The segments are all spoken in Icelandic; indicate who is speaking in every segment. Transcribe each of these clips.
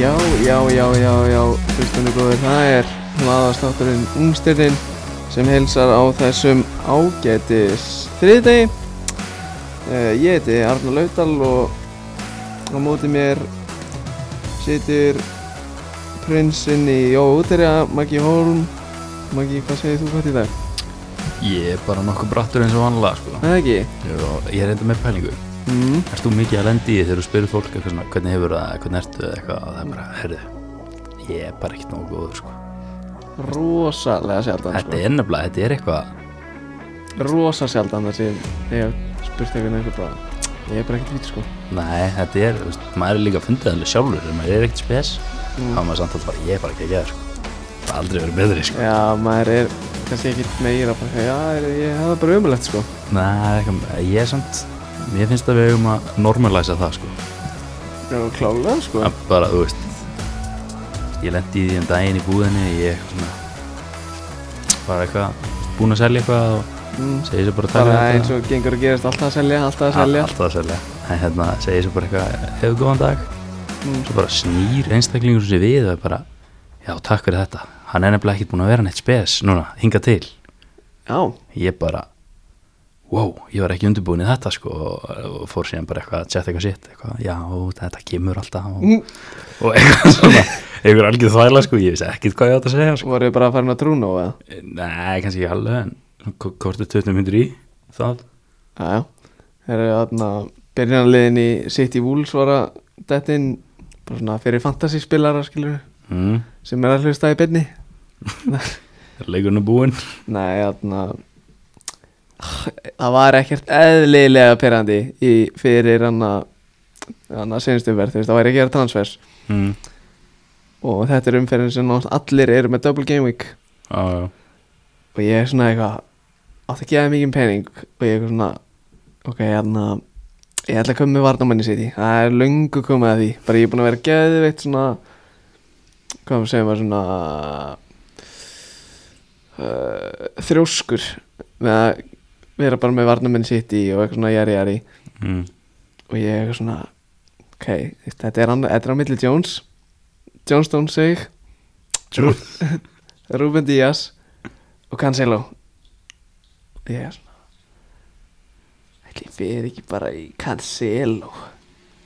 Speaker 1: Já, já, já, já, já, hlustundu góður, það er hlaðastátturinn Ungstyrnin sem heilsar á þessum ágætis þriðdegi. Uh, ég heiti Arnar Laudal og á móti mér situr prinsinn í Jó Úterja, Maggi Hólm. Maggi, hvað segir þú hvað í dag?
Speaker 2: Ég er bara nokkuð brattur eins og vanlega sko.
Speaker 1: Það ekki?
Speaker 2: og ég er enda með pælingu
Speaker 1: Mm.
Speaker 2: Erst þú mikið að lendi í þegar þú spyrir fólk eitthvað svona, hvernig hefur það, hvernig ertu eða eitthvað og það er bara, herðu, ég er bara ekkert nógu góður sko.
Speaker 1: Rosalega sjaldan,
Speaker 2: Þetta
Speaker 1: sko.
Speaker 2: er nefnilega, þetta er eitthvað
Speaker 1: Rosa sjaldan það sem ég hef spurt eitthvað neikur bara. Ég er bara ekkert vít, sko.
Speaker 2: Nei, þetta er, þú veist, maður er líka að fundið alveg sjálfur en maður er ekkert spes
Speaker 1: Mm.
Speaker 2: þá er maður samt alltaf bara, ég er bara ekki að gera sko. Það er aldrei verið betri sko.
Speaker 1: Já, maður er kannski ekkert meira bara, já, ég hefði bara umulegt sko
Speaker 2: Nei, það er eitthvað, ég er samt Mér finnst að við hefum að normalæsa það sko.
Speaker 1: Já, klálega sko
Speaker 2: að bara, þú veist ég lendi í því um daginn í búðinni ég eitthvað svona bara eitthvað, búinn að selja eitthvað og
Speaker 1: mm.
Speaker 2: segi þessu bara að
Speaker 1: Bara
Speaker 2: tala
Speaker 1: eins og gengur að gerast alltaf að selja, alltaf að selja
Speaker 2: alltaf að selja en hérna, segi þessu bara eitthvað, hefur góðan dag
Speaker 1: Mm.
Speaker 2: svo bara snýr einstaklingur sér við og er bara, já takk fyrir þetta hann er nefnilega ekkert búinn að vera neitt spes núna, hinga til,
Speaker 1: Já,
Speaker 2: ég bara wow, ég var ekki undirbúin í þetta sko og, og fór síðan bara eitthvað að setja eitthvað sitt eitthvað, já, þetta kemur alltaf og,
Speaker 1: Mm.
Speaker 2: og eitthvað svona einhver algjör þvæla sko, ég vissi ekkert hvað ég átt að segja sko.
Speaker 1: voru bara að fara að trúna á það
Speaker 2: nei, kannski ekki alveg en k- hvort er 20 minnur í það
Speaker 1: Já, já, þeir eru þarna byrjanliðin í City Wolves var að dettin bara svona fyrir fantasyspilara skilur
Speaker 2: mm,
Speaker 1: sem er að hlusta í byrni
Speaker 2: er leikurinn búinn
Speaker 1: Nei, þarna það var ekkert eðlilega pyrrandi í fyrir hann að hann að senstu verð, þú veist, það væri ekki að gera transfers
Speaker 2: mm,
Speaker 1: og þetta er umferðin sem nánast allir eru með double game week
Speaker 2: á, já,
Speaker 1: og ég er svona eitthvað átt að gefa þér mikið pening og ég er eitthvað svona ok, hérna ég ætla að koma með varnamanni sitt í það er löngu komið að því bara ég er búin að vera geðveitt svona hvað maður segja maður svona uh, þrjóskur með að vera bara með varnamanni sitt í og eitthvað svona jari jari
Speaker 2: mm,
Speaker 1: og ég er eitthvað svona ok, þetta er, annað, þetta er á milli Jones Johnstone sig
Speaker 2: Truth.
Speaker 1: Ruben Díaz og Cancelo ég er svona ætli ég fyrir ekki bara í Cancelo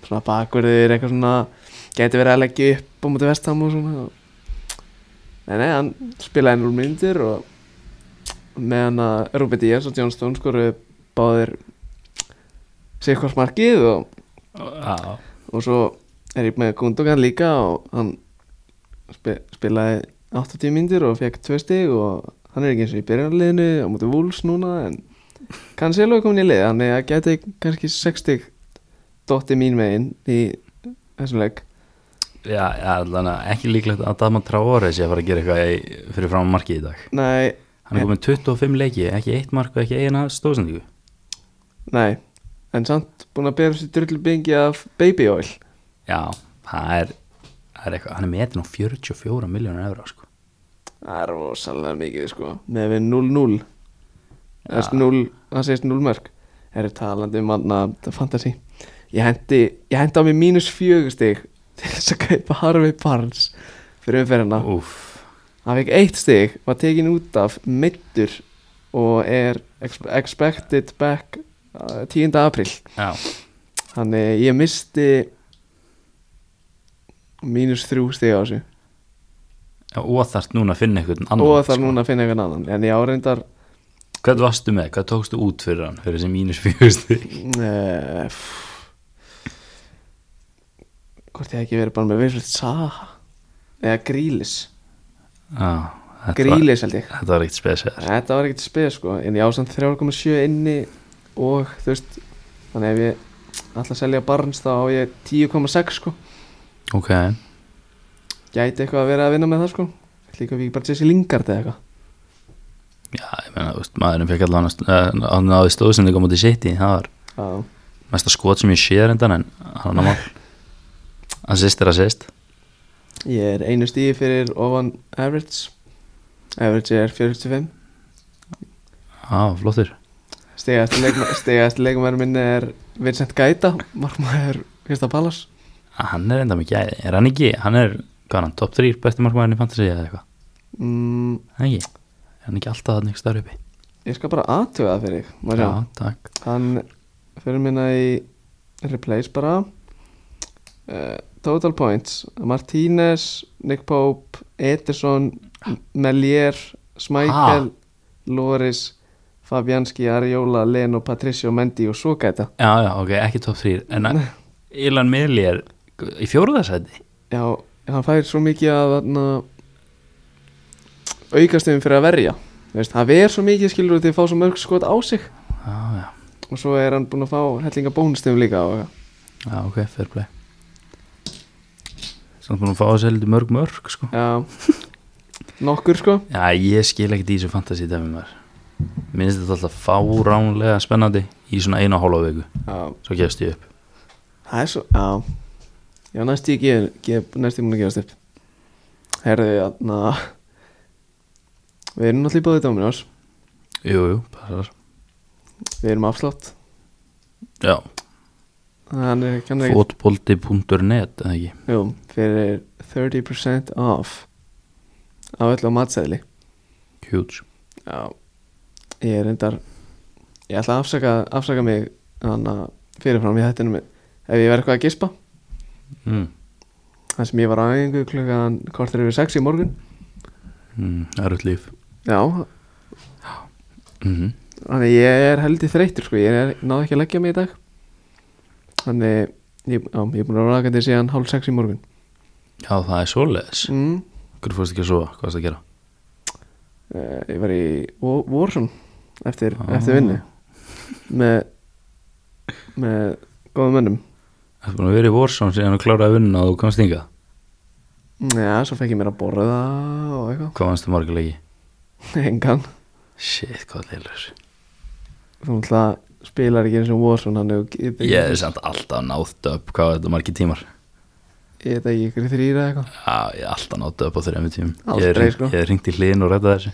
Speaker 1: svona bakverður eitthvað svona gæti verið að leggja upp á múti vestam og svona nei nei, hann spilaði ennur myndir og meðan að Ruben Díaz og John Stone skoruðu báðir sig hvort markið og
Speaker 2: á,
Speaker 1: og svo er ég með Gundogan líka og hann spi spilaði 80 myndir og fekk tvö stig og hann er ekki eins og í byrjanliðinu á mútið Wolves núna en kannski er alveg komin í lið þannig að geti kannski 6 stig dotti mín megin í þessum leik
Speaker 2: já, já, allan að ekki líklegt að Daman Traore sé að fara að gera eitthvað í, fyrir fram á markið í dag
Speaker 1: nei,
Speaker 2: hann er komið 25 leiki, ekki eitt mark og ekki eina stóðsendingu
Speaker 1: nei en samt búin að bera sér drullu bingi af baby oil
Speaker 2: já, það er, það er eitthvað hann er metin á 44 miljónur evra sko.
Speaker 1: það er rosalega mikið sko með við 0-0
Speaker 2: Já.
Speaker 1: Þess 0, það segist 0 mörg Það er talandi um manna fantasy Ég hendi, ég hendi á mig mínus fjögustig til þess að kaupa Harvey Barnes fyrir umferðina
Speaker 2: Úff,
Speaker 1: Hann fekk eitt stig, var tekin út af meittur og er ex- expected back uh, 10. april
Speaker 2: já,
Speaker 1: Þannig ég misti mínus þrjú stig á þessu
Speaker 2: Já, og þarft núna að finna einhvern annan sko.
Speaker 1: og þarf núna að finna einhvern annan en ég áreindar
Speaker 2: Hvað varstu með, hvað tókstu út fyrir hann fyrir þessi mínus fjögusti
Speaker 1: Eh, pff. Hvort ég hef ekki verið bara með Wilfred Saha Eða Grílis
Speaker 2: Já, Ah, þetta var,
Speaker 1: Grílis held ég
Speaker 2: þetta var eitt spesiðar
Speaker 1: Þetta var ekkert spes sko En ég á samt 3,7 inni Og þú veist Þannig ef ég ætla að selja Barnes þá á ég 10,6 sko
Speaker 2: Ok,
Speaker 1: Gæti eitthvað að vera að vinna með það sko Líka við bara Jesse Lingard eða eitthvað
Speaker 2: já, ég meina, þú veist, maðurinn fekk allan að- að eh, hann náði stóðsendingu á móti sitt í það var
Speaker 1: Já,
Speaker 2: mesta skot sem ég séð reyndan en hann að mál hann sýst er að sýst
Speaker 1: Ég er einu stíði fyrir ofan average Average er 45
Speaker 2: Já, flottur
Speaker 1: Stegast leikmaður minn er Vincent Gaita, markmaður Krista Pallas
Speaker 2: að hann er enda með gæði, er hann ekki hann er, hvað er hann, top 3 besti markmaðurinn í fantasy eða eitthvað,
Speaker 1: mm,
Speaker 2: Er hann ekki er hann ekki alltaf þannig starf uppi
Speaker 1: Ég skal bara aðtuga það fyrir þig má
Speaker 2: já,
Speaker 1: sjá.
Speaker 2: takk,
Speaker 1: Hann fyrir minna í replace bara uh, Total points Martínez, Nick Pope Ederson, Melier Smeichel, Loris Fabianski, Ariola Leno, Patricio, Mendy og svo gæta
Speaker 2: já, já, ok, ekki top 3 en að Ilan Mili er í fjóruðarsæti,
Speaker 1: Já, hann fær svo mikið að þarna, aukastum fyrir að verja Veist, hann ver svo mikið skilur til að fá svo mörg skot á sig
Speaker 2: já, já,
Speaker 1: og svo er hann búinn að fá hellinga bónustum líka og,
Speaker 2: já, ok, fair play samt búin að fá þessi heldur mörg mörg sko.
Speaker 1: já, nokkur sko
Speaker 2: já, ég skil ekki því sem fantasy dæmi maður minnst þetta alltaf fáránlega spennandi í svona einu og hálfa viku
Speaker 1: Já,
Speaker 2: svo gefst ég upp
Speaker 1: það er svo Já, já næst ég gef, gef næst ég múin að gefast upp Herðu, jæna Við erum náttúrulega í bóðið Dominos
Speaker 2: jú, jú, passar
Speaker 1: Við erum afslátt
Speaker 2: já,
Speaker 1: Þannig kann ekki
Speaker 2: fotbolti.net eða ekki
Speaker 1: Jú, fyrir 30% off Á öllu á matsæðli
Speaker 2: huge
Speaker 1: Já Ég er reyndar Ég ætla að afsaka, afsaka mig Þannig að fyrirfram í hættinu minn Ef ég verð eitthvað að gispa
Speaker 2: mm.
Speaker 1: Það sem ég var á aðingu klukkan kortir yfir 6 í morgun
Speaker 2: Mm, erut líf
Speaker 1: Já,
Speaker 2: mm
Speaker 1: Þannig ég er heldur þreytur sko, ég er náðu ekki að leggja mig í dag Þannig ég, á, ég er búin að vera rakandi síðan hálf sex í morgun
Speaker 2: já, það er svoleiðis
Speaker 1: mm.
Speaker 2: hvernig fórst ekki að sofa, hvað varst að gera
Speaker 1: uh, Ég var í Wa- Warzone eftir, eftir vinnu með, með góðum mönnum
Speaker 2: Það er búin að vera í Warzone síðan og kláraði að vinna og þú komst hingað
Speaker 1: Já, svo fekk ég mér að borða og
Speaker 2: hvað vannst þú margulegi?
Speaker 1: eitthvað Engan,
Speaker 2: shit, hvað leilur
Speaker 1: þú náttúrulega spilar ekki eins og Warzone Þannig þú getur
Speaker 2: ég er samt alltaf nátt upp hvað er þetta margir tímar
Speaker 1: Ég veit ekki ykkur þrýra eitthvað
Speaker 2: já, ég er alltaf nátt upp á þrejum tímum ég er,
Speaker 1: Aldrei, sko.
Speaker 2: ég er ringt í hliðin og rætta þessu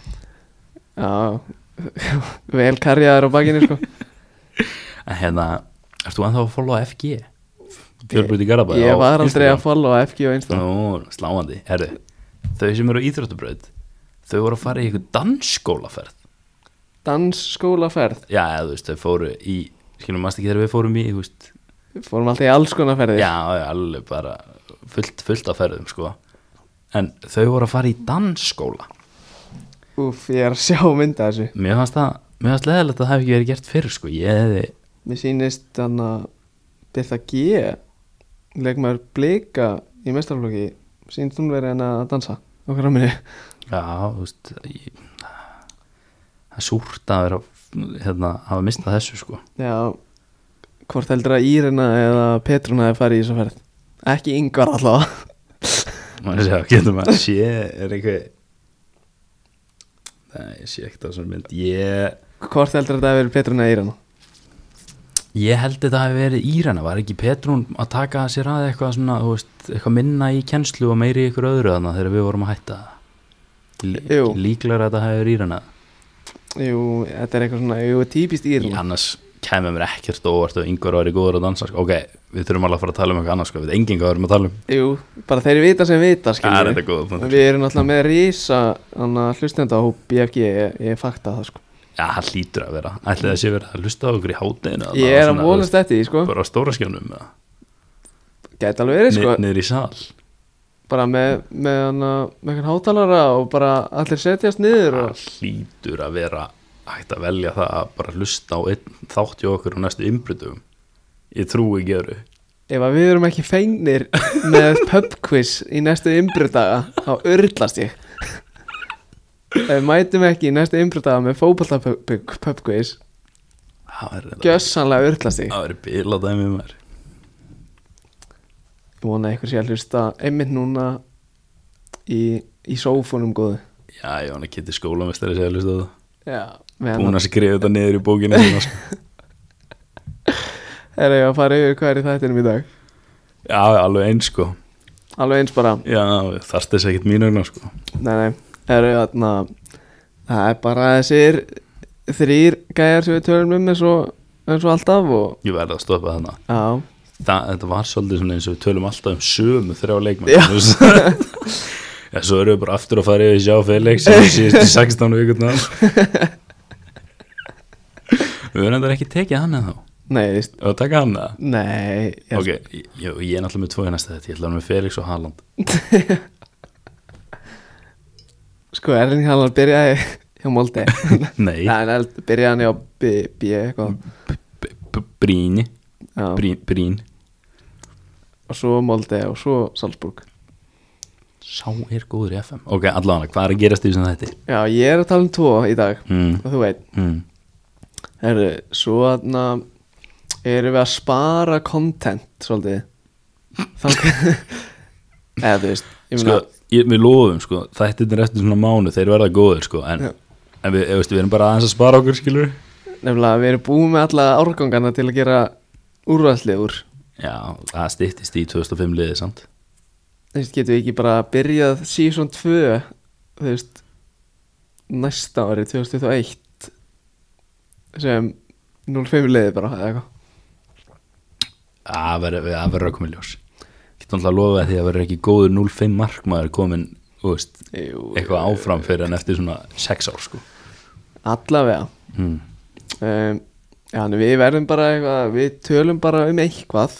Speaker 1: Já, vel karjaðar á bakinu sko
Speaker 2: en hérna, ert þú ennþá að followa FG? fjölbruti Garabæði
Speaker 1: Ég var aldrei að followa FG og Instagram
Speaker 2: Nú, sláandi, herru Þau sem eru á íþróttabraut Þau voru að fara í eitthvað dansskólaferð
Speaker 1: Dansskólaferð
Speaker 2: Já, eða, þú veist, þau fóru í Skilum, mannst ekki þegar við fórum í, þú veist
Speaker 1: Fórum alltaf í alls konar ferðir
Speaker 2: Já, já, alveg bara fullt, fullt af ferðum, sko En þau voru að fara í dansskóla
Speaker 1: Úf, ég er að sjá mynda þessu
Speaker 2: Mér fannst það, mér fannst leðilegt að það hef ekki verið gert fyrr, sko Ég hefði,
Speaker 1: Mér sýnist hann að Birta G Leikmaður blika í mestarflóki Sýnist hún verið henn að dansa á kramminu
Speaker 2: já, þú veist ég, Það er súrt að vera, hérna, hafa mistað þessu, sko
Speaker 1: Já, hvort heldur að Írina eða Petruna hefði farið í þessu ferð Ekki yngvar allavega
Speaker 2: maður sé að getur maður að sé er eitthvað nei, ég sé ekkert á svona mynd ég,
Speaker 1: Hvort heldur að það hefði verið Petruna eða Írina
Speaker 2: ég held þetta hafi verið Írana var ekki Petrún að taka sér að eitthvað svona, þú veist, eitthvað minna í kennslu og meiri í ykkur öðru þarna þegar við vorum að hætta Lí,
Speaker 1: Jú.
Speaker 2: líklar að þetta hafi verið Írana
Speaker 1: Jú, þetta er eitthvað svona, jú, típist
Speaker 2: Í
Speaker 1: Írina
Speaker 2: annars kemur mér ekkert óvart og yngvar væri góður að dansa sko. ok, við þurfum alveg að fara að tala um eitthvað annars sko. við enginn hvað við erum að tala um
Speaker 1: Jú, bara þeir vita sem vita,
Speaker 2: það er
Speaker 1: skiljum
Speaker 2: þetta góða punktur.
Speaker 1: Við erum alltaf með rísa hlustenda á BFG, ég, ég fakta það sko
Speaker 2: já, það lítur að vera ætli það sé verið að hlusta á okkur í hátinu
Speaker 1: Ég er að vonast þetta í sko
Speaker 2: bara á stóra skjánum eða?
Speaker 1: Gæti alveg verið sko
Speaker 2: Ni- niður í sal
Speaker 1: Bara með, með, hana, með einhvern hátalara og bara allir setjast niður og...
Speaker 2: það hlýtur að vera hægt að velja það að bara hlusta á einn þátt í okkur á næstu innbrytum ég trúi ekki öru
Speaker 1: Ef að við erum ekki fengnir með pub quiz í næstu umbrudaga þá urðlast ég Ef við mætum ekki í næstu umbrudaga með fótbolta pub, pub, pub quiz
Speaker 2: það verður
Speaker 1: Gjössanlega urðlast ég
Speaker 2: það verður bilað dæmi maður
Speaker 1: Ég vona að ykkur sé að hlusta einmitt núna í, í sófónum góðu
Speaker 2: já, ég vona að geti skólamestari segja hlusta á það
Speaker 1: Já, með
Speaker 2: búin
Speaker 1: hann
Speaker 2: að skrifa þetta niður í bókinu sína, sko.
Speaker 1: Er ég að fara yfir hvað er í þættinum í dag
Speaker 2: já, alveg eins sko
Speaker 1: Alveg eins bara
Speaker 2: já, þarst þess ekkert mín ögnar sko
Speaker 1: Nei, nei, það eru þarna Það er bara þessir þrýr gæjar sem við tölum um eins og, eins og alltaf og
Speaker 2: ég verði að stoppa þarna
Speaker 1: já,
Speaker 2: það, þetta var svolítið svona eins og við tölum alltaf um sömu þrjá leikmenn
Speaker 1: Já.
Speaker 2: þú veist. Já, svo erum við bara aftur að fara yfir sjá Felix í síðustu 16 vikundar Við verðum þetta ekki tekið hann eða þá
Speaker 1: Nei, þú veist,
Speaker 2: og taka hann eða
Speaker 1: nei ég-
Speaker 2: Ok, ég, ég er náttúrulega með tvo í næsta þetta, ég ætla hann með Felix og Haaland
Speaker 1: Sko, Erling Haaland byrjaði hjá Molde
Speaker 2: Nei,
Speaker 1: Nei, en eld- byrjaði hann hjá B, B eitthvað
Speaker 2: B- B- Bríni,
Speaker 1: Já,
Speaker 2: Brín, Brín.
Speaker 1: Og svo Molde og svo Salzburg
Speaker 2: Sá er góður í FM Ok, allavega, hvað er að gerast í þessum þetta?
Speaker 1: Já, ég er að tala um tvo í dag
Speaker 2: Mm,
Speaker 1: Og þú veit,
Speaker 2: mm.
Speaker 1: herru, svo þarna Erum við að spara content Svolítið Þannig Eða þú veist, ég
Speaker 2: sko,
Speaker 1: meina
Speaker 2: ég, við lofum sko, þættirnir eftir svona mánu þeir verða góðir sko, en,
Speaker 1: Já.
Speaker 2: en við, við, við erum bara aðeins að spara okkur skilur
Speaker 1: Nefnilega, við erum búin með alla árgangana til að gera úrvæðslið úr
Speaker 2: já, það styttist í 2005 liðið samt
Speaker 1: Þú veist, getum við ekki bara byrjað season 2 þú veist næsta ári 2021 sem 05 liði bara eða eitthvað
Speaker 2: það verður það verður að koma í ljós getur alltaf að lofa því að verður ekki góður 0-5 markmaður komin þú veist,
Speaker 1: Jú,
Speaker 2: eitthvað áfram fyrir en eftir svona 6 ár sko.
Speaker 1: Allavega
Speaker 2: mm.
Speaker 1: um, Já, en við verðum bara eitthvað við tölum bara um eitthvað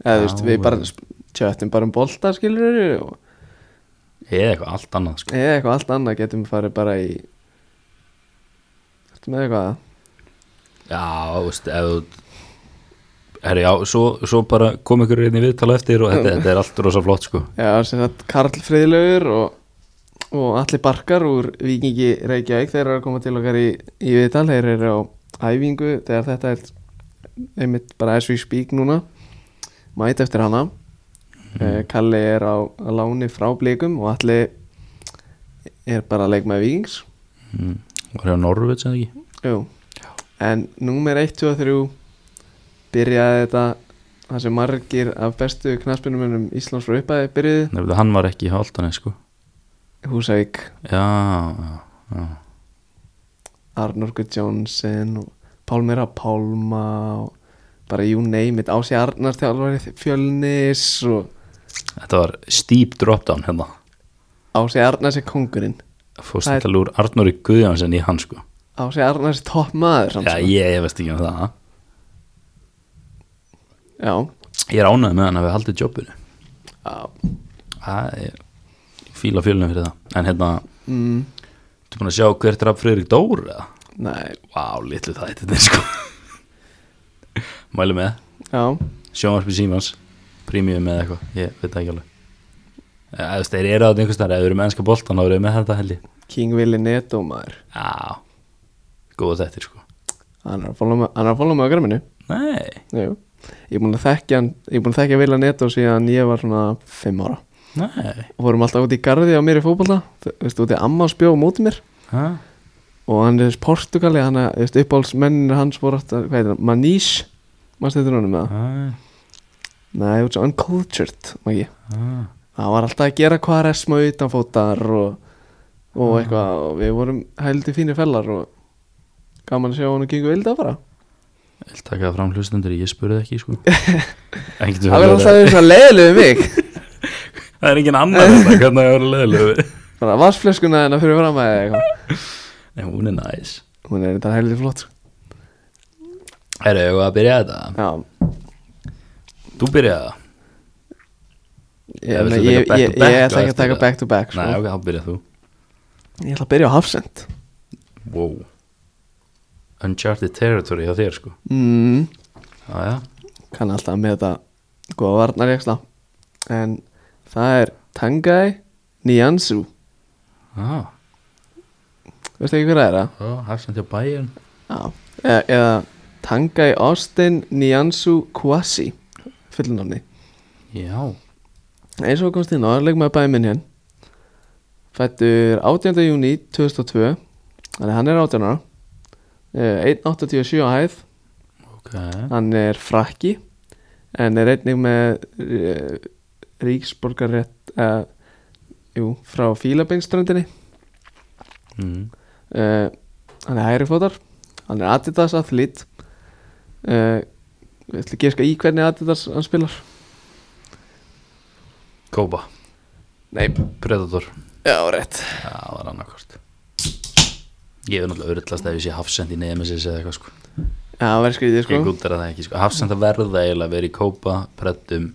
Speaker 1: eða þú veist,
Speaker 2: Já,
Speaker 1: við bara
Speaker 2: já.
Speaker 1: sp- tjöttum bara um bolta skilur og
Speaker 2: eða eitthvað allt annað sko.
Speaker 1: eða eitthvað allt annað getum við farið bara í Þetta með eitthvað
Speaker 2: já, þú veist, ef þú Herri, já, svo, svo bara kom ykkur hérna reyni viðtala eftir og þetta, þetta er allt rosa flott sko.
Speaker 1: Já, sem sagt Karl Friðlaugur og, og allir barkar úr Vikingi Reykjavík þeir eru að koma til okkar í, í viðtal þeir eru á æfingu þegar þetta er einmitt bara as we speak núna mæt eftir hana mm. Kalli er á á láni frá blikum og allir er bara að leik með Vikings
Speaker 2: mm. Var það Norvöld sem ekki?
Speaker 1: Jú. en númer 1, 2 og 3 byrjaði þetta það sem margir af bestu knaspinumunum Íslands frá uppaði byrjuði
Speaker 2: Nefnir, hann var ekki í Haldanes sko.
Speaker 1: Húsavík
Speaker 2: Já, já, já.
Speaker 1: Arnur Guðjónsson og Pálmira Pálma og bara you name it Ási Arnar þjálfari fjölnis og
Speaker 2: Þetta var steep drop down hérna
Speaker 1: Ási Arnar sem kongurinn
Speaker 2: Fórst
Speaker 1: Það er-
Speaker 2: þetta lúr Arnóri Guðjónsson í hann sko
Speaker 1: Ási Arnar sem topp maður
Speaker 2: Já, ég, ég veist ekki um það
Speaker 1: Já.
Speaker 2: Ég er ánægð með hann að við haldið jobbinu
Speaker 1: Já.
Speaker 2: Það er ég fíla fjölunum fyrir það En hérna,
Speaker 1: Mm,
Speaker 2: þú búin að sjá hvert draf Friðrik Dór eða?
Speaker 1: nei,
Speaker 2: Vá, litlu það eitt þetta sko Mælu með,
Speaker 1: já
Speaker 2: sjónvarpi Símans Premium eða eitthvað, ég veit það ekki alveg Eh, Þú veist, þeir eru að einhvers þar Ef þeir eru með ennska boltan, þá eru þeir með þetta held ég
Speaker 1: King Willi Neto maður
Speaker 2: Já, góða þetta sko
Speaker 1: Hann er að fólga með, hann er að fólga með okkar minni
Speaker 2: Nei,
Speaker 1: Jú Ég er búin að þekkja hann, ég er búin að þekkja Vila Neto síðan ég var svona 5 ára
Speaker 2: nei
Speaker 1: og fórum alltaf út í garði á mér í fótbolta þú veist, út í amma spjó á móti mér
Speaker 2: Hæ?
Speaker 1: og hann er portugali hann er uppáhaldsmennin hans voru aftur, hvað heitir hann, Manís maður þetta honum með það
Speaker 2: Hæ?
Speaker 1: nei, þú ert svo uncultured, maður ekki
Speaker 2: Ah,
Speaker 1: hann var alltaf að gera hvað er sma utanfótar og,
Speaker 2: Mm.
Speaker 1: og eitthvað og við vorum heldur fínir fellar og gaman að sjá hann og gengur vildi að fara
Speaker 2: ég vil taka það fram hlustendur, ég spurði ekki sko En
Speaker 1: það
Speaker 2: getur verið
Speaker 1: verður
Speaker 2: að-
Speaker 1: alltaf að vera svona leiðileg um mig
Speaker 2: Það er engin annar þetta, hvernig það er leðilegu
Speaker 1: bara vassfleskuna hennar fyrir fram að eitthvað
Speaker 2: En hún er næs
Speaker 1: hún er þetta heldur flott sko.
Speaker 2: Það eru að byrja þetta
Speaker 1: já,
Speaker 2: Þú byrjaði það,
Speaker 1: ég,
Speaker 2: Ef
Speaker 1: ég,
Speaker 2: þú
Speaker 1: ég, ég,
Speaker 2: taka back to
Speaker 1: ég,
Speaker 2: back
Speaker 1: ég ætla
Speaker 2: á
Speaker 1: ekki
Speaker 2: eftir
Speaker 1: að taka
Speaker 2: það.
Speaker 1: back to back sko.
Speaker 2: nei ok, þá byrjað þú
Speaker 1: ég ætla að byrja á Hafsend
Speaker 2: Wow Uncharted territory hjá þér sko
Speaker 1: mm.
Speaker 2: Jæja,
Speaker 1: kann alltaf með þetta góða varnarjaksla en það er Tangai Niansu
Speaker 2: já,
Speaker 1: veistu ekki hver það er það?
Speaker 2: já, Ah, hafsend hjá bæjun
Speaker 1: Já. E eða Tangai Austin Niansu Kwasi fullunafni
Speaker 2: Já,
Speaker 1: eins og komst inn á leik með bæminn hér fættur 18. júni 2002 þannig að hann er 18 ára Eh, 1.87 á hæð
Speaker 2: ok
Speaker 1: hann er frakki en er einnig með uh, ríksborgarrétt uh, jú, frá Fílabeinsströndinni Eh,
Speaker 2: mm.
Speaker 1: uh, hann er hægrifótar hann er Adidas athlít uh, Ég ætla að geska í hvernig Adidas hann spilar
Speaker 2: Kópa,
Speaker 1: Nei,
Speaker 2: Predator
Speaker 1: já, rétt
Speaker 2: Já, það var annarkvort Ég er náttúrulega öryllast ef ég sé hafsend í Nemesis eða eitthvað sko
Speaker 1: Já, það verður skrítið sko
Speaker 2: Ég gúttar að það ekki sko Hafsend það verða eiginlega að vera í Kópa, Predum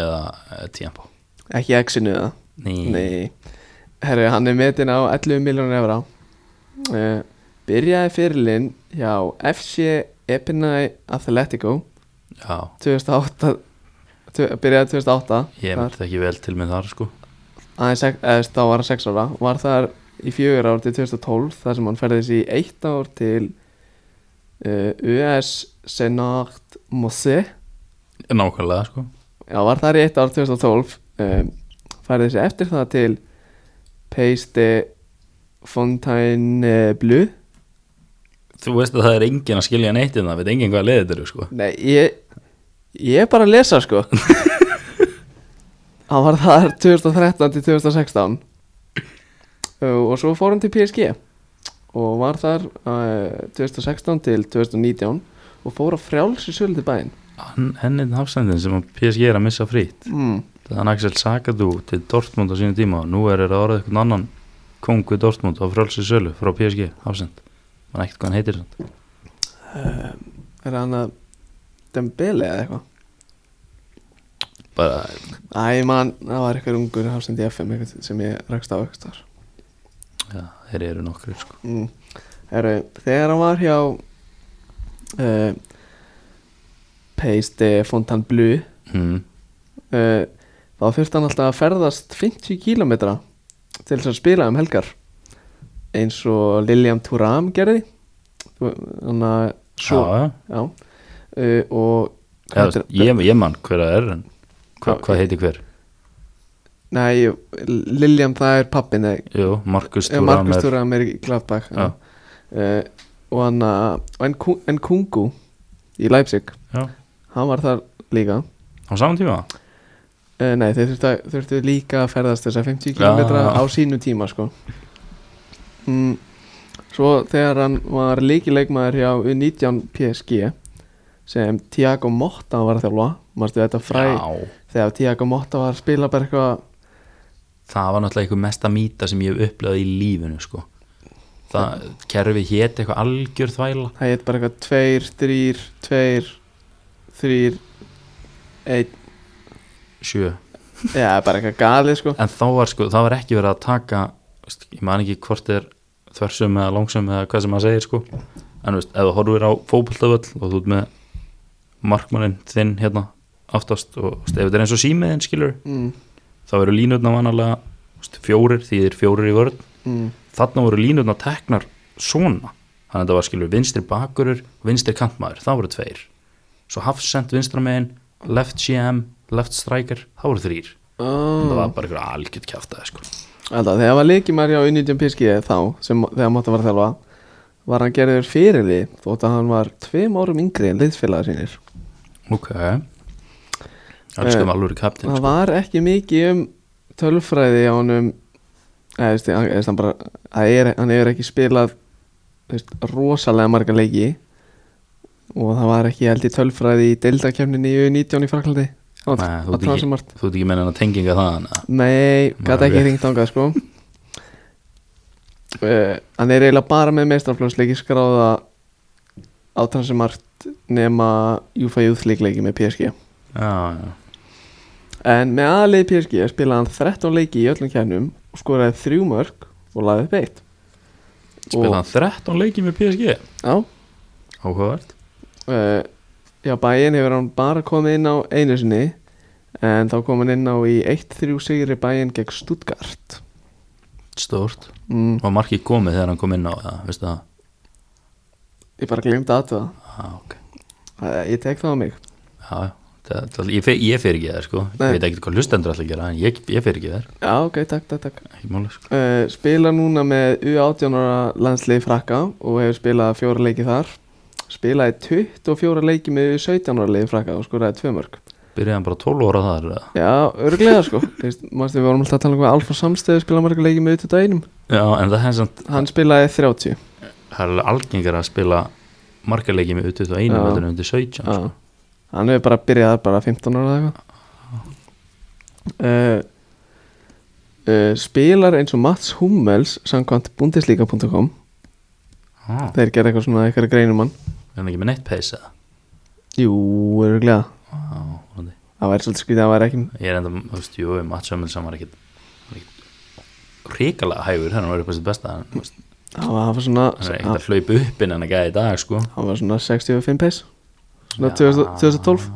Speaker 2: eða uh, Tiempo
Speaker 1: Ekki X-inu eða
Speaker 2: Ný,
Speaker 1: Nei, herru, hann er metin á 11 miljónur efra uh, Byrjaði fyrirlinn hjá FC Epinay Atletico
Speaker 2: já
Speaker 1: 2008 tu- Byrjaði 2008
Speaker 2: Ég
Speaker 1: Þar-
Speaker 2: myndi ekki vel til minn þar sko
Speaker 1: aðeins, sex- eða, þú veist, þá var hann 6 ára var þar í fjögur ár til 2012 þar sem hann ferðis í eitt ár til uh, US Senart Mosse
Speaker 2: Nákvæmlega sko
Speaker 1: já, var þar í eitt ár 2012 um, ferðis eftir það til Peiste Fontainebleau
Speaker 2: Þú veist að það er engin að skilja neitt en það veit engin hvað leiðið eru sko
Speaker 1: nei, ég ég er bara að lesa sko hann var þar 2013 til 2016 Uh, og svo fór hann til PSG og var þar uh, 2016 til 2019 og fór á frjálsi sölu til bæinn
Speaker 2: Hann- Hennin hafsendin sem að PSG er að missa frýtt
Speaker 1: mm.
Speaker 2: Þannig Axel Sakadu til Dortmund á sínu tíma og nú er það orðið eitthvað annan kongu Dortmund á frálsi sölu frá PSG hafsend Man ekkert hvað hann heitir samt.
Speaker 1: er hann að Dembele eða eitthvað
Speaker 2: Bara,
Speaker 1: Æ, mann, það var eitthvað ungur hafsend í FM eitthvað sem ég rakst á eitthvað þar
Speaker 2: já, þeir eru nokkri sko.
Speaker 1: mm. Heru, Þegar hann var hjá uh, Peiste Fontainebleau
Speaker 2: mm.
Speaker 1: uh, þá þurfti hann alltaf að ferðast 50 km til þess að spila um helgar eins og Lilian Thuram gerði þannig að svo
Speaker 2: Já, já.
Speaker 1: já. Uh, og
Speaker 2: Já,
Speaker 1: hvað heitir-
Speaker 2: ég, ég mann hver að er en hva,
Speaker 1: Já,
Speaker 2: hvað
Speaker 1: ég-
Speaker 2: heitir hver?
Speaker 1: nei, Lilian það er pappin
Speaker 2: Jú, Markus Turam
Speaker 1: Markus
Speaker 2: er
Speaker 1: Thuram er í Gladbach
Speaker 2: Já.
Speaker 1: já. uh, og hann að- og en Kungu í Leipzig
Speaker 2: Já,
Speaker 1: hann var þar líka
Speaker 2: á saman tíma
Speaker 1: Uh, nei, þeir þurftu, að- þurftu líka að ferðast þessa 50 km
Speaker 2: Já.
Speaker 1: á sínu tíma sko. mm, Svo þegar hann var líkileikmaður hjá U19 PSG sem Tiago Motta var að þjálfa Marstu þetta fræ
Speaker 2: Já,
Speaker 1: þegar Tiago Motta var að spila bara eitthvað
Speaker 2: það var náttúrulega einhver mesta mýta sem ég hef upplegað í lífinu sko. það, kerfi hétt eitthvað algjör þvæla
Speaker 1: Það heit bara eitthvað tveir, þrýr, tveir, þrýr, einn
Speaker 2: sjö
Speaker 1: Já, bara eitthvað galið sko
Speaker 2: en þá var sko, það var ekki verið að taka veist, ég man ekki hvort er þversum eða langsum eða hvað sem maður segir sko en þú veist, ef þú horfir á fótboltavöll og þú ert með markmannin þinn hérna aftast og þú veist, ef þetta er eins og símiðin skilur
Speaker 1: mm,
Speaker 2: þá eru línutna vanalega þú veist, fjórir því þið er fjórir í vörð
Speaker 1: mm,
Speaker 2: þarna voru línutna teknar svona þannig að þetta var skilur vinstri bakurur vinstri kantmaður, það voru tveir svo hafsend vinstra megin left GM, left striker, það voru þrýr
Speaker 1: oh.
Speaker 2: það var bara einhver algjörn kjáftæði sko
Speaker 1: Alltaf, þegar var leikimæri á um Unidjum PSG þá, sem, þegar Motta var að þjálfa var hann gerður fyrir því þótt að hann var tveim árum yngri en liðsfélagar sínir
Speaker 2: Ok Elskum
Speaker 1: Eh,
Speaker 2: alvöru kaptinn
Speaker 1: það
Speaker 2: sko.
Speaker 1: var ekki mikið um tölfræði á honum eða, veist, hann, veist, hann, bara, það er, hann hefur ekki spilað veist, rosalega marga leiki og það var ekki held í tölfræði í deildakefninni í U19 í Fraklandi
Speaker 2: Nei, þú ert
Speaker 1: að
Speaker 2: ekki-
Speaker 1: það sem margt
Speaker 2: sko. Þú ert ekki meina að tenginga það hana
Speaker 1: Nei, gæti
Speaker 2: Nei,
Speaker 1: ekki
Speaker 2: ok.
Speaker 1: hringt ángað sko uh, Hann er eiginlega bara með meistarflóðsleiki skráða á transumart nema Júfa Júðsleikleiki með PSG
Speaker 2: Já, já
Speaker 1: En með aðlið PSG spilaði hann 13 leiki í öllum kjærnum og skoraði þrjú mörg og laði upp eitt
Speaker 2: Spilaði hann 13 leiki með PSG
Speaker 1: Já
Speaker 2: Áhugavert
Speaker 1: uh, Já, bæinn hefur hann bara komið inn á einu sinni en þá kom hann inn á í 1-3 sigri bæinn gegn Stuttgart
Speaker 2: Stórt
Speaker 1: mm,
Speaker 2: Var markið komið þegar hann kom inn á það Veistu það
Speaker 1: Ég bara glemt að það
Speaker 2: Já, ok
Speaker 1: uh, Ég tek það á mig
Speaker 2: Já, já Það- það- Ég, fer- ég fyrir ekki það sko
Speaker 1: Nei.
Speaker 2: Ég veit ekki hvað hlustendur alltaf gera En ég, ég fyrir ekki það
Speaker 1: Já, ok, takk, takk, takk
Speaker 2: Ekki máli sko
Speaker 1: uh, Spila núna með U18 ára landsliði frakka og hefur spilað fjóra leiki þar Spilaði 24 leiki með U17 ára liði frakka og skoraði tvö mörg
Speaker 2: Byrjaði hann bara 12 óra þar eða?
Speaker 1: Já, örglega sko Þeirst, Manstu, við vorum alltaf að tala um hvað Alfa Samstegi spilaði marga leiki með U21
Speaker 2: Já, en það er samt
Speaker 1: Hann spilaði 30
Speaker 2: Það er alveg algengar að spila margar leiki með utvöð og einu
Speaker 1: Já.
Speaker 2: Þetta er undir 17
Speaker 1: Já,
Speaker 2: sko.
Speaker 1: hann hefur bara byrjað þar bara 15 ára eða eitthvað uh, uh, spilar eins og Mats Hummels samkvæmt bundesliga.com
Speaker 2: ah,
Speaker 1: þeir gera eitthvað svona eitthvað greinum hann
Speaker 2: er hann ekki með neitt peis eða
Speaker 1: jú, eru glæða
Speaker 2: ah, vonandi.
Speaker 1: það væri svolítið skrítið að það væri ekki
Speaker 2: ég er enda, þú veist, jú, Mats Hummels hann var ekkit hann var ekkit ríkalega hægur þannig að hann var upp að sitt besta hann, þú veist,
Speaker 1: það var, það var svona
Speaker 2: hann er
Speaker 1: það
Speaker 2: ekkit að hlaupa upp inn en að gæða í dag sko
Speaker 1: það var svona 65 pace svona
Speaker 2: Já.
Speaker 1: 2000 2012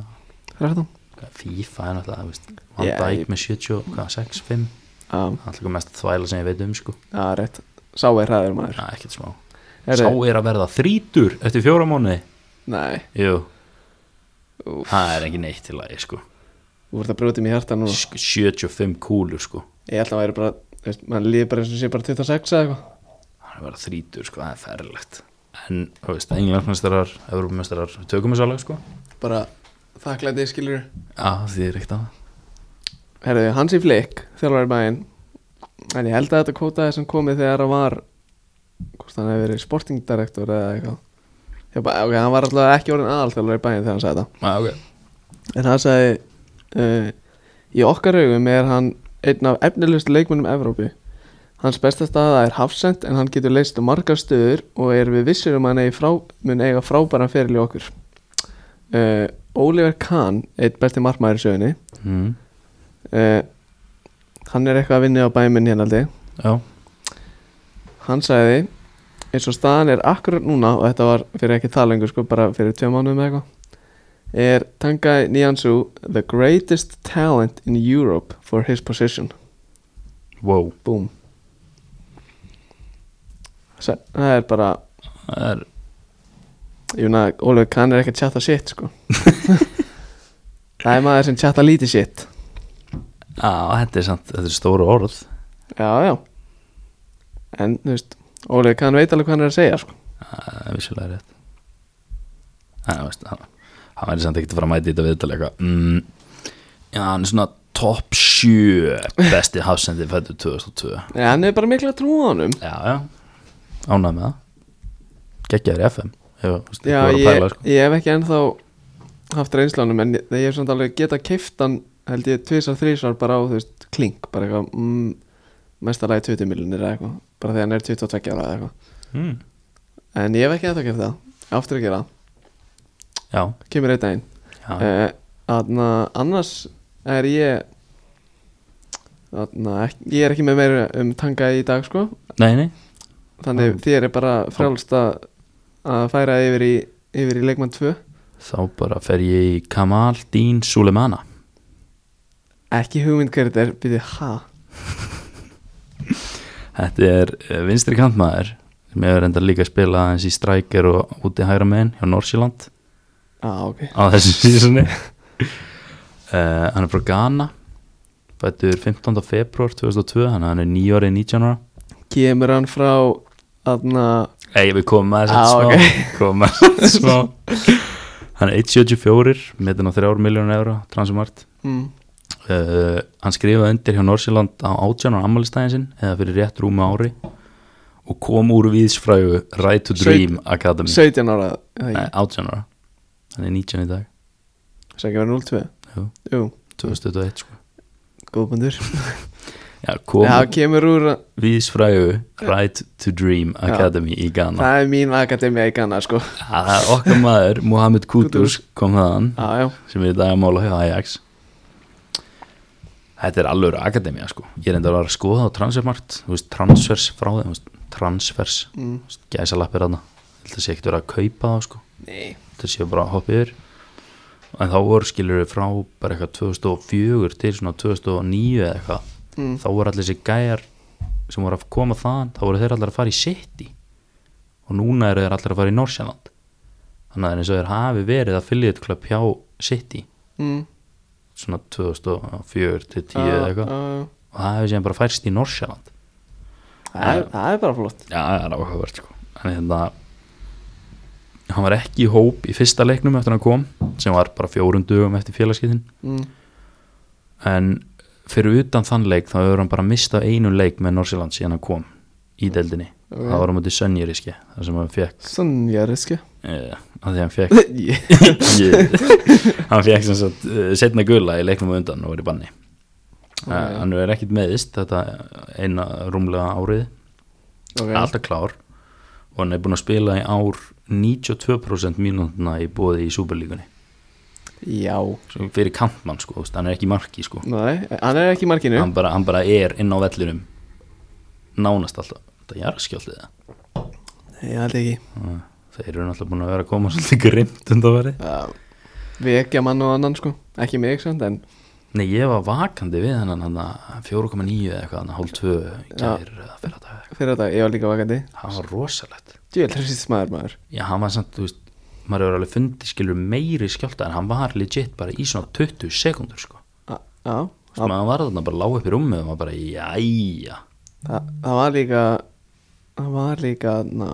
Speaker 1: 13
Speaker 2: FIFA er náttúrulega, þú veist, Van
Speaker 1: Já, ég-
Speaker 2: Dijk með 70, hvað, 6, 5
Speaker 1: já,
Speaker 2: það er alltaf mest þvæla sem ég veit um sko
Speaker 1: það er rétt sá er hraður maður
Speaker 2: Já, ekkert smá Sá
Speaker 1: Herri,
Speaker 2: er að verða þrítur eftir fjóra mánuði
Speaker 1: nei,
Speaker 2: Jú,
Speaker 1: Úff.
Speaker 2: það er ekki neitt til að ég sko
Speaker 1: þú voru að brjóti mér hjarta núna
Speaker 2: Sk- 75 kúlur sko
Speaker 1: Ég held að væri bara, þú veist, mann líður bara eins og sé bara 26 eða eitthvað
Speaker 2: Það er að verða þrítur sko, það er ferlegt En, þú veist, englandsmestrar, evrópumestrar Við tökum þessu alveg sko
Speaker 1: Bara þakklætið skilur
Speaker 2: Já, því er ekkert að
Speaker 1: Herðu, Hansi Flick, þjálfari bæinn En ég held að þetta kótaði sem komið þegar hann var Hvort hann hefði verið sporting director eða eitthvað Já, bara, ok, hann var alltaf ekki orðin aðal þjálfari bæinn þegar hann sagði þetta
Speaker 2: Já, Ah, ok
Speaker 1: En hann sagði uh, Í okkar augum er hann einn af efnilegustu leikmönnum Evrópu Hans besta staða er hafsend en hann getur leist um margar stöður og er við vissir um að hann eigi frá, mun eiga frábæran feril í okkur uh, Oliver Kahn, einn besti markmaður í sögunni
Speaker 2: mm.
Speaker 1: uh, Hann er eitthvað að vinna á bæminn hérna aldrei
Speaker 2: Já,
Speaker 1: Hann sagði eins og staðan er akkurat núna og þetta var fyrir ekki það lengur sko bara fyrir tveim mánuðum eða eitthvað er Tangai Niansu the greatest talent in Europe for his position
Speaker 2: wow
Speaker 1: Boom Sa- Það er bara
Speaker 2: Það er,
Speaker 1: ég meina Ólef Kahn er ekki að chatta shit sko Það er maður sem chatta lítið shit
Speaker 2: já, þetta er samt, þetta er stóra orð
Speaker 1: Já, já En, þú veist, Ólef Kahn veit alveg hvað hann er að segja sko
Speaker 2: Það er vissulega rétt Það er, veist, hann Hann væri samt ekkert að fara að mæta í þetta viðtal eitthvað mm, Já, hann er svona top 7 besti hafsendi fættu 2002
Speaker 1: En hann er bara miklu að trúa honum
Speaker 2: Já, já, ánægð með það Gekkjaður í FM Ég, veist,
Speaker 1: Já,
Speaker 2: ég,
Speaker 1: ég,
Speaker 2: pæla, sko.
Speaker 1: ég hef ekki ennþá haft reynslánum en ég, ég hef samt alveg geta keiftan held ég tvisar, þrísar bara á þú veist klink, bara eitthvað mm, mestalagi 20 miljonir eða eitthvað bara þegar hann er 22 ára eða eitthvað
Speaker 2: mm.
Speaker 1: en ég hef ekki ennþá keift það, aftur að gera
Speaker 2: já,
Speaker 1: kemur einn daginn
Speaker 2: Ah, já,
Speaker 1: uh, aðna, annars er ég aðna, ek- ég er ekki með meira um tanga í dag sko
Speaker 2: Nei, nei, Ah.
Speaker 1: þannig þér er bara frálst að að færa yfir í, yfir í leikmann 2
Speaker 2: þá bara fer ég í Kamal Dín Suleimana
Speaker 1: ekki hugmynd hver þetta er, byrði ha
Speaker 2: Þetta er eh, vinstri kantmaður sem hefur enda líka að spila aðeins í Stryker og úti hægra megin hjá Norsjöland
Speaker 1: ah, ok
Speaker 2: á þessu sísunni uh, hann er frá Ghana fættur 15. februar 2002 þannig að hann er 9 árið 19 ára
Speaker 1: kemur hann frá aðna,
Speaker 2: ei við komum
Speaker 1: Á,
Speaker 2: að þessu
Speaker 1: Ah, ok.
Speaker 2: smá komum að þessu smá hann er 174 metin á 3 miljónu euro transumart
Speaker 1: mm,
Speaker 2: uh, hann skrifaði undir hjá Norsjöland á 18 ára ammælistæðin sinn eða fyrir rétt rúma ári og kom úr viðsfrægu Right to
Speaker 1: Saut-
Speaker 2: Dream Academy
Speaker 1: 17 ára eða
Speaker 2: Nei,
Speaker 1: ekki?
Speaker 2: 18 ára hann er 19 í dag
Speaker 1: Þess að ekki verið 02
Speaker 2: Jú.
Speaker 1: Jú,
Speaker 2: 2021 sko
Speaker 1: góðbundur
Speaker 2: Já, kom
Speaker 1: Já, kemur úr
Speaker 2: Vísfrægu Right to Dream Academy í Ghana
Speaker 1: Það er mín akademia í Ghana sko
Speaker 2: Það er okkar maður, Mohamed Kudus kom þaðan,
Speaker 1: Já, já,
Speaker 2: sem er í dag að mála hjá Ajax Þetta er alveg akademía sko Ég er enda að vera að skoða á transfermart Þú veist, transfers frá þeim þú veist, Transfers,
Speaker 1: mm.
Speaker 2: þú veist, gæsalappir þarna Þetta sé ekkert vera að kaupa það sko
Speaker 1: Nei
Speaker 2: Þetta sé bara að hoppa yfir En þá voru skilur við frá bara eitthvað 2004 til svona 2009 eða eitthvað
Speaker 1: mm.
Speaker 2: þá voru allir þessi gæjar sem voru að koma þaðan, þá voru þeir allir að fara í City og núna eru þeir allir að fara í Norsjaland þannig að það er eins og þeir hafi verið að affiliate club hjá City
Speaker 1: Mm. Ah,
Speaker 2: svona 2004 til 10 eða eitthvað
Speaker 1: Já, já.
Speaker 2: og það hefur séðan bara færst í Norsjaland
Speaker 1: Það er- það er bara flott
Speaker 2: Já, það er áhugavert sko Þannig þetta Hann var ekki í hóp í fyrsta leiknum eftir hann kom sem var bara fjórum dugum eftir félagskiptin
Speaker 1: mm.
Speaker 2: en fyrir utan þann leik þá hefur hann bara mistað einu leik með Norsjöland síðan hann kom í deildinni
Speaker 1: Ok.
Speaker 2: það var á móti Sönjiriski þar sem hann fekk
Speaker 1: Sonja Riske
Speaker 2: eh, að því hann fekk
Speaker 1: Ég-
Speaker 2: hann fekk sem sagt uh, setna gula í leiknum á undan og var í banni
Speaker 1: Ok.
Speaker 2: okay. hann er ekkit meðist þetta eina rúmlega árið
Speaker 1: ok.
Speaker 2: alltaf klár og hann er búin að spila í ár 92% mínúndina í bóði í Superlíkunni
Speaker 1: Já
Speaker 2: Svo fyrir kantmann sko, þú veist, hann er ekki í marki sko.
Speaker 1: Nei, hann er ekki í markinu
Speaker 2: hann, bara, hann bara er inn á vellinum nánast alltaf þetta er jarðskjálfti það
Speaker 1: Nei, ég held ekki
Speaker 2: þeir eru náttúrulega búin að vera að koma svolítið grimt undanverið
Speaker 1: Já. Vekja mann og annan sko Ekki mig samt en
Speaker 2: Nei, ég var vakandi við hennan hann 4,9 eða eitthvað, hann hálf 2 gær eða fyrir að dag
Speaker 1: fyrir þetta Ég var líka vakandi
Speaker 2: Það var rosalegt
Speaker 1: Djöld, þessi smaður maður
Speaker 2: Já, hann var samt, þú veist, maður hefur alveg fundið skilur meiri skjálta en hann var legit bara í svona 20 sekundur sko
Speaker 1: Á- Ah, Já
Speaker 2: Þú veist, maður var þarna bara lág upp í rúmið og maður bara, jæja
Speaker 1: Þa- Það var líka Það var líka na,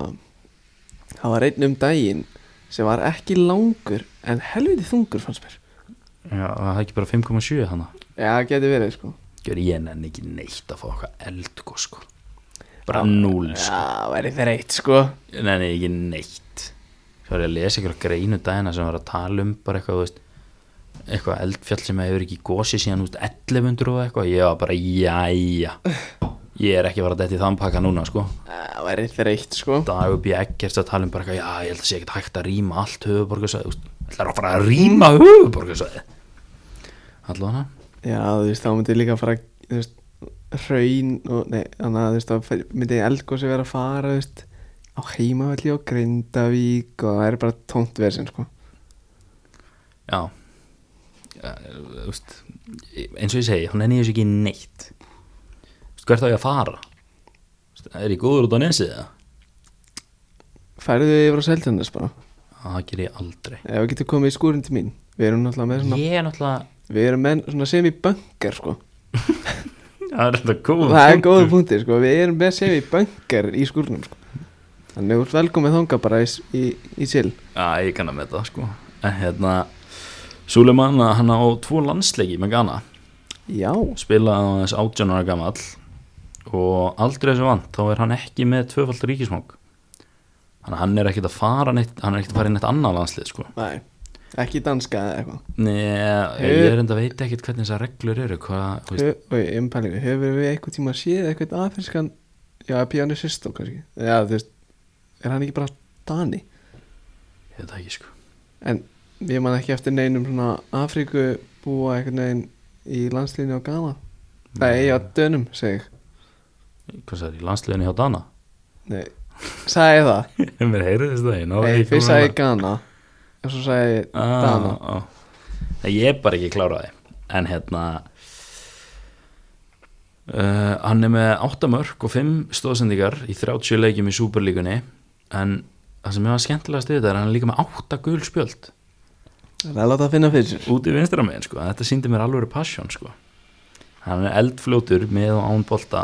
Speaker 1: Það var einn um daginn sem var ekki langur en helviti þungur fannst mér
Speaker 2: Já, það er ekki bara 5,7 hann
Speaker 1: Já, það geti verið sko
Speaker 2: Gjör ég nenni ekki neitt að fá okkar eldgó sko Bara núl
Speaker 1: Já,
Speaker 2: sko
Speaker 1: það væri þreitt sko
Speaker 2: Nei, nei, ekki neitt Svo er ég að lesa einhverja greinu dagina sem var að tala um bara eitthvað, þú veist eitthvað eldfjall sem hefur ekki gósi síðan út 1100 og eitthvað, ég var bara jæja, ég er ekki að fara að detti þann pakka núna, sko
Speaker 1: Það væri þreitt sko
Speaker 2: dag upp í ekkert að tala um bara eitthvað, já, ég held að sé ekkert hægt að rýma allt höfuborgarsæði, ætlar að fara að rýma höfuborgarsæði allan hana,
Speaker 1: Já, þú veist, þá myndi líka fara þú veist, hraun og nei, þannig að þú veist, þá fer- myndi eldgósi vera að fara, þú veist, á heimavalli og Grindavík og það er bara tómt versin, sko.
Speaker 2: já Já, þú veist eins og ég segi, hún er nýjus ekki neitt Þú veist, hvert á ég að fara Þú veist, er ég góður út á nesið það
Speaker 1: Færðu þau yfir á Seltjarnas bara?
Speaker 2: Það ger ég aldrei
Speaker 1: Ef við getum komið í skúrin til mín, við erum náttúrulega með svona,
Speaker 2: Ég er náttúrulega
Speaker 1: við erum með svona semi-bunker, sko.
Speaker 2: Það er þetta góð
Speaker 1: Það er góða punkti, sko, við erum með semi-bunker í skúrinum, sko. Þannig úr velkomið þanga bara í, s- í, í síl.
Speaker 2: Já, ég kann að með það sko En hérna Suleiman, hann á tvo landsleiki með Ghana
Speaker 1: Já,
Speaker 2: Spilaði á þess 18 ára gamall Og aldrei þessu vant Þá er hann ekki með tvöfald ríkismang Þannig að hann er ekkert að fara neitt Hann er ekkert að fara í neitt annað landslið sko
Speaker 1: nei, ekki danska eða eitthvað.
Speaker 2: Nei, ég er enda að veita ekkert hvernig þessar reglur eru Hvað, þú veist,
Speaker 1: Hö- Og ég umpælingu, hefur við einhvern tíma séð eitthvað afrískan Já, Pjáni Sistó kannski Já, þú veist, er hann ekki bara Dani?
Speaker 2: ég veit það ekki sko
Speaker 1: En ég man ekki eftir neinum svona Afríku búa einhvern veginn í landslíðinu á Gala Nei, já, Dönum, segi ég
Speaker 2: Hvað sagði, landsliðinu hjá Dana?
Speaker 1: Nei, sagði ég það
Speaker 2: Mér heyrði þess það, ég náði
Speaker 1: Nei,
Speaker 2: ekki
Speaker 1: fyrst
Speaker 2: að-
Speaker 1: sagði ég Gana Og svo sagði ég
Speaker 2: Ah,
Speaker 1: Dana
Speaker 2: ah. Nei, ég er bara ekki kláraði en hérna uh, hann er með 8 mörg og 5 stóðsendingar í 30 leikjum í Superlíkunni en það sem ég var skemmtilegast við þetta er að hann er líka með 8 gul spjöld
Speaker 1: Það er að láta að finna fyrir sér
Speaker 2: út í vinstra megin sko, þetta síndi mér alveg passion sko, hann er eldfljótur með og án bolta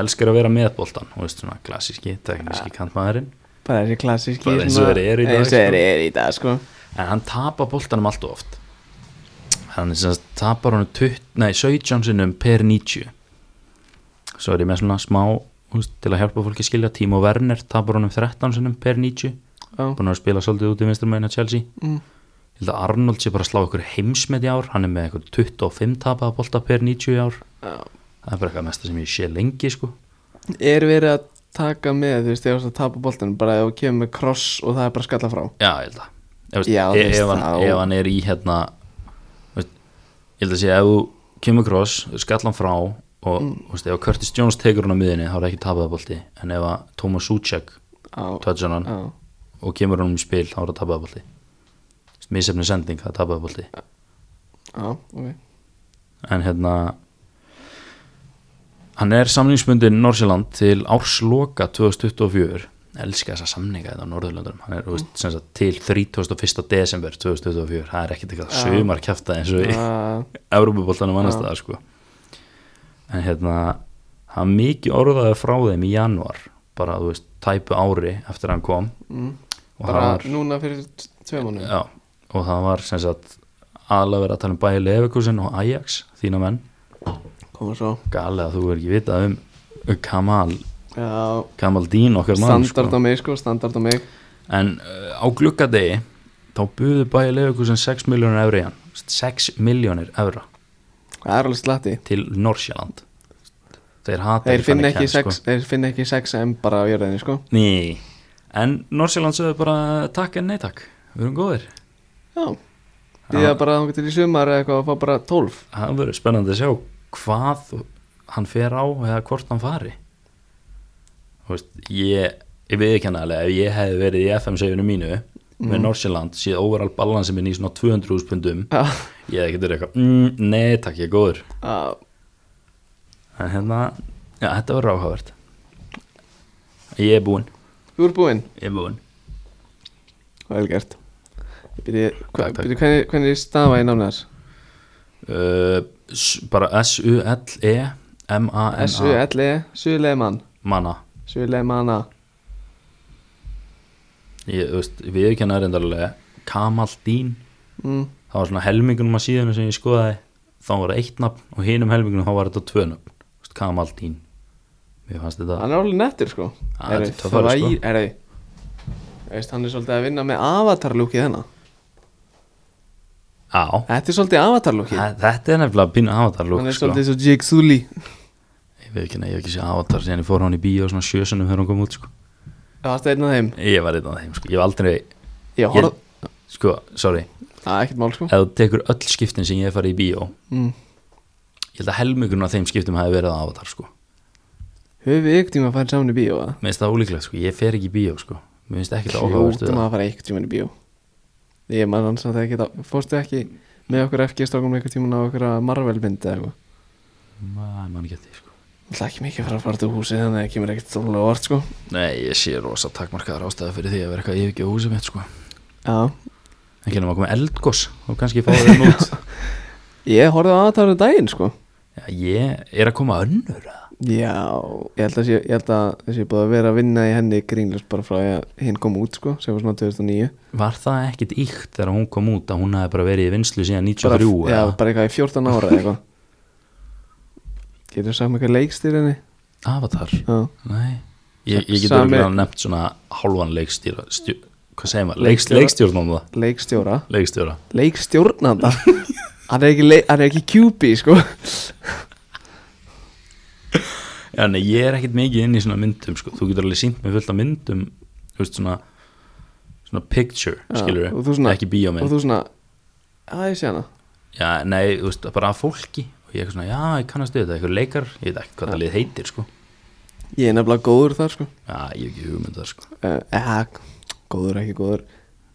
Speaker 2: elskar að vera með boltan, þú veist svona klassíski, tekníski kantmaðurinn
Speaker 1: Bara þessi klassíski
Speaker 2: Bara eins og
Speaker 1: svona-
Speaker 2: þeir eru í dag,
Speaker 1: Eins og þeir
Speaker 2: sko.
Speaker 1: eru í dag, sko
Speaker 2: en hann tapar boltanum allt og oft hann er sem sagt, tapar hann 20, nei, 17 sinnum per 90 svo er ég með svona smá húst, til að hjálpa fólki að skilja Timo Werner tapar hann 13 sinnum per 90
Speaker 1: Já,
Speaker 2: búin að spila svolítið út í vinstarmæðina Chelsea
Speaker 1: mm.
Speaker 2: ég held að Arnold sé bara að slá ykkur heimsmet í ár hann er með ykkur 25 tapaða bolta per 90 í ár
Speaker 1: já
Speaker 2: það er bara eitthvað mesta sem ég sé lengi sko
Speaker 1: er verið að taka með þú veist, ef þú ert að tapa boltan bara ef þú kemur með kross og það er bara að skalla frá
Speaker 2: Já, ég held að Ég veist,
Speaker 1: Já, þú
Speaker 2: ef,
Speaker 1: veist,
Speaker 2: ef, hann,
Speaker 1: þá-
Speaker 2: ef hann er í hérna þú veist, Ég held að segja ef þú kemur cross, skall hann frá og mm. veist, ef Curtis Jones tekur hann á miðinni þá er ekki tapað að bolti en ef að Thomas Suchek
Speaker 1: á,
Speaker 2: touchar hann
Speaker 1: á,
Speaker 2: og kemur hann um í spil þá er það tapað að bolti Mísefni sending, það er tapað að bolti
Speaker 1: á, ok
Speaker 2: en hérna hann er samningsbundin Norsjöland til ársloka 2024 elska þessa samninga þetta á Norðurlöndunum hann er þú veist, sem sagt, til 31. desember 2024, það er ekkert eitthvað
Speaker 1: Já.
Speaker 2: sömar kjafta eins og í
Speaker 1: Á,
Speaker 2: Evrópuboltanum annars
Speaker 1: Já.
Speaker 2: staðar sko. en hérna hann mikið orðaði frá þeim í januar bara þú veist, tæpu ári eftir að hann kom
Speaker 1: mm.
Speaker 2: og
Speaker 1: bara
Speaker 2: það var,
Speaker 1: núna fyrir t- tvö mánu
Speaker 2: já, og það var sem sagt aðlega verið að tala um bæði Leverkusen og Ajax, þína menn
Speaker 1: koma svo
Speaker 2: Galið að þú er ekki vitað um Kamal
Speaker 1: já,
Speaker 2: Kamal Dín okkar mann
Speaker 1: sko, standard á mig sko, standard á mig
Speaker 2: en uh, á gluggadegi þá buðu bæja leifukursin 6 miljónir evra í hann 6 miljónir evra
Speaker 1: það er alveg slatti
Speaker 2: til Norsjaland þeir hata
Speaker 1: þeir finna ekki,
Speaker 2: kenn,
Speaker 1: sex, þeir finna ekki 6M bara á jörðinni sko
Speaker 2: sko. Ný. en Norsjaland sögðu bara takk en nei takk við erum góðir
Speaker 1: já því að bara þá getur í sumar eða eitthvað að fá bara 12
Speaker 2: það verður spennandi að sjá hvað hann fer á eða hvort hann fari þú veist, ég ég viðurkenna alveg ef ég hefði verið í FM-seifinu mínu með Norsjöland síða overall balansi minn í svona 200.000 pundum
Speaker 1: Já,
Speaker 2: ég hefði getur eitthvað, mm, nei takk ég er góður
Speaker 1: já,
Speaker 2: en hérna, já þetta verður áhugavert ég er búinn
Speaker 1: þú ert búinn
Speaker 2: ég er búinn,
Speaker 1: vel gert byrju, hva,
Speaker 2: Takk, takk.
Speaker 1: byrju, hvernig, hvernig stafa í námið þess
Speaker 2: uh, s- E bara S-U-L-E M-A-N-A
Speaker 1: S-U-L-E Suleiman
Speaker 2: manna
Speaker 1: Suleimana
Speaker 2: ég, þú veist, viðurkenna er endarlega Kamaldín
Speaker 1: mm.
Speaker 2: það var svona helmingunum að síðunum sem ég skoðaði þá var það eitt nafn og hinum helmingunum þá var þetta tvö nafn, Þú veist, Kamaldín mér fannst þetta,
Speaker 1: hann er alveg nettur sko
Speaker 2: Ah, þetta er töffari, sko.
Speaker 1: er þau veist hann er svolítið að vinna með avatarlúkið hennar
Speaker 2: á
Speaker 1: þetta er svolítið avatarlúkið
Speaker 2: þa- þetta er nefnilega pínu avatar lúk
Speaker 1: hann er
Speaker 2: sko.
Speaker 1: svolítið svo Jake Sully
Speaker 2: ég veit ekki, ég hef ekki séð avatar síðan ég fór á hann í bíó svona sjösunum þegar hann kom út sko.
Speaker 1: það varst einn af þeim
Speaker 2: ég var einn af þeim, sko. ég var aldrei
Speaker 1: ég horf
Speaker 2: ég, sko, sorry,
Speaker 1: það er ekkert mál sko
Speaker 2: ef þú tekur öll skiptin sem ég hef farið í bíó
Speaker 1: mm.
Speaker 2: ég held að helmingunum af þeim skiptum hafi verið avatar sko.
Speaker 1: höfum við ykkur tíma að fara saman í bíó að
Speaker 2: mér finnst það ólíklegt, sko. ég fer ekki í bíó sko. mér finnst ekki það áhugavert við
Speaker 1: hljótum
Speaker 2: það.
Speaker 1: að fara ykkur tíma í bíó ég man hans að það ekki þá- fórstu ekki með okkur FG strákum ykkur tíma á okkur Marvel myndi eða eitthvað
Speaker 2: Nei, man ekki eftir, sko.
Speaker 1: Það er ekki mikið að fara að fara til húsi þannig að það kemur ekkert svolítið orð sko
Speaker 2: Nei, ég sé rosa takmarkaðar ástæða fyrir því að vera eitthvað yfirgjóð húsið mitt sko.
Speaker 1: Já,
Speaker 2: Ekki nema að koma eldgoss og kannski fá þeim út
Speaker 1: ég horfði á aðtáður um daginn sko
Speaker 2: Já, ég er að koma önnur eða?
Speaker 1: Já, ég held að, sé, ég held að þessi búið að vera að vinna í henni grínlust bara frá því að hinn kom út sko sem var svona 2009
Speaker 2: Var það ekkit íkt þegar hún kom út að hún hafi bara verið í vinslu síðan
Speaker 1: bara,
Speaker 2: 93
Speaker 1: Já,
Speaker 2: eða?
Speaker 1: bara eitthvað í 14 ára eða eitthvað Getur þú sagt með eitthvað leikstýr henni?
Speaker 2: Avatar?
Speaker 1: Já,
Speaker 2: Nei Ég, ég getur
Speaker 1: Sami-
Speaker 2: Sami... nefnt svona hálfan leikstýra stjú... Hvað segir maður? Leikst,
Speaker 1: Leikstjóra.
Speaker 2: leikstjórn um það?
Speaker 1: leikstjóra
Speaker 2: Leikstjóra
Speaker 1: Leikstjórnanda Hann er ekki, leik, hann er ekki QB sko
Speaker 2: Já, nei, ég er ekkit mikið inn í svona myndum sko. Þú getur alveg sínt með fullt af myndum Þú veist svona Svona picture,
Speaker 1: Já,
Speaker 2: skilur
Speaker 1: og þú svona-
Speaker 2: Ekki bíómynd
Speaker 1: Og þú svona, að ég sé hana
Speaker 2: Já, nei, þú veist, bara að fólki og ég er svona, já, ég kannast við þetta, eitthvað leikar ég veit ekki hvað það lið heitir, sko
Speaker 1: Ég er nefnilega góður þar sko
Speaker 2: Já, ég hef ekki hugmynd það, sko
Speaker 1: uh, eða, góður ekki góður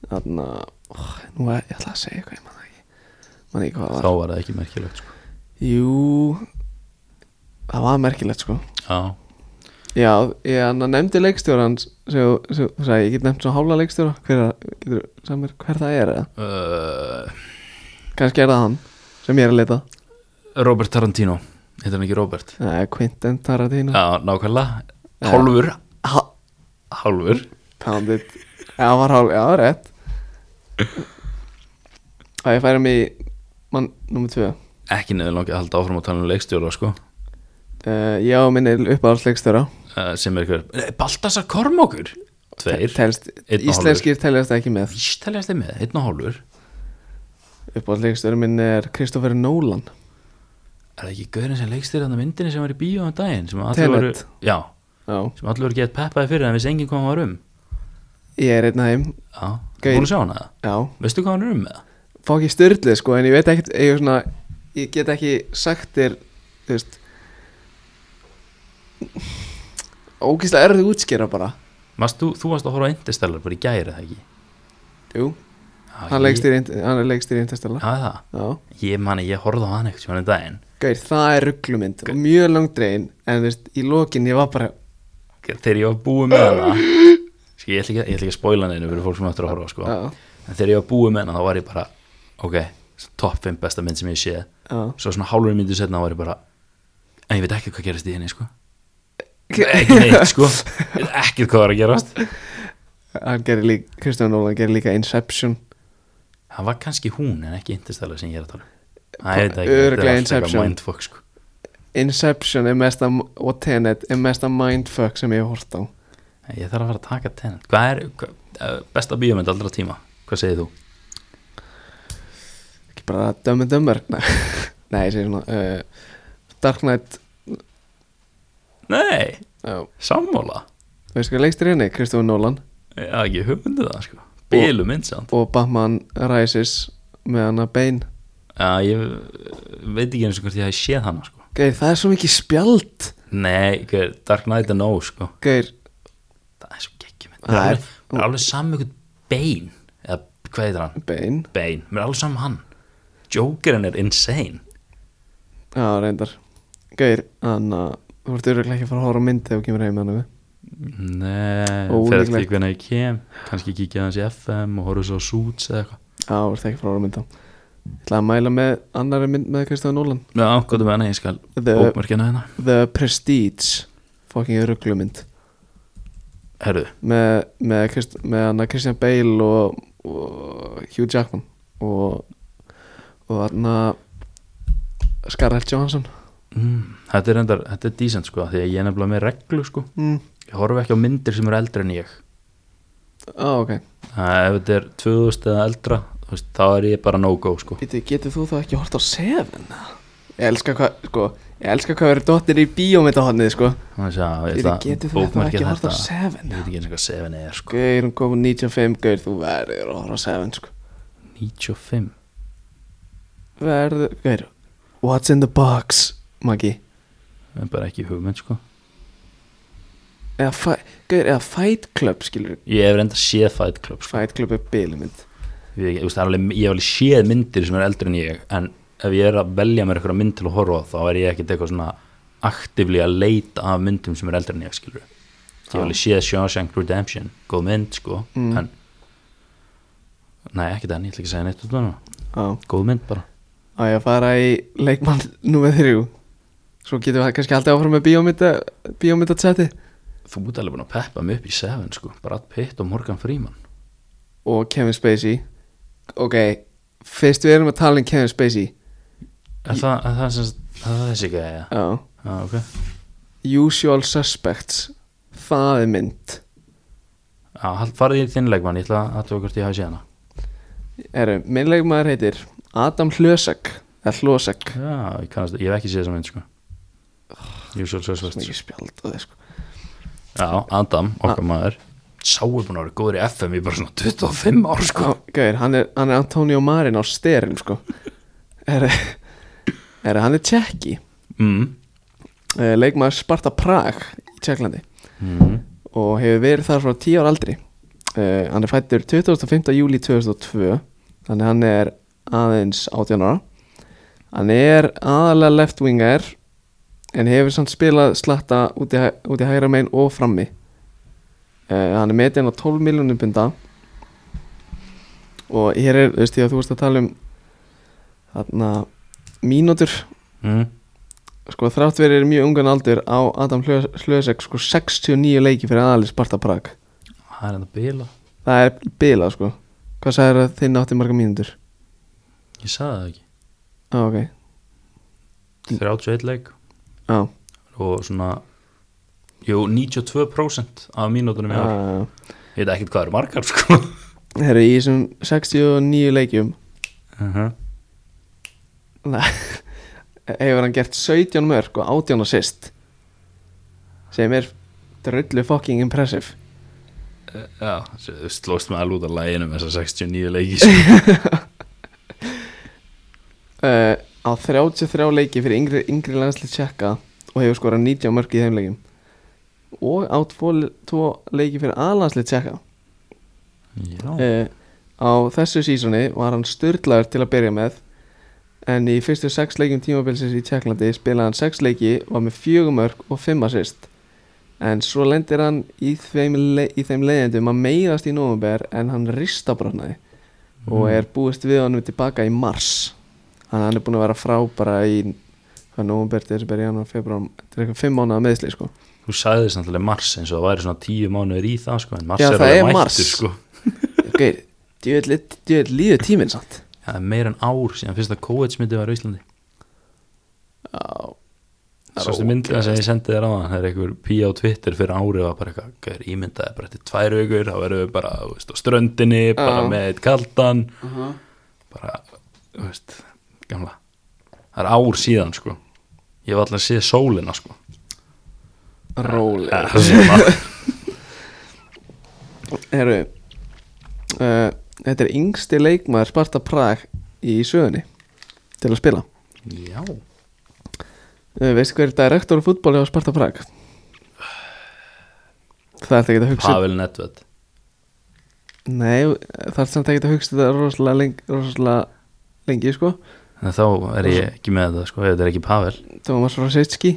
Speaker 1: þannig að oh, nú er, ég ætla að segja eitthvað ég man það ekki man ekki hvað það
Speaker 2: þá
Speaker 1: var
Speaker 2: var það ekki merkilegt, sko
Speaker 1: jú það var merkilegt sko
Speaker 2: Já,
Speaker 1: já, ég hann nefndi leikstjóran sem þú- sem þú sagði, ég get nefnt svona hálfa leikstjóra hver, er- getur, samir, hver það er eða
Speaker 2: uh,
Speaker 1: kannski er það hann sem ég er að leita
Speaker 2: Robert Tarantino heitir hann ekki Robert
Speaker 1: Nei, Quentin Tarantino
Speaker 2: Já, nákvæmlega, hálfur
Speaker 1: ha,
Speaker 2: hálfur,
Speaker 1: pounded já, það var hálf, já, það var rétt að ég færi mig í mann nummer 2
Speaker 2: ekki neður langið að halda áfram að tala um leikstjóra, sko
Speaker 1: Uh, já, minn er uppáhaldsleikstjóra
Speaker 2: uh, sem er hver, Nei, Baltasar Kormokur Tveir,
Speaker 1: telst,
Speaker 2: Einn og
Speaker 1: Íslenskir teljast ekki með
Speaker 2: víst teljast þið með, einn og hálfur
Speaker 1: Uppáhaldsleikstjóri minn er Kristoffer Nolan
Speaker 2: Er það ekki gaurinn sem leikstýrði þarna myndinni sem var í bíó um daginn? sem allir voru-
Speaker 1: Tenet.
Speaker 2: Já,
Speaker 1: Já,
Speaker 2: sem allir voru gett peppaði fyrir en vissi enginn hvað hann var um
Speaker 1: ég er einn af þeim
Speaker 2: Já, þú
Speaker 1: Gaur.
Speaker 2: búin að sjá hana það?
Speaker 1: Já,
Speaker 2: Veistu hvað hann er um með það?
Speaker 1: fá ekki styrlið sko En ég veit ekkert, ég, er svona, ég get ekki sagt þér Þú veist Ógislega erfið að útskýra bara
Speaker 2: Varst, þú, þú varst að horfa á Interstellar bara í gæri það ekki?
Speaker 1: Jú,
Speaker 2: Já,
Speaker 1: hann leikstýri Hann er leikstýri
Speaker 2: Já,
Speaker 1: Interstellar
Speaker 2: það
Speaker 1: Já,
Speaker 2: Ég mani, ég horfði á hann ekkert svona daginn
Speaker 1: gæir, það er rugglumynd Mjög langdregin, en þú veist Í lokin ég var bara
Speaker 2: Þegar ég var búið með hana Ski, ég, ætla ekki, að- ég ætla ekki að spoila neinu fyrir fólk sem ættir að horfa á, sko.
Speaker 1: Já,
Speaker 2: En þegar ég var búið með hana þá var ég bara Ok, top 5 besta mynd sem ég sé
Speaker 1: já
Speaker 2: Svo svona hálfur myndu setna var ég bara En ég veit ekki hvað gerist í henni sko. Ekki
Speaker 1: Hann
Speaker 2: neitt sko Ekki hvað var að gerast
Speaker 1: gerir líka, Kristoffer Nolan gerir líka Inception
Speaker 2: Það var kannski hún en ekki Interstellar sem ég er að tala um Æ, ég veit það ekki, þetta er
Speaker 1: Örugglega
Speaker 2: alltaf eitthvað
Speaker 1: Inception.
Speaker 2: mindfuck sko.
Speaker 1: Inception er mesta, og Tenet er mesta mindfuck sem ég hef hort á
Speaker 2: Ég þarf að fara að taka tenant Hvað er, hvað, eh, besta bíómynd allra tíma hvað segir þú?
Speaker 1: ekki bara Dumb and Dumber Nei, Nei, ég segi svona uh, Dark Knight
Speaker 2: Nei,
Speaker 1: uh,
Speaker 2: sammála
Speaker 1: Veistu hvað leikstir henni? Kristofur Nolan
Speaker 2: ég hef ekki hugmyndið það sko bílu mynd samt
Speaker 1: og Batman Rises með hana Bane
Speaker 2: Já, ég veit ekki eins og hvort ég hef séð hana sko
Speaker 1: Geir, það er svo mikið spjald
Speaker 2: Nei, hver, Dark Knight and O sko
Speaker 1: Geir,
Speaker 2: það er svo geggjum
Speaker 1: Það
Speaker 2: það
Speaker 1: er-
Speaker 2: er, er alveg saman ykkur Bane eða hvað heitir hann?
Speaker 1: Bane
Speaker 2: Bane, mér er alveg saman hann Jokerinn er insane
Speaker 1: Já, reyndar Geir, þannig að þú ert örugglega ekki að fara að horfa á mynd þegar þú kemur heim með hana
Speaker 2: Nei, fyrir
Speaker 1: Ólíklegt.
Speaker 2: eftir því hvernig ég kem kannski kíkja hans í FM og horfa svo á Suits eða eitthvað
Speaker 1: Já, þú ert ekki að fara að horfa á mynd á Ég ætla að mæla með annari mynd með Kristofur Nolan
Speaker 2: Já, hvað er með hana, ég skal
Speaker 1: The-
Speaker 2: bókmörkina hérna
Speaker 1: The Prestige Fucking rugglumynd
Speaker 2: Herðu,
Speaker 1: með, með, Krist, með hana Christian Bale og, og Hugh Jackman og, og hana Scarlett Johansson
Speaker 2: mm, þetta er endar, þetta er decent sko því að ég er nefnilega með reglu sko
Speaker 1: mm.
Speaker 2: ég horfa ekki á myndir sem eru eldri en ég
Speaker 1: Á, ok
Speaker 2: Það, ef þetta er 2000 eða eldra þú veist, þá er ég bara no-go sko
Speaker 1: Býtu, getur þú þá ekki hort á Seven? Ég elska hvað, sko Ég elska hvað verið dottir í bíómyndahotnið, sko
Speaker 2: þannig að ég
Speaker 1: Býtu,
Speaker 2: ætla að
Speaker 1: getur þú þá
Speaker 2: bókmarka
Speaker 1: ekki hort á
Speaker 2: þetta.
Speaker 1: Seven?
Speaker 2: ég veit ekki eins og hvað 7 er sko
Speaker 1: Gauir, hún kom úr 95, gauir, þú verður að horfa á Seven, sko
Speaker 2: 95
Speaker 1: Verður, gauir What's in the box, Maggi?
Speaker 2: það er bara ekki hugmynd sko
Speaker 1: Eða, fi- gauir, eða Fight Club, skilur
Speaker 2: ég hef reynda séð Fight Club sko.
Speaker 1: Fight Club er bílumynd
Speaker 2: ég, ég, veist, það er alveg, ég hef alveg séð myndir sem er eldri en ég en ef ég er að velja mér eitthvað mynd til að horfa á, þá er ég ekkert eitthvað svona aktivli að leita af myndum sem er eldri en ég skilur ég hef
Speaker 1: Já.
Speaker 2: alveg séð Shawshank Redemption góð mynd sko
Speaker 1: Mm.
Speaker 2: en nei ekki þannig, ég ætla ekki að segja neitt út af hana
Speaker 1: Á,
Speaker 2: góð mynd bara
Speaker 1: á ég að fara í leikmann nummer þrjú Svo getum við kannski alltaf áfram með bíómynda Bíómynda
Speaker 2: þú ert alveg búin að peppa mig upp í 7 sko Brad Pitt og Morgan Freeman
Speaker 1: Og Kevin Spacey Ok, fyrst við erum að tala um Kevin Spacey
Speaker 2: er það, er það, sem, það er þessi gæja
Speaker 1: Já
Speaker 2: ah, ok
Speaker 1: Usual Suspects Það er mynd
Speaker 2: Já, hald- farið í þinn leikmann, ég ætla að aðtöfa hvort ég hafi séð hana
Speaker 1: Erum, minn leikmaður heitir Adam Hlösak Eða Hlösak
Speaker 2: Já, ég, kannast, ég hef ekki séð þessa mynd, sko Usual Suspects
Speaker 1: Mikið spjald og þeir sko
Speaker 2: Já, Adam, okkar maður Sá er búin að vera góður í FM í bara svona 25 ár, sko
Speaker 1: Á, Gauir, hann er, hann er Antonio Marin á styrum sko Er, er hann er tjekki
Speaker 2: mm.
Speaker 1: Eh, leikmaður Sparta Prag í Tjekklandi
Speaker 2: Mm.
Speaker 1: og hefur verið þar frá 10 ára aldri uh, hann er fættur 25. júli 2002 þannig hann er aðeins 18 ára hann er aðalega left winger en hefur samt spilað slatta út í, hæ- út í hægra megin og frammi uh, hann er metinn á 12 miljónum bunda og hér er, þú veist því að þú veist að tala um þarna mínútur
Speaker 2: Mm.
Speaker 1: sko þrátt verið er mjög ungan aldur á Adam Hlö- Hlösek sko 69 leiki fyrir aðalir Sparta Prag
Speaker 2: Það er enda bila
Speaker 1: það er bilað sko hvað sagður að þinn átti marga mínútur
Speaker 2: Ég sagði það ekki
Speaker 1: ah, ok,
Speaker 2: 31 leik
Speaker 1: á
Speaker 2: og svona Jú, 92% af mínútunum í ár
Speaker 1: ah.
Speaker 2: Ég veit ekkert hvað eru margar, sko
Speaker 1: herru í þessum 69 leikjum
Speaker 2: uh -huh.
Speaker 1: nei, e, hefur hann gert 17 mörg og 18 assist sem er drullu fucking impressive
Speaker 2: Já, þú slóst með alveg út af læginu með þessar 69 leiki, sko
Speaker 1: uh, á 33 leiki fyrir yngri, yngri landslið tjekka og hefur skorað 90 mörg í þeim leikim og á 2 leiki fyrir aðlandslið tjekka
Speaker 2: Já
Speaker 1: uh, á þessu sísoni var hann styrlaður til að byrja með en í fyrstu 6 leikjum tímabilsins í Tjekklandi spilaði hann 6 leiki var með 4 mörg og 5 assist en svo lendir hann í þeim, le í þeim leiðendum að meiðast í nóvumber en hann ristabrotnaði og er búist við honum tilbaka í mars þannig að hann er búin að vera frá bara í hvað nóvumber, desember, janúar, februar þetta er eitthvað fimm mánuða meðsli sko
Speaker 2: Þú sagði þess náttúrulega mars eins og það væri svona tíu mánuður í það sko, en mars
Speaker 1: Já,
Speaker 2: er
Speaker 1: það
Speaker 2: alveg
Speaker 1: er
Speaker 2: mættur
Speaker 1: mars.
Speaker 2: sko.
Speaker 1: ok, djöðl líður tíminn samt
Speaker 2: Það er meira en ár síðan fyrsta COVID smitið var í Íslandi.
Speaker 1: já,
Speaker 2: sástu myndið þess að ég sendi þér á það það er einhver pía á Twitter fyrir árið var bara eitthvað, "Gaur, ég myndaði bara eftir tvær vikur þá erum við bara, þú veist, á ströndinni bara
Speaker 1: Já.
Speaker 2: með eitt kaldan
Speaker 1: uh -huh.
Speaker 2: bara, þú veist, gamla það er ár síðan, sko ég var alltaf að sé sólina, sko
Speaker 1: Róli
Speaker 2: Eh, það sé maður.
Speaker 1: Herru uh, Þetta er yngsti leikmaður Sparta Prag í sögunni til að spila
Speaker 2: já,
Speaker 1: uh, Veistu hver er direktor fútbóli á Sparta Prag? Það er ekki að hugsa
Speaker 2: Pavel Nedved
Speaker 1: Nei, það er samt ekki að hugsa þetta rosalega lengi, rosalega lengi sko
Speaker 2: en þá er ég ekki með þetta, sko, ef þetta er ekki Pavel
Speaker 1: Thomas Rosicki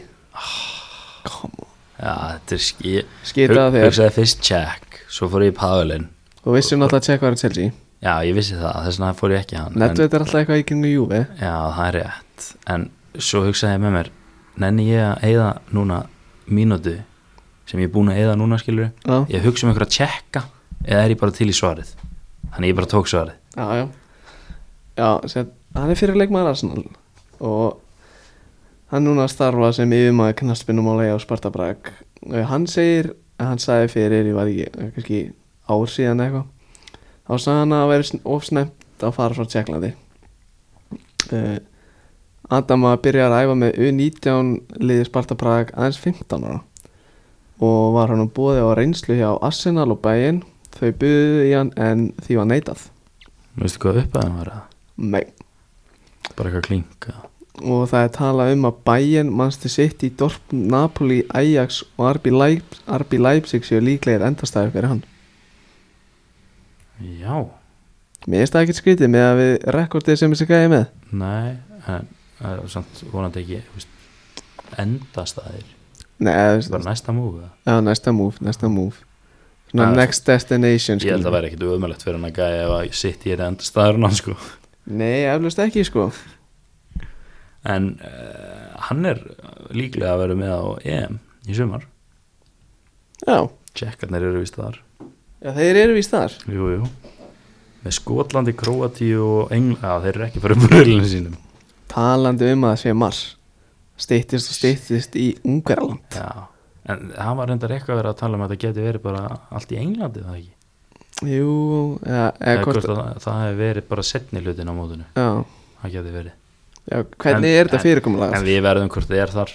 Speaker 1: Kom,
Speaker 2: já, þetta er skýr
Speaker 1: skita
Speaker 2: Hug-
Speaker 1: þér
Speaker 2: hugsaði fyrst Jack, svo fór ég í Pavelin
Speaker 1: Þú vissum náttúrulega að tjekka hverjum Chelsea
Speaker 2: já, ég vissi það, þess vegna fór ég ekki í hann en,
Speaker 1: Nedved er alltaf eitthvað í kringu Júve
Speaker 2: já, það er rétt en svo hugsaði ég með mér nenni ég að eyða núna mínútu sem ég er búin að eyða núna skilur
Speaker 1: Já,
Speaker 2: ég hugsa um einhverja að tjekka eða er ég bara til í svarið þannig ég bara tók svarið
Speaker 1: já, já Já, sem, hann er fyrir leikmaður Arsenal og hann núna að starfa sem yfirmaður knaspinumálega á Sparta Prag og hann segir, hann sagði fyrir ég var ekki, eh, kannski ár síðan eitthvað þá sagði hann að vera ofsnemt að fara frá Tjekklandi uh, Adama byrjar að æfa með U19 liði Sparta Prag aðeins 15 ára og var hann að bóði á reynslu hjá Arsenal og Bayern þau buðuðu í hann en því var neitað
Speaker 2: veistu hvað uppaðan var það?
Speaker 1: Nei.
Speaker 2: bara eitthvað klink eða?
Speaker 1: Og það er talað um að Bayern, Manchester City, Dortmund, Napoli, Ajax og RB, Leip, RB Leipzig séu líklegir endastæði fyrir hann.
Speaker 2: já,
Speaker 1: Mér finnst það ekkert skrítið með að við rekordið sem þessi gæði með.
Speaker 2: nei en það er samt vonandi ekki þú veist, endastæðir,
Speaker 1: Nei, eða, þú
Speaker 2: bara
Speaker 1: veist,
Speaker 2: næsta múið
Speaker 1: já, næsta move, næsta move. Svona
Speaker 2: Já,
Speaker 1: next destination.
Speaker 2: Ég held að
Speaker 1: skilur.
Speaker 2: það væri ekkit öðmjöld fyrir hann að gæja ef að sitt ég er enda staðurinn hann sko
Speaker 1: Nei, eflust ekki, sko.
Speaker 2: En uh, hann er líklega að vera með á EM í sumar
Speaker 1: Já,
Speaker 2: Tjekkarnir eru vist þar
Speaker 1: já þeir eru víst þar.
Speaker 2: Jú, jú Með Skotlandi, Króatíu og England Já, þeir eru ekki fyrir bröðlunum sínum
Speaker 1: Talandi um að það sé mars. Stýttist og stýttist í Ungarland.
Speaker 2: Já En hann var reyndar eitthvað að vera að tala um að það geti verið bara allt í Englandi, það ekki
Speaker 1: Jú, já, eða
Speaker 2: Eða hvort
Speaker 1: hvort...
Speaker 2: að það, það hefur verið bara setni hlutin á mótinu
Speaker 1: Já,
Speaker 2: Það geti verið
Speaker 1: já, hvernig
Speaker 2: En-
Speaker 1: er þetta
Speaker 2: en-
Speaker 1: fyrirkomulega?
Speaker 2: En við verðum hvort það er þar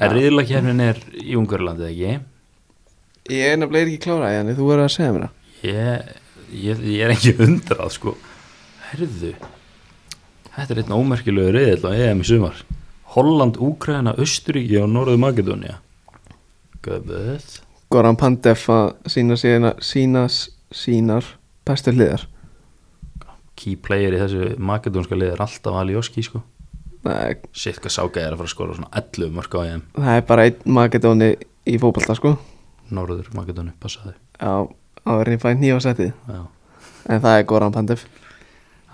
Speaker 2: En riðlakefnin er í Ungurlandi, ekki?
Speaker 1: Ég er nefnilega ekki klárað, Janni, þú verður að segja mér það
Speaker 2: Ég, ég, ég er ekki undrað sko Herðu Þetta er einn ómerkilegu reyðil á EM í sumar Holland, Úkraina, Östuríki og Norðu Makedónia Göfuð
Speaker 1: Goran Pandev að sína sína, sínas, sínar bestu hliðar
Speaker 2: Key player í þessu makedónska lið er alltaf Alioski sko
Speaker 1: Nei,
Speaker 2: Sitt hvað sáka er að fara að skora svona 11 mörg á E EM
Speaker 1: Það er bara einn Makedóni í fótballta sko
Speaker 2: Norður Makedóni, passaði
Speaker 1: Já, áverðin fæn nýja setið
Speaker 2: Já.
Speaker 1: En það er Goran Pandev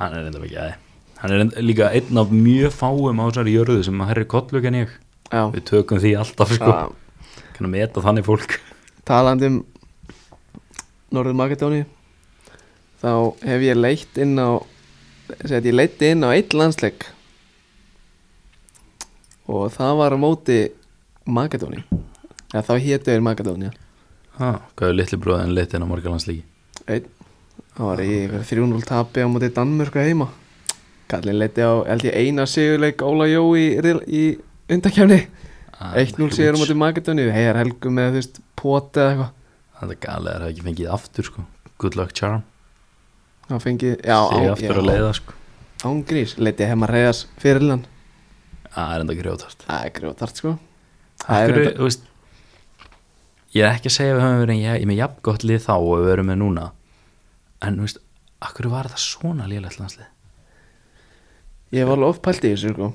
Speaker 2: Hann er reynda ekki aðeim Hann er enda, líka einn af mjög fáum á þessari jörðu sem að herri kollug en ég
Speaker 1: Já,
Speaker 2: Við tökum því alltaf sko
Speaker 1: Já.
Speaker 2: Kannu meta þannig fólk
Speaker 1: talandi um Norður Makedóni Þá hef ég leitt inn á Sett ég leitt inn á einn landsleik Og það var á móti Makedóni Já, þá hétu er Makedóni
Speaker 2: Ah, hvað er litli bróðin litin á morgalandslíki?
Speaker 1: Einn Það var í einhverju 3-0 tapi á móti Danmörku heima Kallin leiti á held ég eina sigurleik Óla Jó í, riðl- í undakefni 1-0 sigur á móti Makedóni Heiðar Helgu með þú veist poti eða eitthvað
Speaker 2: Það er galið að það ekki fengið aftur sko Good luck charm
Speaker 1: Það fengi, já,
Speaker 2: Sig aftur að leiða sko
Speaker 1: ángrís Leiti heima reyðas fyrirlan
Speaker 2: Það er enda grjótart
Speaker 1: Það er grjótart sko Það er
Speaker 2: Akkur,
Speaker 1: enda-
Speaker 2: veist, Ég er ekki að segja að við höfum verið ég, ég er með jafn gott lið þá og við erum með núna En þú veist, akkur var það svona lélegt landslið
Speaker 1: Ég var alveg ofpælt í þessu sko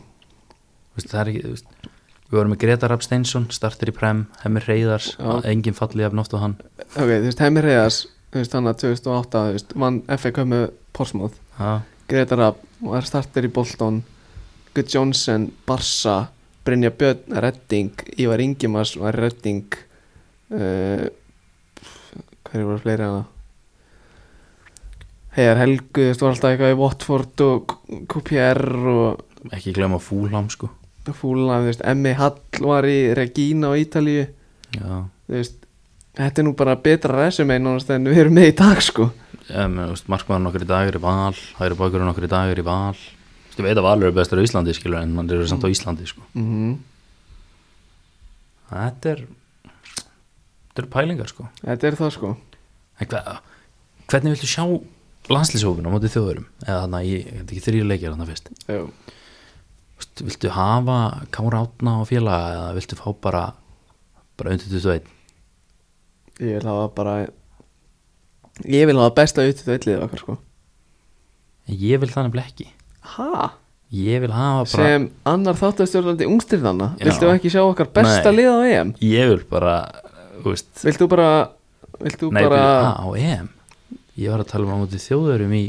Speaker 2: Þú veist, Það er ekki, þú veist Við vorum með Greta Rapp Steinsson, startir í Prem, Hemmi Reyðars,
Speaker 1: Já.
Speaker 2: enginn fallið af nátt og hann.
Speaker 1: Ok, þú veist, heimi reyðas Þú veist, hann að 2008, þú veist Vann FA Kömmu Porsmóð
Speaker 2: Ha,
Speaker 1: Greta Rapp var starter í Bolton Gud Johnson, Barsa Brynja Björn, Redding Ívar Ingimas var Redding uh, hverju voru fleiri hana Heiðar Helgu þú veist, var alltaf eitthvað í Watford og QPR og
Speaker 2: ekki glemma fúlham sko.
Speaker 1: fúlan, þú veist, Emmi Hall var í Regina á Ítalíu
Speaker 2: já
Speaker 1: þú veist, þetta er nú bara betra resume nánast en við erum með í dag sko
Speaker 2: um, veist, markmann okkur í dag er í val hægri bakurinn okkur í dag er í val Þú veist, ég veit að valur er bestur á Íslandi skilur en mann er samt á Íslandi sko
Speaker 1: mm
Speaker 2: þetta er þetta er pælingar sko
Speaker 1: þetta er það sko
Speaker 2: En hva, hvernig viltu sjá landslýshófin á móti þjóðurum eða þannig að ég þetta er ekki þrýra leikir þannig fyrst
Speaker 1: Jú.
Speaker 2: Vist, viltu hafa Kára Átna og félaga eða viltu fá bara bara undir 21
Speaker 1: ég vil hafa bara ég vil hafa besta út í vellið okkar sko
Speaker 2: en ég vil þannig blekki
Speaker 1: ha?
Speaker 2: ég vil hafa bara
Speaker 1: sem annar þáttastjórnandi ungstirðanna
Speaker 2: Já.
Speaker 1: viltu ekki sjá okkar besta
Speaker 2: Nei.
Speaker 1: lið á EM?
Speaker 2: ég vil bara þú veist,
Speaker 1: viltu bara viltu
Speaker 2: nei,
Speaker 1: bara
Speaker 2: bara... á EM ég var að tala um á móti þjóðurum í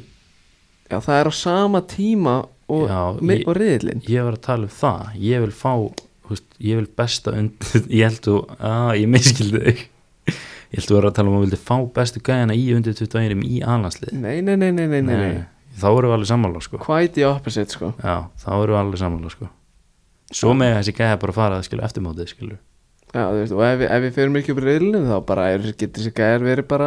Speaker 1: já, það er á sama tíma og,
Speaker 2: Já,
Speaker 1: mi-
Speaker 2: ég-
Speaker 1: og riðlin
Speaker 2: ég var að tala um það ég vil fá þú veist, ég vil besta undir ég held þú að ég miskildi þig ég held þú var að tala um að vildi fá bestu gæjana í undir 21 í aðlandslið
Speaker 1: nei, nei, nei, nei, nei, nei, nei.
Speaker 2: þá erum við alveg sammála sko
Speaker 1: quite the opposite sko
Speaker 2: já, þá erum við alveg sammála sko svo með þessi gæja bara fara að skilja eftirmótið skilju
Speaker 1: Já, þú veist, og ef, við- ef við fyrir mikið upp riðlunum þá bara er, getur þessi gæjar verið bara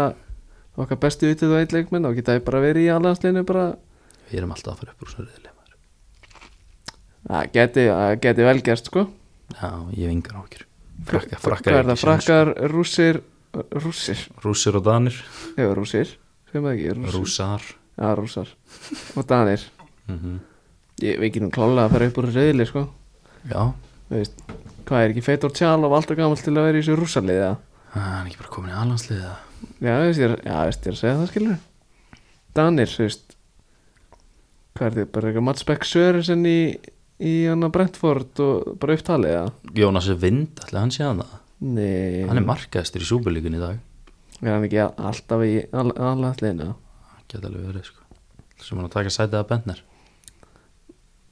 Speaker 1: okkar bestu vitið og eitt leikmenn þá geta þið bara verið í allansleinu bara
Speaker 2: við erum alltaf að fara upp úr svo reyðileg maður
Speaker 1: það geti, það geti vel gerst sko
Speaker 2: já, ég hef engar ákjör frakka, frakka sko.
Speaker 1: Hvað er það? Frakkar, rússir rússir,
Speaker 2: rússir og danir
Speaker 1: hefur rússir sem það ekki, rússir,
Speaker 2: rússar
Speaker 1: já rússar og danir,
Speaker 2: mm
Speaker 1: ég veit ekki nú klálega að fara upp úr riðli sko,
Speaker 2: já,
Speaker 1: þú veist hvað er ekki Feitor Tjálov alltaf gamall til að vera í þessu rússarliða
Speaker 2: Ah, hann er ekki bara komin í aðlandslið eða?
Speaker 1: Já, þú veist, ég er, já, þú veist, ég er að segja það skilur Danir, þú veist Hvað er þið, bara eitthvað Mats Beck Sörensen í, í hann að Brentford og bara upptalið, já
Speaker 2: Jónas Vind, ætli hann sé hann það
Speaker 1: Nei,
Speaker 2: hann er markaðistur í súbjörlíkun í dag
Speaker 1: er hann ekki alltaf í allanleginu
Speaker 2: það geta alveg verið sko sem hann að taka sætið að Bentner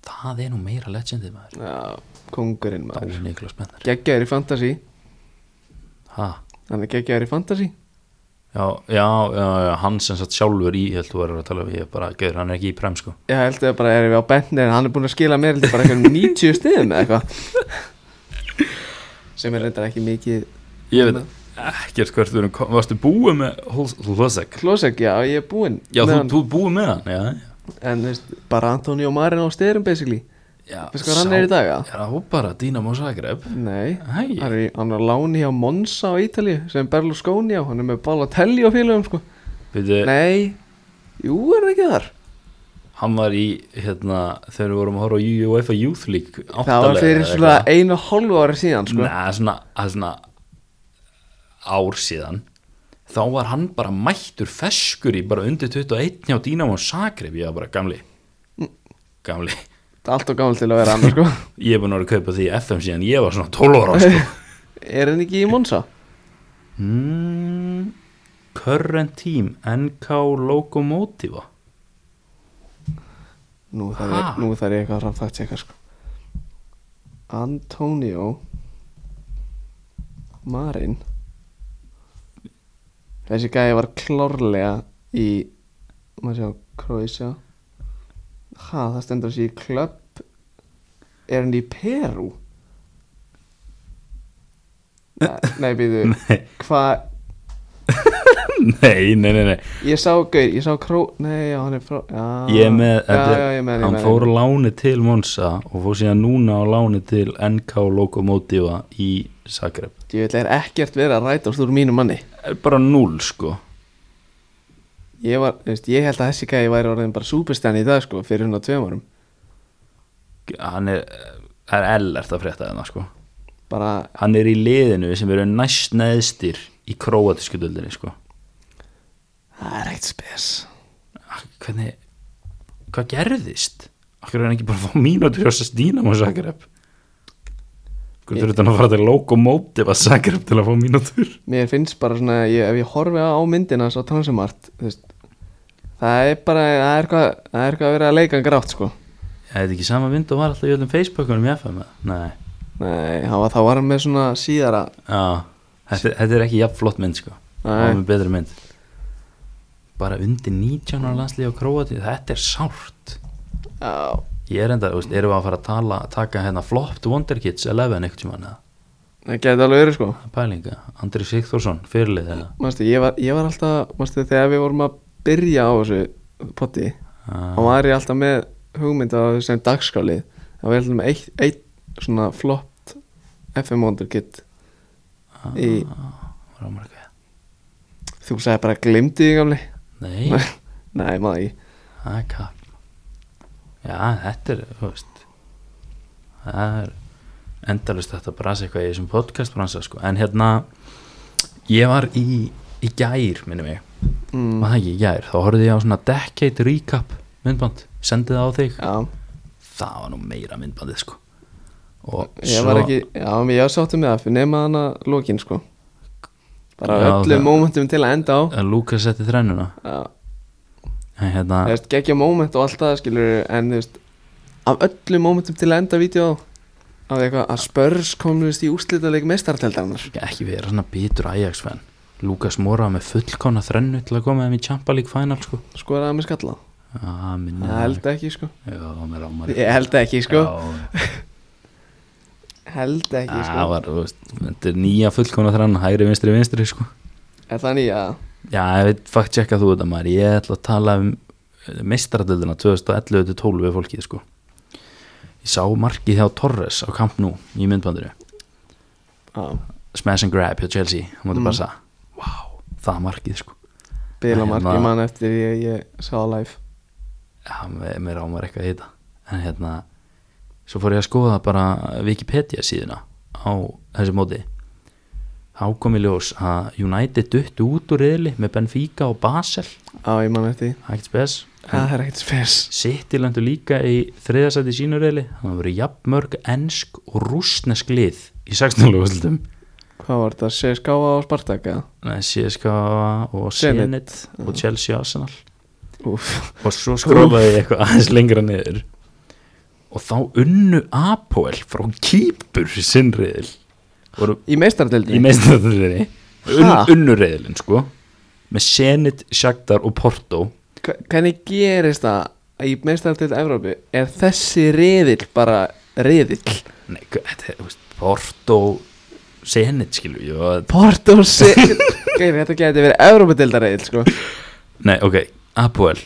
Speaker 2: það er nú meira legendið maður
Speaker 1: Já, kongurinn maður
Speaker 2: Dáin Niklas Bentner
Speaker 1: Geggjaður í fantasy,
Speaker 2: ha,
Speaker 1: hann er geggjaður í fantasy
Speaker 2: Já, já, já, já, hann sem satt sjálfur í, ég held þú verður að tala um, ég er bara, gauður, hann er ekki í prem, sko.
Speaker 1: Ég held að bara erum við á bennir hann er búin að skila mér heldur bara eitthvað 90 stiðum eða eitthvað sem er reyndar ekki mikið
Speaker 2: Ég veit ekkert hvert við erum, kom- varstu búið með Hlusek?
Speaker 1: Klosek, já, ég er búinn
Speaker 2: Já,
Speaker 1: með
Speaker 2: þú,
Speaker 1: hann.
Speaker 2: þú búið með hann, já, já.
Speaker 1: En þú veist, bara Antoni og Marin á styrum basically
Speaker 2: já
Speaker 1: Veistu hvað hann er í dag, já?
Speaker 2: Já, bara Dínamo Zagreb.
Speaker 1: Nei,
Speaker 2: Hæ,
Speaker 1: hann er, í, hann er á láni hjá Monsa á Ítalíu sem Berlusconi á, hann er með Balotelli á félögum sko
Speaker 2: veitu,
Speaker 1: Nei, jú er það ekki þar
Speaker 2: hann var í, hérna, þegar við vorum að horfa á UEFA Youth League, áttalega.
Speaker 1: Það var fyrir
Speaker 2: eða
Speaker 1: svona
Speaker 2: eitthvað.
Speaker 1: einu og hálfu ári síðan sko
Speaker 2: Nei, svona, það er svona ár síðan þá var hann bara mættur feskur í bara undir 21 hjá Dínamo Zagreb, ég var bara gamli
Speaker 1: Mm.
Speaker 2: gamli,
Speaker 1: Allt og gammal til að vera annars sko
Speaker 2: ég er búin að vera að kaupa því í FM síðan ég var svona 12 ára sko.
Speaker 1: Er hann ekki í Monsa?
Speaker 2: mm, Current Team NK Lokomotiva
Speaker 1: Nú þarf ég,
Speaker 2: Ha?
Speaker 1: nú þarf ég eitthvað að fakt tjekka sko Antonio Marin Þessi gæði var klárlega í maður sjá, Kroisja Ha, það stendur þessi í klöpp Er hann í Perú? Nei, nei býðu
Speaker 2: Nei.
Speaker 1: Hvað,
Speaker 2: nei, nei, nei, nei
Speaker 1: ég sá Gauð, ég sá Kró Nei, já, hann er frá já,
Speaker 2: Ah. ég er með,
Speaker 1: já,
Speaker 2: þetta er-
Speaker 1: já, ég með, ég
Speaker 2: hann
Speaker 1: með,
Speaker 2: fór á láni til Monsa og fór síðan núna á láni til NK Lokomotiva í Zagreb
Speaker 1: Ég vil er ekkert verið að rætast úr mínu manni
Speaker 2: Er bara núl sko
Speaker 1: Ég var, þú veist, ég held að þessi gæði væri orðin bara súperstæni í dag sko fyrir hún á tveim árum
Speaker 2: hann er, það er ellert að frétta þarna sko
Speaker 1: bara,
Speaker 2: hann er í liðinu sem eru næst neðstir í króatísku döldinni sko
Speaker 1: það er eitt spes
Speaker 2: Ah, hvernig, hvað gerðist? Akkur er hann ekki bara að fá mínútur hjá Sastina og Zagreb hvernig þurfti hann að fara til Lokomotiva Zagreb til að fá mínútur
Speaker 1: Mér finnst bara svona, ég, ef ég horfi á myndina svo transumart, þú veist það er bara, það er eitthvað það er eitthvað að vera að leika hann grátt sko
Speaker 2: ég hefði ekki sama vind og var alltaf í öllum Facebookunum í FM eða? nei,
Speaker 1: Nei, hann var, þá var hann með svona síðara
Speaker 2: já þetta, þetta er ekki jafn flott mynd sko það er
Speaker 1: Nei,
Speaker 2: með betri mynd bara undir 19 ára landslið á Króati þetta er sárt
Speaker 1: já,
Speaker 2: Ég ég er enda, þú veist, erum við að fara að tala taka hérna flopped Wonder Kids 11 einhvern tímann eða,
Speaker 1: það geti alveg verið sko
Speaker 2: pælinga, Andri Sigþórsson fyrirlið eða,
Speaker 1: Manstu, ég, var, ég var alltaf, manstu, þegar við vorum að byrja á þessu potti
Speaker 2: Ah.
Speaker 1: þá var ég alltaf með hugmynd á þessum dagskálið þá var ég alltaf með eitt, eitt svona flott FM Wonder Kid í,
Speaker 2: Ah. var það marga
Speaker 1: þú sagði bara glimti því gamli
Speaker 2: nei,
Speaker 1: nei, maður ekki
Speaker 2: það er kapp já, þetta er, þú veist það er endalust þetta brasa eitthvað í þessum podcast bransa sko, en hérna ég var í, í gær minni mig,
Speaker 1: mm,
Speaker 2: var það ekki í gær þá horfði ég á svona decade recap myndband, sendið það á þig
Speaker 1: já,
Speaker 2: það var nú meira myndbandið sko og
Speaker 1: ég var ekki já, mér- ég var sáttu með það, fyrir nema hana lokin sko bara
Speaker 2: Já,
Speaker 1: öllu
Speaker 2: það-
Speaker 1: momentum til að enda á
Speaker 2: að Lukas setti þrennuna
Speaker 1: já,
Speaker 2: en hérna,
Speaker 1: þú veist, geggja moment og allt það skilur en þú veist, af öllu momentum til að enda vídeo af eitthvað að spörs komist í úrslitaleik mestarteldarnar
Speaker 2: ekki vera svona bitur Ajax fan Lukas moraði með fullkona þrennu til að koma þeim í Champa League final sko
Speaker 1: sko er það með skalla
Speaker 2: ah, minni,
Speaker 1: ég held ekki sko
Speaker 2: já, með rámar
Speaker 1: ég held ekki sko
Speaker 2: já,
Speaker 1: held ekki
Speaker 2: það
Speaker 1: sko
Speaker 2: var, þú veist, þetta er nýja fullkona þrenna hægri, vinstri, vinstri sko
Speaker 1: er það nýja
Speaker 2: já, ég veit fakt tjekka þú þetta maður ég ætla að tala um meistaradöldina 2011-12 við fólkið sko ég sá markið hjá Torres á kamp nú í myndbandinu
Speaker 1: já,
Speaker 2: smash and grab hjá Chelsea hann múti
Speaker 1: Mm.
Speaker 2: bara það, wow, það markið sko
Speaker 1: bila marki
Speaker 2: Hérna.
Speaker 1: mann eftir ég, ég sá það live
Speaker 2: já, mér- mér ámar eitthvað að hita en hérna, svo fór ég að skoða bara Wikipedia síðuna á þessu móti þá kom í ljós að United duttu út úr reyðli með Benfica og Basel
Speaker 1: já, ég mann eftir því.
Speaker 2: það er ekkert spes
Speaker 1: það er ekkert spes
Speaker 2: City lendu líka í þriðasæti sínu reyðli þannig að voru jafnmörg ensk og rúsnesk lið í 16. lúsildum
Speaker 1: hvað var þetta, CSKA og Spartak eða?
Speaker 2: CSKA og
Speaker 1: Zenit.
Speaker 2: Zenit og Chelsea og Arsenal
Speaker 1: úf,
Speaker 2: og svo skrópaði ég eitthvað aðeins lengra niður og þá unnu Apoel frá kýpur sinnriðil voru
Speaker 1: í
Speaker 2: í
Speaker 1: mestarteldarni
Speaker 2: meistarðurriðinni un,
Speaker 1: Ha?
Speaker 2: unnurriðilin sko með Senit, Shakhtar og Porto
Speaker 1: hvernig gerist það að í mestarteld Evrópu er þessi reyðill bara reyðill
Speaker 2: Nei, hva- þetta er, þú veist, Porto Senit skilur ég og-
Speaker 1: Porto se Geir, þetta geti verið Evrópudeldareyðil sko
Speaker 2: Nei, ok, Apoel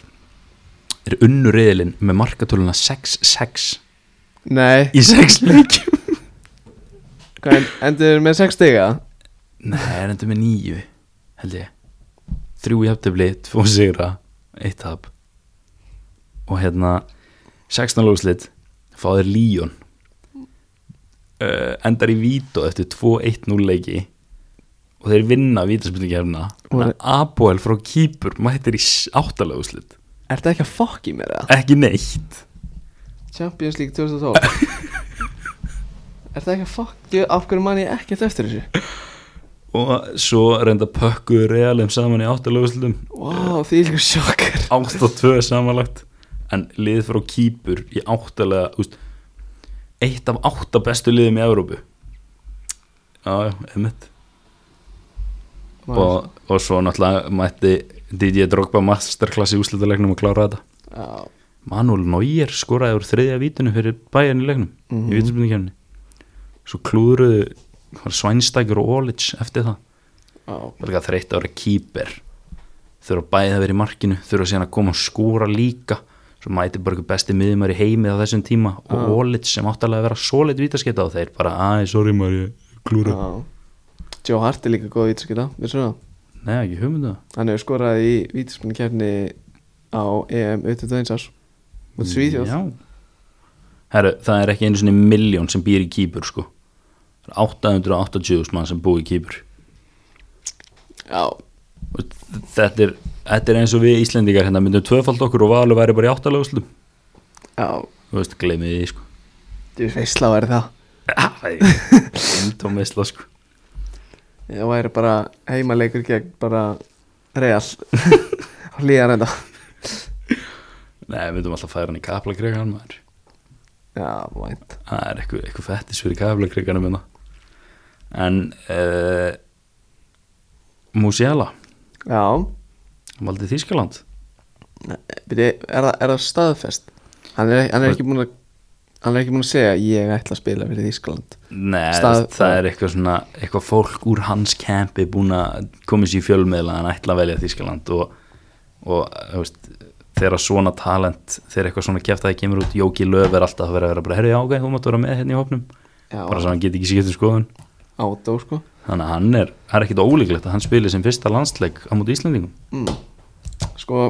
Speaker 2: er unnurriðilin með markatöluna 6-6
Speaker 1: Nei,
Speaker 2: í 6 leikjum
Speaker 1: hvað en- endur með 6 stiga?
Speaker 2: Nei, það er endur með 9 held ég Þrjú jafntöfli, tvo sigra Eitt tap Og hérna, 16 lókslit Fáður Líón uh, Endar í Vító Eftir 2-1-0 leiki Og þeir vinna vítaspillingjafna
Speaker 1: Voru-
Speaker 2: Apoel frá Kýpur Mættir í áttalöguslit
Speaker 1: Ertu ekki að fokki mér það?
Speaker 2: Ekki neitt
Speaker 1: Champions League 2012 Ertu ekki að fokki af hverju mann ég ekkert eftir þessu?
Speaker 2: Og svo reynda pökkuðu realum saman í áttalöguslitum
Speaker 1: Vá, wow, því líka sjokkar
Speaker 2: 8-2 samanlagt en lið frá Kýpur í áttalega úst, eitt af átta bestu liðum í Evrópu já, já, einmitt og, og svo náttúrulega mætti DJ Drogba masterklass í úslitalegnum og klára þetta
Speaker 1: Já,
Speaker 2: Manuel Neuer skoraði úr þriðja vítinu fyrir bæjan í legnum
Speaker 1: Mhm.
Speaker 2: í vítunspilningkjæmni svo klúruðu svænstækjur og Olic eftir það
Speaker 1: já,
Speaker 2: var líka þreytt að vera kýper þurfa bæði að vera í markinu þurfa síðan að koma og skúra líka svo mæti bara ykkur besti miðumar í heimi á þessum tíma og
Speaker 1: Já.
Speaker 2: ah. Olic sem áttalega að vera solid vítaskita á þeir bara aðeins, sorry maður, ég klúra
Speaker 1: já Joe Hart er líka góð vítaskita, vissum það?
Speaker 2: Nei, ekki hugmyndu
Speaker 1: Hann hefur skorað í vítaskipinu kefni á EM 21 árs Mot Svíþjóð
Speaker 2: Já Herru, það er ekki einu svona miljón sem býr í kýpur sko Það er 880.000 mann sem búi í kýpur
Speaker 1: Já,
Speaker 2: Og þetta er, þetta er eins og við Íslendingar hérna myndum tvöfald okkur og valur væri bara í áttalega úslu
Speaker 1: já,
Speaker 2: Þú veist, gleymið því sko
Speaker 1: þú veist það væri það
Speaker 2: Endómeisla sko
Speaker 1: Það væri bara heimaleikur gegn bara real á hlýjar enda
Speaker 2: Nei, við myndum alltaf að færa hann í kaplakregan maður
Speaker 1: Já, vænt
Speaker 2: Það er eitthvað, eitthvað fettis fyrir kaplakreganum minna En uh, Musiala
Speaker 1: Já,
Speaker 2: hann valdi Þískaland
Speaker 1: byrju, er, það- er það staðfest? Hann er, hann er ekki búin að hann er ekki búin að segja ég ætla að spila fyrir Þískland
Speaker 2: Nei,
Speaker 1: Stað-
Speaker 2: Stað, það er eitthvað svona eitthvað fólk úr hans kempi búin að koma sér í fjölmiðla en ætla að velja Þískaland og, og þú veist, þegar svona talent þegar eitthvað svona kæft að það kemur út Jóki Löf er alltaf að vera að vera bara herri já, ok, þú mátt vera með hérna í hópnum
Speaker 1: Já.
Speaker 2: bara svo hann geti ekki skipt um skoðun
Speaker 1: átó sko
Speaker 2: þannig að hann er, það er ekkit ólíklegt að hann spili sem fyrsta landsleik á móti Íslandingum
Speaker 1: mm. sko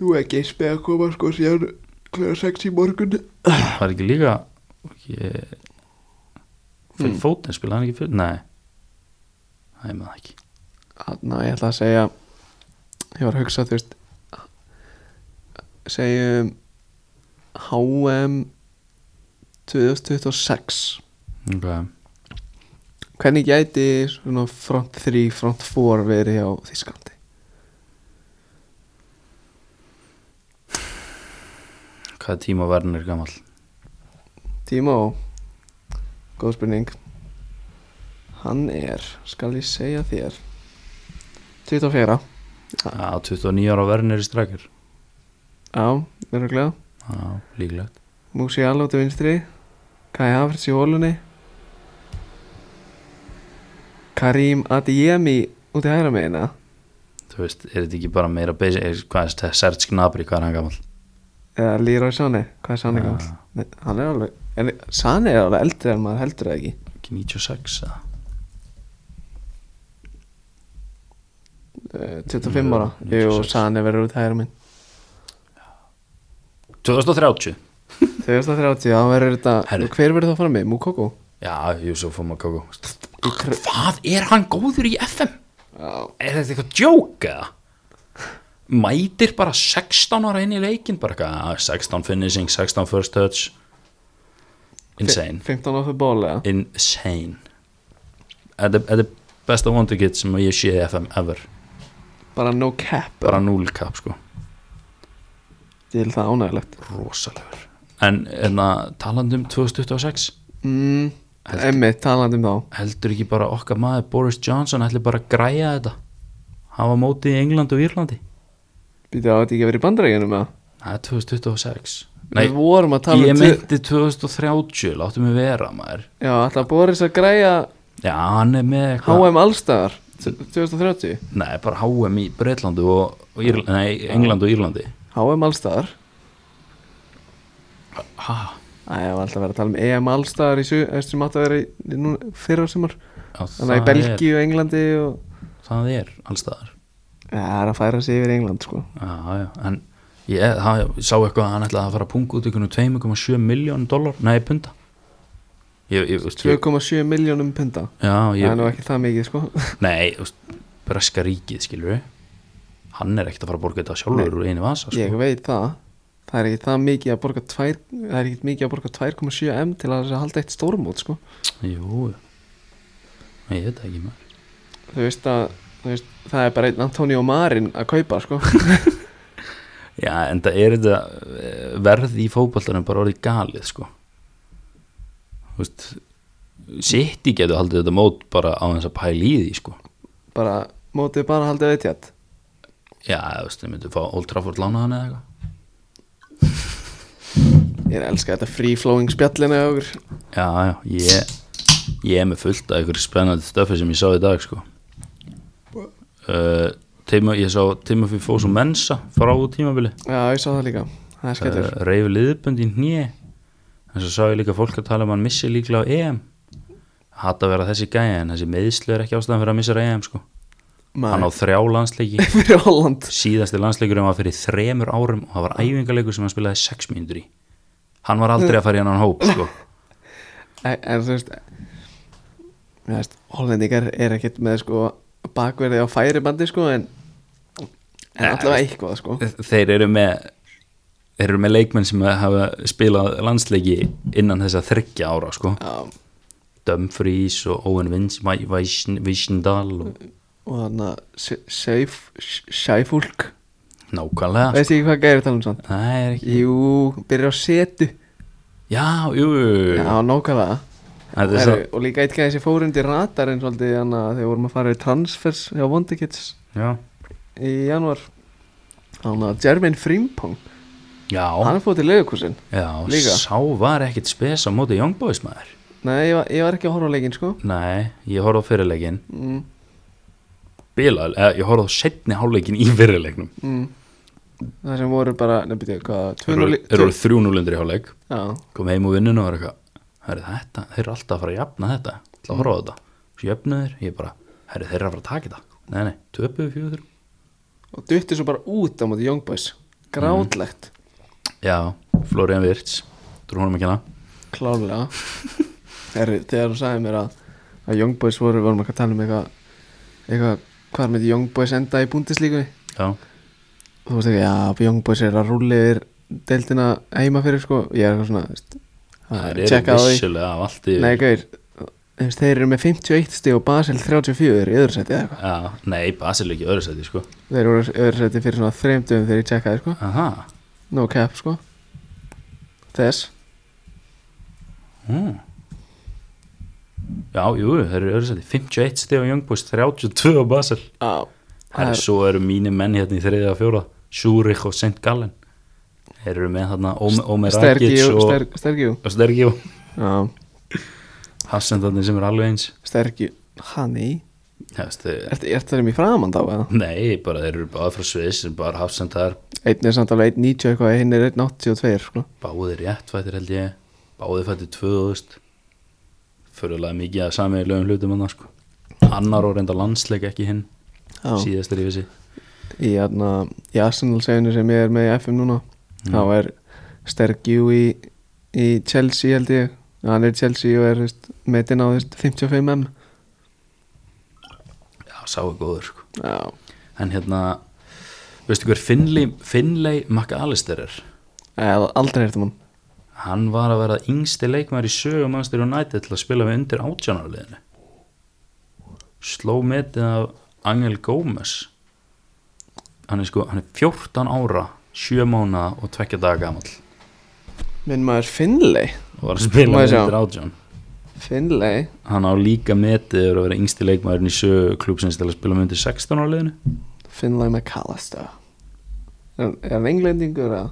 Speaker 1: nú er geispi að koma sko síðan klæða 6 í morgun
Speaker 2: það er ekki líka ekki, fyrir mm. fótinn spila hann ekki fyrir, nei það er með það ekki
Speaker 1: þannig ég ætla að segja ég var að hugsa þú veist um segjum HM 2026
Speaker 2: okay.
Speaker 1: hvernig gæti svona front 3, front 4 verið hjá Þískalandi
Speaker 2: hvað er tíma verðin er gamall
Speaker 1: Tímo góð spurning hann er, skal ég segja þér 24
Speaker 2: Já, 29 ára verðin er í strækir
Speaker 1: á, verður glæða
Speaker 2: Já, líklegt
Speaker 1: Musiala út í vinstri Kai Havertz í hólunni Karim Adeyemi út í hæra meina
Speaker 2: Þú veist, er þetta ekki bara meira basic er, Hvað er þetta, Serge Gnabry, hvað er hann gamall?
Speaker 1: eða Leroy Sané, hvað er Sané
Speaker 2: Ja.
Speaker 1: gamall? Nei, Hann er alveg, en Sané er alveg eldri en maður heldur það ekki
Speaker 2: Ekki 96 eða?
Speaker 1: Eh, 25 ára,
Speaker 2: Jú,
Speaker 1: jú,
Speaker 2: 96.
Speaker 1: Sané verður út í hæra minn
Speaker 2: 2030
Speaker 1: 2030, hann verður þetta,
Speaker 2: Herri.
Speaker 1: hver verður það frammi? Mukoko?
Speaker 2: Já, Júsuf Fomakoko
Speaker 1: Í kr-
Speaker 2: Hvað er hann góður í FM?
Speaker 1: Já,
Speaker 2: Er þetta eitthvað djók eða? Mætir bara 16 ára inn í leikin bara eitthvað, já, 16 finishing, 16 first touch Insane
Speaker 1: 15 á þau ból eða
Speaker 2: Insane Þetta þetta er besta wonder kid sem ég sé í FM ever
Speaker 1: bara no cap
Speaker 2: Bara núl kap sko
Speaker 1: til það ánægilegt
Speaker 2: rosalegur en hérna, talandi um 2026
Speaker 1: mm,
Speaker 2: Heldur.
Speaker 1: emmi, talandi um þá
Speaker 2: heldur ekki bara okkar maður Boris Johnson ætli bara að græja þetta hafa mótið í England og Írlandi
Speaker 1: býttu á þetta ekki að vera í bandrækjunum eða
Speaker 2: það er 2026 Nei,
Speaker 1: við vorum að tala
Speaker 2: ég
Speaker 1: um
Speaker 2: meinti 2030 láttu mig vera maður
Speaker 1: Já, alltaf Boris að græja
Speaker 2: já, hann er með eitthvað
Speaker 1: HM allstaðar t- 2030
Speaker 2: nei, bara HM í Breitlandi og, og Írl... nei, England og Írlandi
Speaker 1: HM allstaðar
Speaker 2: ha,
Speaker 1: Æ, ég var alltaf að vera að tala um EM allstaðar í su sem átt að vera í nú, fyrra sumar
Speaker 2: já,
Speaker 1: Þannig að í Belgíu og Englandi og
Speaker 2: er, það er allstaðar
Speaker 1: Já, það er að færa sig yfir England sko
Speaker 2: Já, já, en ég eh, það, ég sá eitthvað að hann ætlaði að fara að punga út ykkur 2,7 miljón dólar, nei, punta Ég, ég, veist, ég
Speaker 1: 2,7 miljónum punta
Speaker 2: Já,
Speaker 1: Það er
Speaker 2: ég,
Speaker 1: nú ekki það mikið sko
Speaker 2: nei, þú veist, breska ríkið, skilur við Hann er ekkert að fara að borga þetta sjálfur úr einu vasa, sko
Speaker 1: Ég veit það Það er ekki það mikið að borga tvær, Það er ekki mikið að borga 2,7 M til að halda eitt stórmót sko
Speaker 2: Jú, nei, ég veit það ekki maður
Speaker 1: Þú veist að þú veist, Það er bara einn Antonio Marin að kaupa sko
Speaker 2: Já, en það er þetta eh, verð í fótboltanum bara orðið galið, sko Þú veist City getur haldið þetta mót bara á þess að pæla í því, sko
Speaker 1: Bara mótið bara haldið eitt hjátt
Speaker 2: Já, þú veist, þau myndu fá Old Trafford lána hann eða eitthvað
Speaker 1: Ég elska þetta free flowing spjallinu hjá okkur
Speaker 2: Já, já, ég, ég er með fullt af einhverju spennandi stöfi sem ég sá í dag sko. uh, teima, Ég sá Timothy Fosu Mensa frá tímabili
Speaker 1: Já, ég sá það líka Það er skættur
Speaker 2: uh, Reyfi liðbönd í hnje En svo sá ég líka fólk að tala um að hann missi líklega á EM Hatt að vera þessi gæja en þessi meðslu er ekki ástæðan fyrir að missa á EM sko. Hann á
Speaker 1: Maður
Speaker 2: þrjá landsleiki
Speaker 1: fyrir Holland
Speaker 2: Síðasti landsleikurinn var fyrir þremur árum og það var æfingarleikur sem hann spilaði sex mínútur í Hann var aldrei að fara í hann hóp sko.
Speaker 1: En en þú veist þú veist, Hollendingar er ekkert með sko bakverði á færibandi sko en, en
Speaker 2: Nei,
Speaker 1: allavega eitthvað sko
Speaker 2: þeir eru með þeir eru með leikmenn sem hafa spilað landsleiki innan þess að þryggja ára sko.
Speaker 1: Já,
Speaker 2: Dumfries og Owen Vins- Vai- Vais- Wijndal og
Speaker 1: og þannig að Sæfúlk
Speaker 2: nákvæmlega sko.
Speaker 1: veist ekki hvað gæri tala um sann
Speaker 2: það er ekki
Speaker 1: Jú, byrjar á setu
Speaker 2: já, jú, jú, jú.
Speaker 1: Já, nákvæmlega
Speaker 2: Það er
Speaker 1: Heru,
Speaker 2: svo,
Speaker 1: og líka eitt gæði sem fór undir ratarinn svolítið þannig að þegar vorum að fara í transfers hjá Vondikits
Speaker 2: já.
Speaker 1: í janúar Þannig að Jermaine Frimpong
Speaker 2: já,
Speaker 1: Hann er fótt í leikusin
Speaker 2: já
Speaker 1: líka.
Speaker 2: sá var ekkit spes á móti Young Boys maður
Speaker 1: Nei, ég var, ég var ekki að horfa á leikinn sko
Speaker 2: nei, ég horfði á fyrirleikin
Speaker 1: mm,
Speaker 2: bilal, eða ég horfði á setni hálfleikin í fyrirleiknum
Speaker 1: mm. Það sem voru bara, nefnir ég, hvað tvö núll í-
Speaker 2: eru þrjú núlundri hálfleik
Speaker 1: Já,
Speaker 2: kom heim úr vinnun og var eitthvað herri, þetta, þeir eru alltaf að fara að jafna þetta til að horfa á þetta, svo jöfnuður ég bara, herri, þeir eru að fara að taka þetta nei, nei, töpuðu fjóður þrjú
Speaker 1: og dutti svo bara út á móti Young Boys Grátlegt,
Speaker 2: Já, Florian Virts Þú er honum ekki hana
Speaker 1: klárlega Herri, þegar þú sagði mér að að Young Boys voru, vorum ekki að tala um eitthvað eitthvað, hvað með Young Boys enda í búndislíku
Speaker 2: Já,
Speaker 1: þú veist ekki, já, Young Boys er að rúli yfir deildina heima fyrir sko ég er eitthvað svona, veist að
Speaker 2: það er
Speaker 1: checka á því.
Speaker 2: vissulega af allt yfir
Speaker 1: Nei, gauður, þú veist, þeir eru með 51 stíð og Basel 34 í öðru seti eða eitthvað.
Speaker 2: Já, nei, Basel er ekki í öðru sæti sko
Speaker 1: Þeir eru í öðru seti fyrir svona þreymdöfum þegar ég tjekkaði, sko.
Speaker 2: Aha,
Speaker 1: No cap, sko. Þess.
Speaker 2: mm. Já, jú, þeir eru í öðru sæti 51 steg á Young Boys, 32 á Basel
Speaker 1: Já.
Speaker 2: Herri, svo eru mínir menn hérna í þriðja og fjóra Sjúrik og St. Gallen Þeir eru með þarna Ome- Omer Rakic
Speaker 1: Stergiu,
Speaker 2: og
Speaker 1: sterk- Stergiu.
Speaker 2: og Stergiu
Speaker 1: Já,
Speaker 2: Hassendarnir sem er alveg eins
Speaker 1: Stergiu. Ha, nei.
Speaker 2: Já, veist, þeir-
Speaker 1: Ertu er þeir um í framann þá, eða?
Speaker 2: Nei, bara þeir eru bara frá Sviss bara Hafsendar,
Speaker 1: Einn er samt alveg 1.90 eitthvað, hinn er 1.82, sko.
Speaker 2: báðir réttfættir held ég báðir fættir 2000 fyrirlega mikið að sameigilegum hlutum hann sko. annar og reynda landsleik ekki hinn
Speaker 1: Já.
Speaker 2: síðast er ég vissi
Speaker 1: Í, aðna, í Arsenal-seginu sem ég er með í FM núna, þá er Stergiu í, í Chelsea, held ég. Hann er í Chelsea og er, þú veist, metin á, þú veist, 55M.
Speaker 2: já, sá er góður sko.
Speaker 1: Já,
Speaker 2: en hérna, veistu hver Finley, Finley McAllister er
Speaker 1: eða aldrei um hefði mann
Speaker 2: hann var að vera yngsti leikmæður í sögum Manchester United til að spila með undir átjánarliðinu sló metið af Angel Gómez hann er sko hann er 14 ára 7 mánuða og 2 daga gamall
Speaker 1: Minn maður Finlay
Speaker 2: og var að spila
Speaker 1: Má ég
Speaker 2: með
Speaker 1: sjá?
Speaker 2: undir átján
Speaker 1: Finlay?
Speaker 2: hann á líka metið yfir að vera yngsti leikmæðurinn í sögu klúbsins til að spila með undir 16 ára liðinu
Speaker 1: Finlay McAllister Er, er hann englendingur að?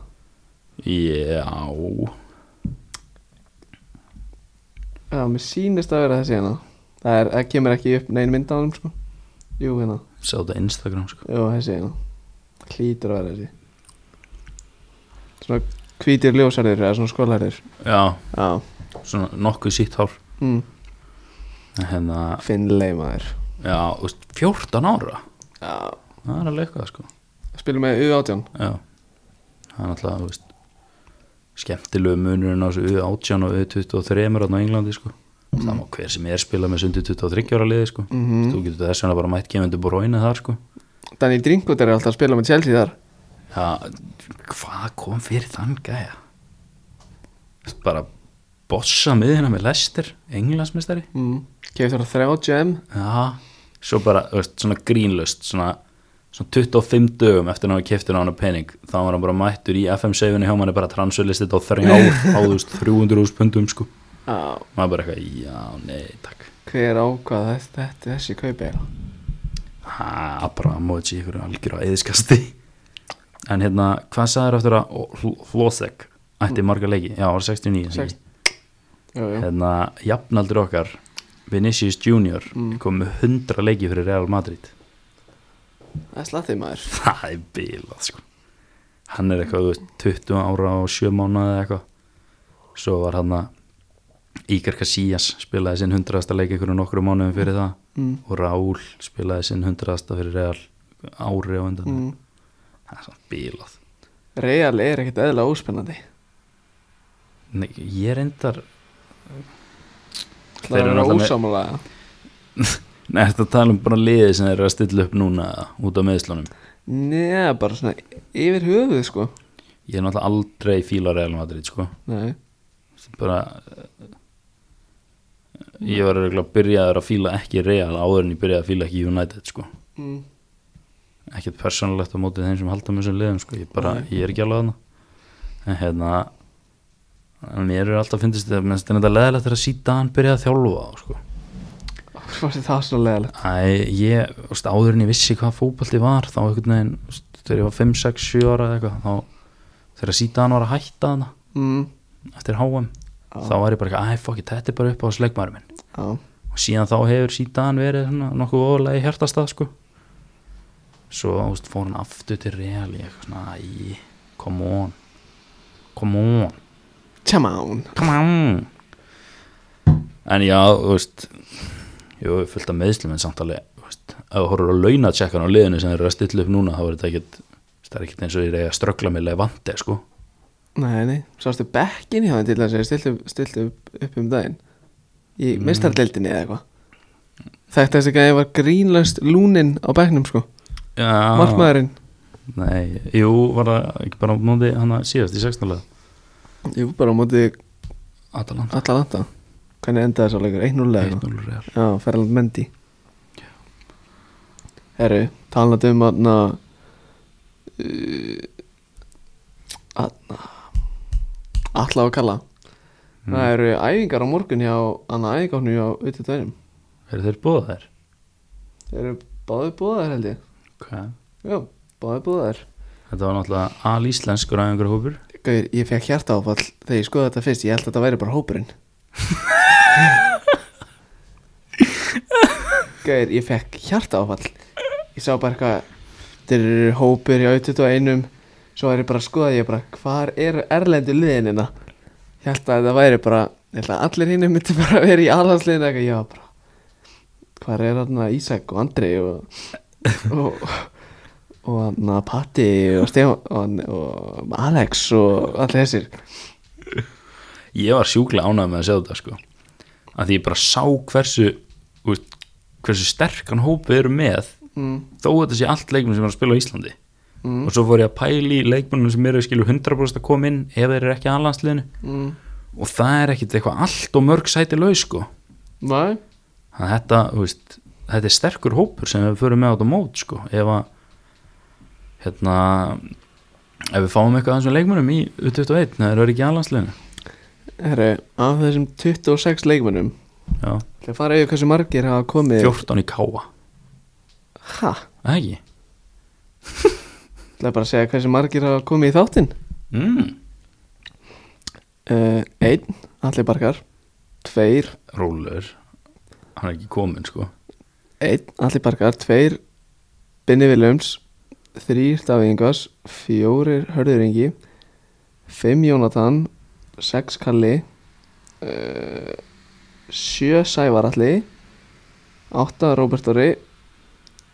Speaker 2: já,
Speaker 1: Já, mér sýnist að vera þessi hérna Það, er, það kemur ekki upp nein mynd á hann sko Jú, hérna,
Speaker 2: sá þetta á Instagram sko.
Speaker 1: jú, þessi hérna Hlýtur að vera þessi Svona hvítir ljósarðir eða svona skólarðir
Speaker 2: já,
Speaker 1: Já,
Speaker 2: svona nokkuð sítt hár
Speaker 1: mm.
Speaker 2: En hérna,
Speaker 1: Finlay maður
Speaker 2: já, þú veist, 14 ára
Speaker 1: Já
Speaker 2: það er alveg eitthvað sko
Speaker 1: Spilum með U18
Speaker 2: já, það er náttúrulega þú veist, skemmtilegu munurinn á þessu U18 og U23 rann á Englandi sko það má hver sem er spila með sundi 23 ára liði sko
Speaker 1: Mhm.
Speaker 2: þú getur þess vegna bara mætt kemur bróinu þar sko
Speaker 1: Daniel Drinkot er alltaf að spila með Chelsea þar
Speaker 2: Já, hvað kom fyrir þann gæja? Bara bossa miðina með Lester, englansmestari
Speaker 1: mm. Keftur hann 30M
Speaker 2: Já, svo bara, þú veist, svona grínlust svona, svona 25 dögum eftir að hann keftur á hann pening þá var hann bara mættur í FM7 hjá manni bara transferlistið á þrjár áðust 300.000 pundum sko
Speaker 1: Já
Speaker 2: maður bara eitthvað, já, nei, takk
Speaker 1: Hver ákvað þess- þetta þessi kaupi eða?
Speaker 2: Ha, Abramovic í ykkur algjör á eðiskasti en hérna, hvað sagður eftir að Hl- Hlosek ætti marga leiki, já, var 69 ekki?
Speaker 1: Sext- Jú, jú.
Speaker 2: hérna, jafnaldur okkar Vinicius Junior
Speaker 1: Mm.
Speaker 2: kom með 100 leiki fyrir Real Madrid
Speaker 1: Það er slattið maður
Speaker 2: það er bilað sko hann er eitthvað, þú veist, 20 ára og 7 mánuði eða eitthvað svo var hann að Iker Casillas spilaði sinn 100. leik einhverju nokkru mánuðum fyrir það
Speaker 1: mm.
Speaker 2: og Raúl spilaði sinn 100. fyrir Real ári á undan
Speaker 1: Mm.
Speaker 2: það er svona bilað
Speaker 1: Real er ekkert eðla óspennandi
Speaker 2: Nei, ég reyndar, Þeir
Speaker 1: Það
Speaker 2: eru
Speaker 1: er
Speaker 2: náttúrulega með-
Speaker 1: ósámálega
Speaker 2: Nei, þetta tala um bara liðið sem er að stilla upp núna eða, út af meðslunum
Speaker 1: Nei, bara svona yfir höfuð sko
Speaker 2: ég er náttúrulega aldrei fíla Real Madrid sko
Speaker 1: Nei,
Speaker 2: Það er bara eh, ég var eiginlega byrjaður að fíla ekki Real áður en ég byrjaði að fíla ekki United sko
Speaker 1: mm.
Speaker 2: ekkert persónulegt á mótið þeim sem halda með þessum liðum sko, ég, bara, ég er ekki alveg hana en hérna en mér er alltaf fyndist þetta mennst þetta leðilegt þegar að síta hann byrjaði að þjálfa þá, sko.
Speaker 1: okkur var þetta svona leðalegt
Speaker 2: Æ, ég, úst, áður en ég vissi hvað fótbalti var þá einhvern veginn, úst, þegar ég var 5, 6, 7 ára eða eitthvað, þá þegar Sítan var að hætta hana
Speaker 1: mm,
Speaker 2: eftir HM
Speaker 1: Já.
Speaker 2: þá var ég bara eitthvað, æ, fuck it, þetta er bara upp á sleikmaður minn
Speaker 1: á,
Speaker 2: og síðan þá hefur Sítan verið svona nokkuð ofalega í hjartastað sko svo þú veist, fór hann aftur til Real ég eitthvað svona, æ, come on come on
Speaker 1: come on
Speaker 2: come on en já, þú veist jú, fullt af meðslum en samt alveg þú veist, ef þú horfur að launa tjekkan á liðinu sem þeir eru að stilla upp núna þá er þetta ekkit það er ekkit eins og þeir eiga að ströggla með levante sko.
Speaker 1: Nei, nei, sástu bekkin hjá þeim til þess að ég stilt, upp, stilt upp, upp um daginn Í mm. mistardeldinni eða eitthvað Þetta þessi gæði var grínlöst lúnin á bekknum sko
Speaker 2: já,
Speaker 1: Markmaðurinn
Speaker 2: nei, jú, var það ekki bara á móti hann að síðast í 16. lega
Speaker 1: Jú, bara á móti
Speaker 2: Atalanta,
Speaker 1: alla landa Hvernig endaði þessu leikur? 1-0 eða eitthvað
Speaker 2: 1-0 Real
Speaker 1: Já, Ferland Mendy Herru, talandi um aðna uh, aðna Alla og kalla Það eru æfingar á morgun hjá annað æfingarnu hjá utudænum
Speaker 2: eru þeir búið þær?
Speaker 1: Þeir eru báðið búðaðar held ég
Speaker 2: Okay.
Speaker 1: Já, báðið búðaðar
Speaker 2: þetta var náttúrulega alíslenskur aðeingur hópur
Speaker 1: Gauir, ég fekk hjarta áfall þegar ég skoði þetta fyrst Ég held að þetta væri bara hópurinn Gauir, ég fekk hjarta áfall Ég sá bara eitthvað Þeir eru hópur í 21 Svo er ég bara að skoða Ég bara, hvar eru erlendu liðinina Ég held að þetta væri bara Ég held að allir hinnum myndi bara vera í alhansliðinu Ég var bara Hvar er þarna Ísak og Andri og, og og hann að Patti og Stefán og Alex og allir þessir
Speaker 2: ég var sjúklega ánægð með að sjá þetta sko. að því ég bara sá hversu þú veist, hversu sterkan hópi við erum með
Speaker 1: mm,
Speaker 2: þó að þetta sé allt leikmenn sem er að spila á Íslandi
Speaker 1: Mm.
Speaker 2: og svo fór ég að pæli leikmennum sem eru skilur 100% að koma inn ef þeir eru ekki aðlandsliðinu
Speaker 1: mm.
Speaker 2: og það er ekkit eitthvað allt og mörg sæti laus sko.
Speaker 1: Nei,
Speaker 2: þannig að þetta, þú veist, þetta er sterkur hópur sem við förum með át á mót sko. ef að hérna ef við fáum eitthvað af þessum leikmennum í U21 þegar þeir eru ekki aðlandsliðinu
Speaker 1: herru, af þessum 26 leikmönnum
Speaker 2: Já,
Speaker 1: Það fara yfir hversu margir hafa komið
Speaker 2: 14 í káa,
Speaker 1: Ha,
Speaker 2: ekki
Speaker 1: það er bara að segja hversu margir hafa komið í þáttinn
Speaker 2: mm.
Speaker 1: uh, Einn, allir barkar Tveir,
Speaker 2: Rólur hann er ekki komin sko
Speaker 1: einn, allir barkar Tveir, Binni Viljöms Þrýr, Davíð Ingvars Fjórir, Hörður Ingi Fimm, Jónatan Sex, Kalli uh, Sjö, Sævar Alli Átta, Róbert Orri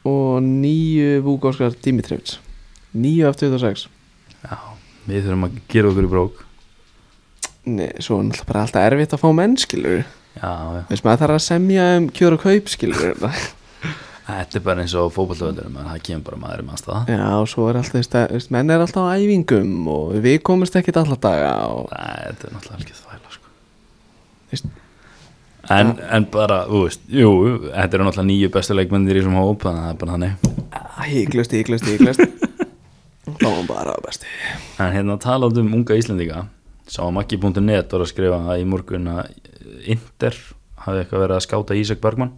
Speaker 1: Og níu, Vúk Óskar Dimitrevits Níu af 26
Speaker 2: Já, við þurfum að gera okkur í brók
Speaker 1: Nei, svo er náttúrulega bara alltaf erfitt að fá menn, skilur
Speaker 2: Já, já,
Speaker 1: Veist maður þarf að semja um kjör og kaup, skilur
Speaker 2: þetta er bara eins og fótballtöðurum það kemur bara maður um aðstæða
Speaker 1: Já, og svo er alltaf, veist, að- veist, menn er alltaf á æfingum og við komumst ekkit alla daga og
Speaker 2: Nei, þetta er náttúrulega alveg þvæla sko
Speaker 1: Veist-
Speaker 2: En, en bara, þú veist, jú, þetta eru náttúrulega nýju bestu leikmennir í þessum hóp, þannig að það er bara þannig.
Speaker 1: híklust, híklust, híklust Þá var bara á besti
Speaker 2: En hérna talað um unga Íslendinga, sá að Maggi.net var að skrifa að í morgun að Inder hafi eitthvað verið að skáta Ísak Bergmann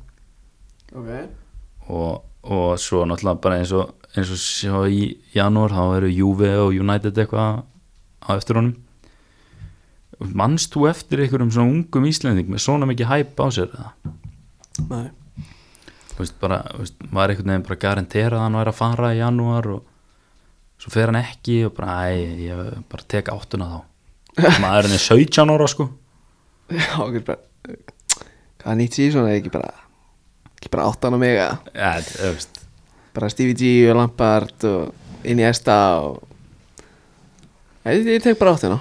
Speaker 1: Ok
Speaker 2: og, og svo náttúrulega bara eins og eins og sjá í janúar þá eru Juve og United eitthvað á eftir honum mannst þú eftir einhverjum svona ungum Íslending með svona mikið hæp á sér eða?
Speaker 1: Nei,
Speaker 2: þú veist bara, þú veist, maður einhvern veginn bara garantera að hann væri að fara í janúar og svo fer hann ekki og bara, æ, ég bara tek áttuna þá maður er 17 ára sko
Speaker 1: já, ok, bara Hvað nýtt sér svona, ekki bara ekki bara áttan á mig að
Speaker 2: ja, þú veist,
Speaker 1: bara Stevie G og Lampard og Iniesta og Ég, ég tek bara áttina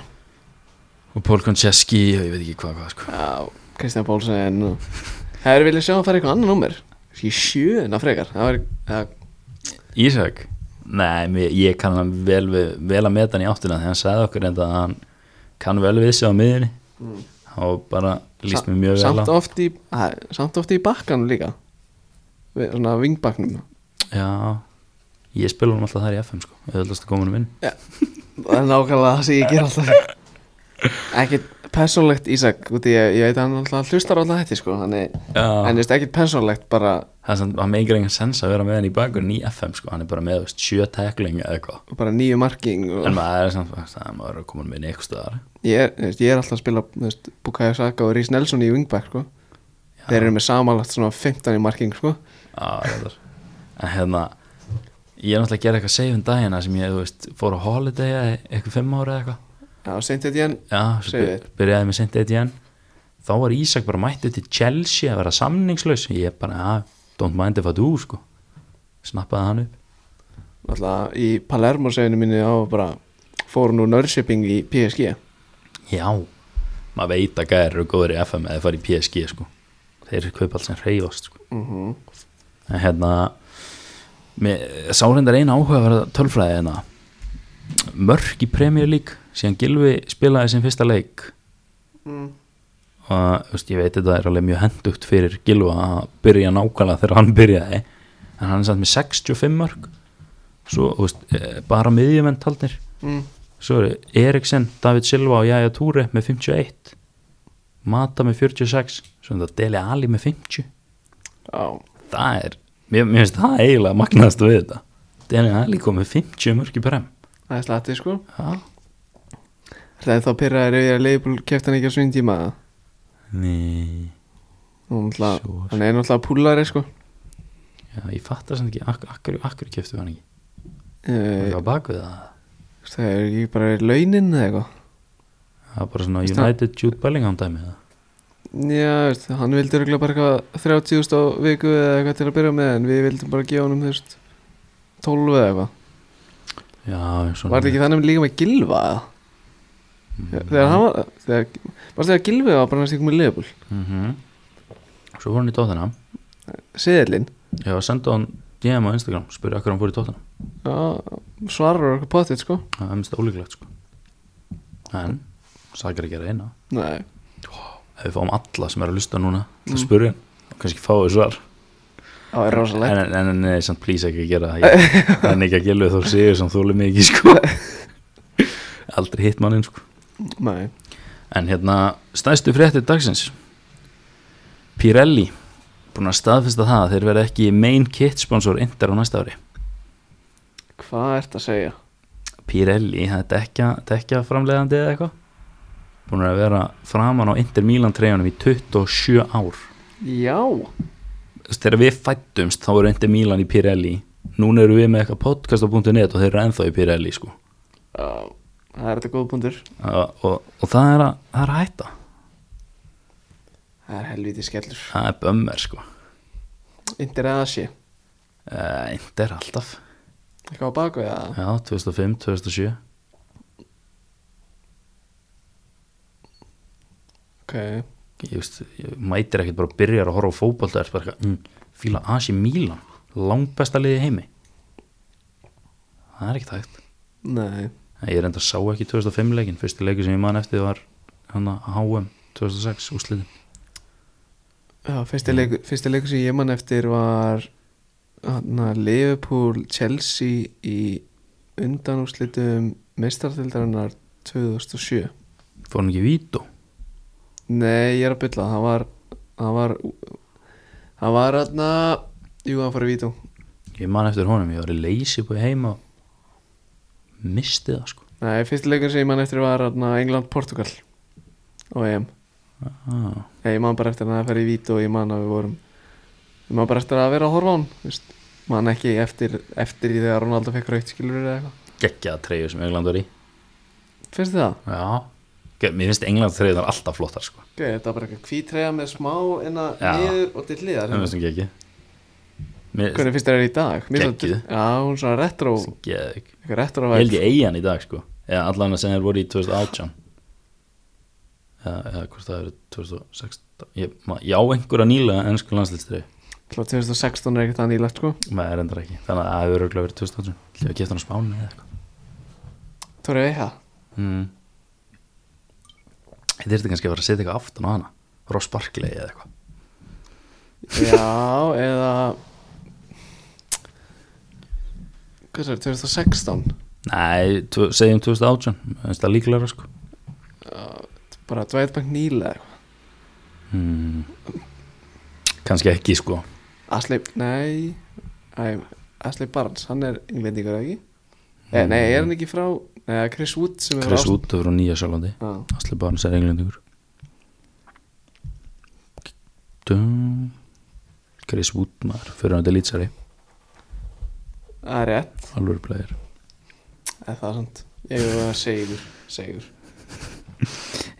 Speaker 2: og Pól Koncheski og ég veit ekki hvað hvað sko
Speaker 1: Já, Kristján Pálsson og... Hefur viljað sjá hann fara eitthvað annan númer Í sjöðina frekar Það var það,
Speaker 2: Ísak? Nei, mér- ég kann hann vel, við, vel að meta hann í áttina þegar hann sagði okkur enda að hann kann vel við sig á miðinni og bara líst mér mjög
Speaker 1: samt,
Speaker 2: vel Mm. á
Speaker 1: oft í, að, samt oft í bakkanum líka Við, Svona vingbaknum
Speaker 2: Já, ég spila hann alltaf þar í FM sko, auðvitaðst að koma hann minn
Speaker 1: Það er nákvæmlega það sem ég ger alltaf Ekkert persónlegt Ísak út í að ég veit að hann alltaf hlustar alltaf þetta sko þannig,
Speaker 2: Já.
Speaker 1: en þú veist ekkert persónlegt bara
Speaker 2: það er samt, hann meikir engan sens að vera með hann í bakur í FM sko, hann er bara með þú veist, sjö tekling eða eitthvað,
Speaker 1: bara nýju marking og
Speaker 2: en maður er samt það er maður er að koma með neikst stöðar
Speaker 1: ég er, þú veist, ég er alltaf að spila þú veist, Bukayo Saka og Rís Nelson í wingback sko. þeir eru með samanlagt svona 15 í marking sko.
Speaker 2: en hérna ég er náttúrulega að gera eitthvað save en dagina sem ég, þú veist, fór á holiday eða eitthvað fimm ára eða eitthvað
Speaker 1: já, seint þetta ég
Speaker 2: Já, svo
Speaker 1: Save
Speaker 2: by-
Speaker 1: it.
Speaker 2: byrjaði með sent ETN þá var Ísak bara mættið til Chelsea að vera samningslaus ég bara, ja, don't mind if I do sko. snappaði hann upp
Speaker 1: alltaf í Palermo seginu mínu á bara fór nú Nörshipping í PSG
Speaker 2: já, maður veit að gæðir eru góður í FM eða fara í PSG sko. þeir kaupa allt sem reyfast sko.
Speaker 1: mm -hmm.
Speaker 2: en hérna mér- sá reyndar eina áhuga að vera tölfræði hérna mörk í Premier League síðan Gilvi spilaði sinn fyrsta leik
Speaker 1: mm.
Speaker 2: og þú veist, ég veit þetta er alveg mjög hendugt fyrir Gilva að byrja nákvæmlega þegar hann byrjaði en hann er samt með 65 mörg svo, þú veist, eh, bara miðjumenn taldir
Speaker 1: Mm.
Speaker 2: svo eru Eriksen, David Silva og Jæja Túri með 51 Mata með 46 svo er þetta Dele Ali með 50
Speaker 1: já,
Speaker 2: það er, mér, mér finnst það eiginlega magnast við þetta Dele Ali kom með 50 mörg í brem
Speaker 1: það er slatti sko
Speaker 2: já,
Speaker 1: Það er þá pyrraður yfir að Leifbúl kefti hann ekki á svinn tíma
Speaker 2: nei
Speaker 1: Hún náttúrulega-
Speaker 2: Sure.
Speaker 1: Hann er náttúrulega púlari sko
Speaker 2: já, ég fattar sem ekki, akkur, akkur, akkur keftu hann ekki
Speaker 1: Eh,
Speaker 2: það var bakvið það
Speaker 1: Það er ekki bara verið launin eða eitthvað
Speaker 2: Það er bara svona
Speaker 1: Veist það-
Speaker 2: United Jude Bellingham dæmi það.
Speaker 1: Já, veist, hann vildi röglega bara eitthvað 30.000 á viku eða eitthvað til að byrja með En við vildum bara gefa honum þú veist 12 eða eitthvað
Speaker 2: Já, svona
Speaker 1: Var þetta ekki þannig líka með Gilva eða? Þegar hann var þegar, Varst þegar Gilvi var bara næst ykkur með Leifbúl
Speaker 2: -hmm. Svo fór hann í tóttina
Speaker 1: Seðlin
Speaker 2: Ég var að senda hann DM á Instagram Spurði akkur hann fór í tóttina
Speaker 1: Já, svarar okkur potið sko
Speaker 2: Það er mest ólíklegt sko En, sakar ekki að reyna
Speaker 1: Nei
Speaker 2: Ef við fáum alla sem er að lusta núna Það spurði hann, og kannski fáið svar
Speaker 1: Það er rosalegt
Speaker 2: En, en, en, en samt please ekki að gera það Ég- Það er ekki að gilu þó séu sem þólu mig ekki sko Aldrei hitt manninn sko
Speaker 1: Nei
Speaker 2: En hérna, stæðstu fréttir dagsins Pirelli búin að staðfesta það að þeir verða ekki main kit sponsor Inter á næsta ári
Speaker 1: Hvað ert að segja?
Speaker 2: Pirelli, það er dekja, dekja framleiðandi eða eitthvað búin að vera framan á Inter Milan treyjunum í 27 ár
Speaker 1: Já
Speaker 2: Þess, þegar við fættumst þá eru Inter Milan í Pirelli núna eru við með eitthvað podcast.net og þeir eru ennþá í Pirelli sko.
Speaker 1: Já, það er þetta góð punktur
Speaker 2: og, og, og það, er að, það er að hætta
Speaker 1: Það er helviti skellur
Speaker 2: það er bömmar sko.
Speaker 1: Indir eða sé
Speaker 2: uh, Inter alltaf
Speaker 1: Eitthvað á baku eða
Speaker 2: Já, 2005, 2007
Speaker 1: Ok
Speaker 2: ég veist, ég mætir ekkert bara byrjar að horfa á fótbolta er bara eitthvað, mm, fíla AC Milan langbesta liði í heimi það er ekkert hægt
Speaker 1: Nei
Speaker 2: En ég reyndar sá ekki 2005 leikin fyrsti leikur sem ég man eftir var hana, HM 2006 úrslitin
Speaker 1: Já, fyrsti, leikur, fyrsti leikur sem ég man eftir var hana, Liverpool Chelsea í undanúslitum meistartildarinnar 2007
Speaker 2: fór hann ekki í vító
Speaker 1: Nei, ég er að bylla Það var Það var Það var hérna Jú, hann fór í vítum
Speaker 2: ég man eftir honum, ég var í leysi búið heima og misti það sko
Speaker 1: Nei, fyrsti leikur sem ég man eftir var hérna, England-Portugal og EM
Speaker 2: ah,
Speaker 1: Nei, ég man bara eftir að það fer í vít og ég man að við vorum Ég man bara eftir að vera að horfa á hann veist. Man ekki eftir, eftir í þegar Ronaldo fekk raukt skilur eða eitthvað
Speaker 2: geggjaða treyju sem England var í
Speaker 1: Finnst þið það?
Speaker 2: já, Ge- mér finnst England treyjunar alltaf flottar sko
Speaker 1: Gauði, þetta var bara eitthvað kvítreja með smá inna
Speaker 2: Já.
Speaker 1: niður og til hliðar
Speaker 2: það finnst ekki ekki
Speaker 1: Hvernig finnst þér það í dag? Mér finnst
Speaker 2: Geggjuð.
Speaker 1: það- Já, hún er svona retro
Speaker 2: geggjuð
Speaker 1: Eitthvað retro
Speaker 2: Ég held ég eigi hann í dag sko eða allan að sem þeir voru í 2018 eða, eða hvort það eru 2016 ég, ma- ég á einhverja nýlega ennsku landslýstri
Speaker 1: Klá 2016 er ekkert það nýlegt sko
Speaker 2: maður reyndar ekki þannig að það hefur örgulega verið 2018 ég hef gett hann á spánu eða eitthvað
Speaker 1: Tóri Veiha
Speaker 2: mm. ég þyrfti kannski að fara að setja eitthvað aftan á hana Ross Barkley eða eitthvað
Speaker 1: Já, eða Hvað er það? 2016?
Speaker 2: nei, tvo- segjum 2018 en það líklega sko
Speaker 1: bara Dwight McNeil eða eitthvað
Speaker 2: hmm. kannski ekki sko
Speaker 1: Asli, nei æ, Asli Barnes, hann er englendingur eða ekki eh, Nei, er hann ekki frá nei, Chris Wood sem er
Speaker 2: Mm. Chris
Speaker 1: frá
Speaker 2: Wood er frá Nýja Sjálfandi
Speaker 1: Wood
Speaker 2: Asli Barnes er englendingur Dum. Chris Wood maður fyrir hann til lýtsari
Speaker 1: Það er rétt,
Speaker 2: alvöru player
Speaker 1: eða það er sant Ég var að segur, segur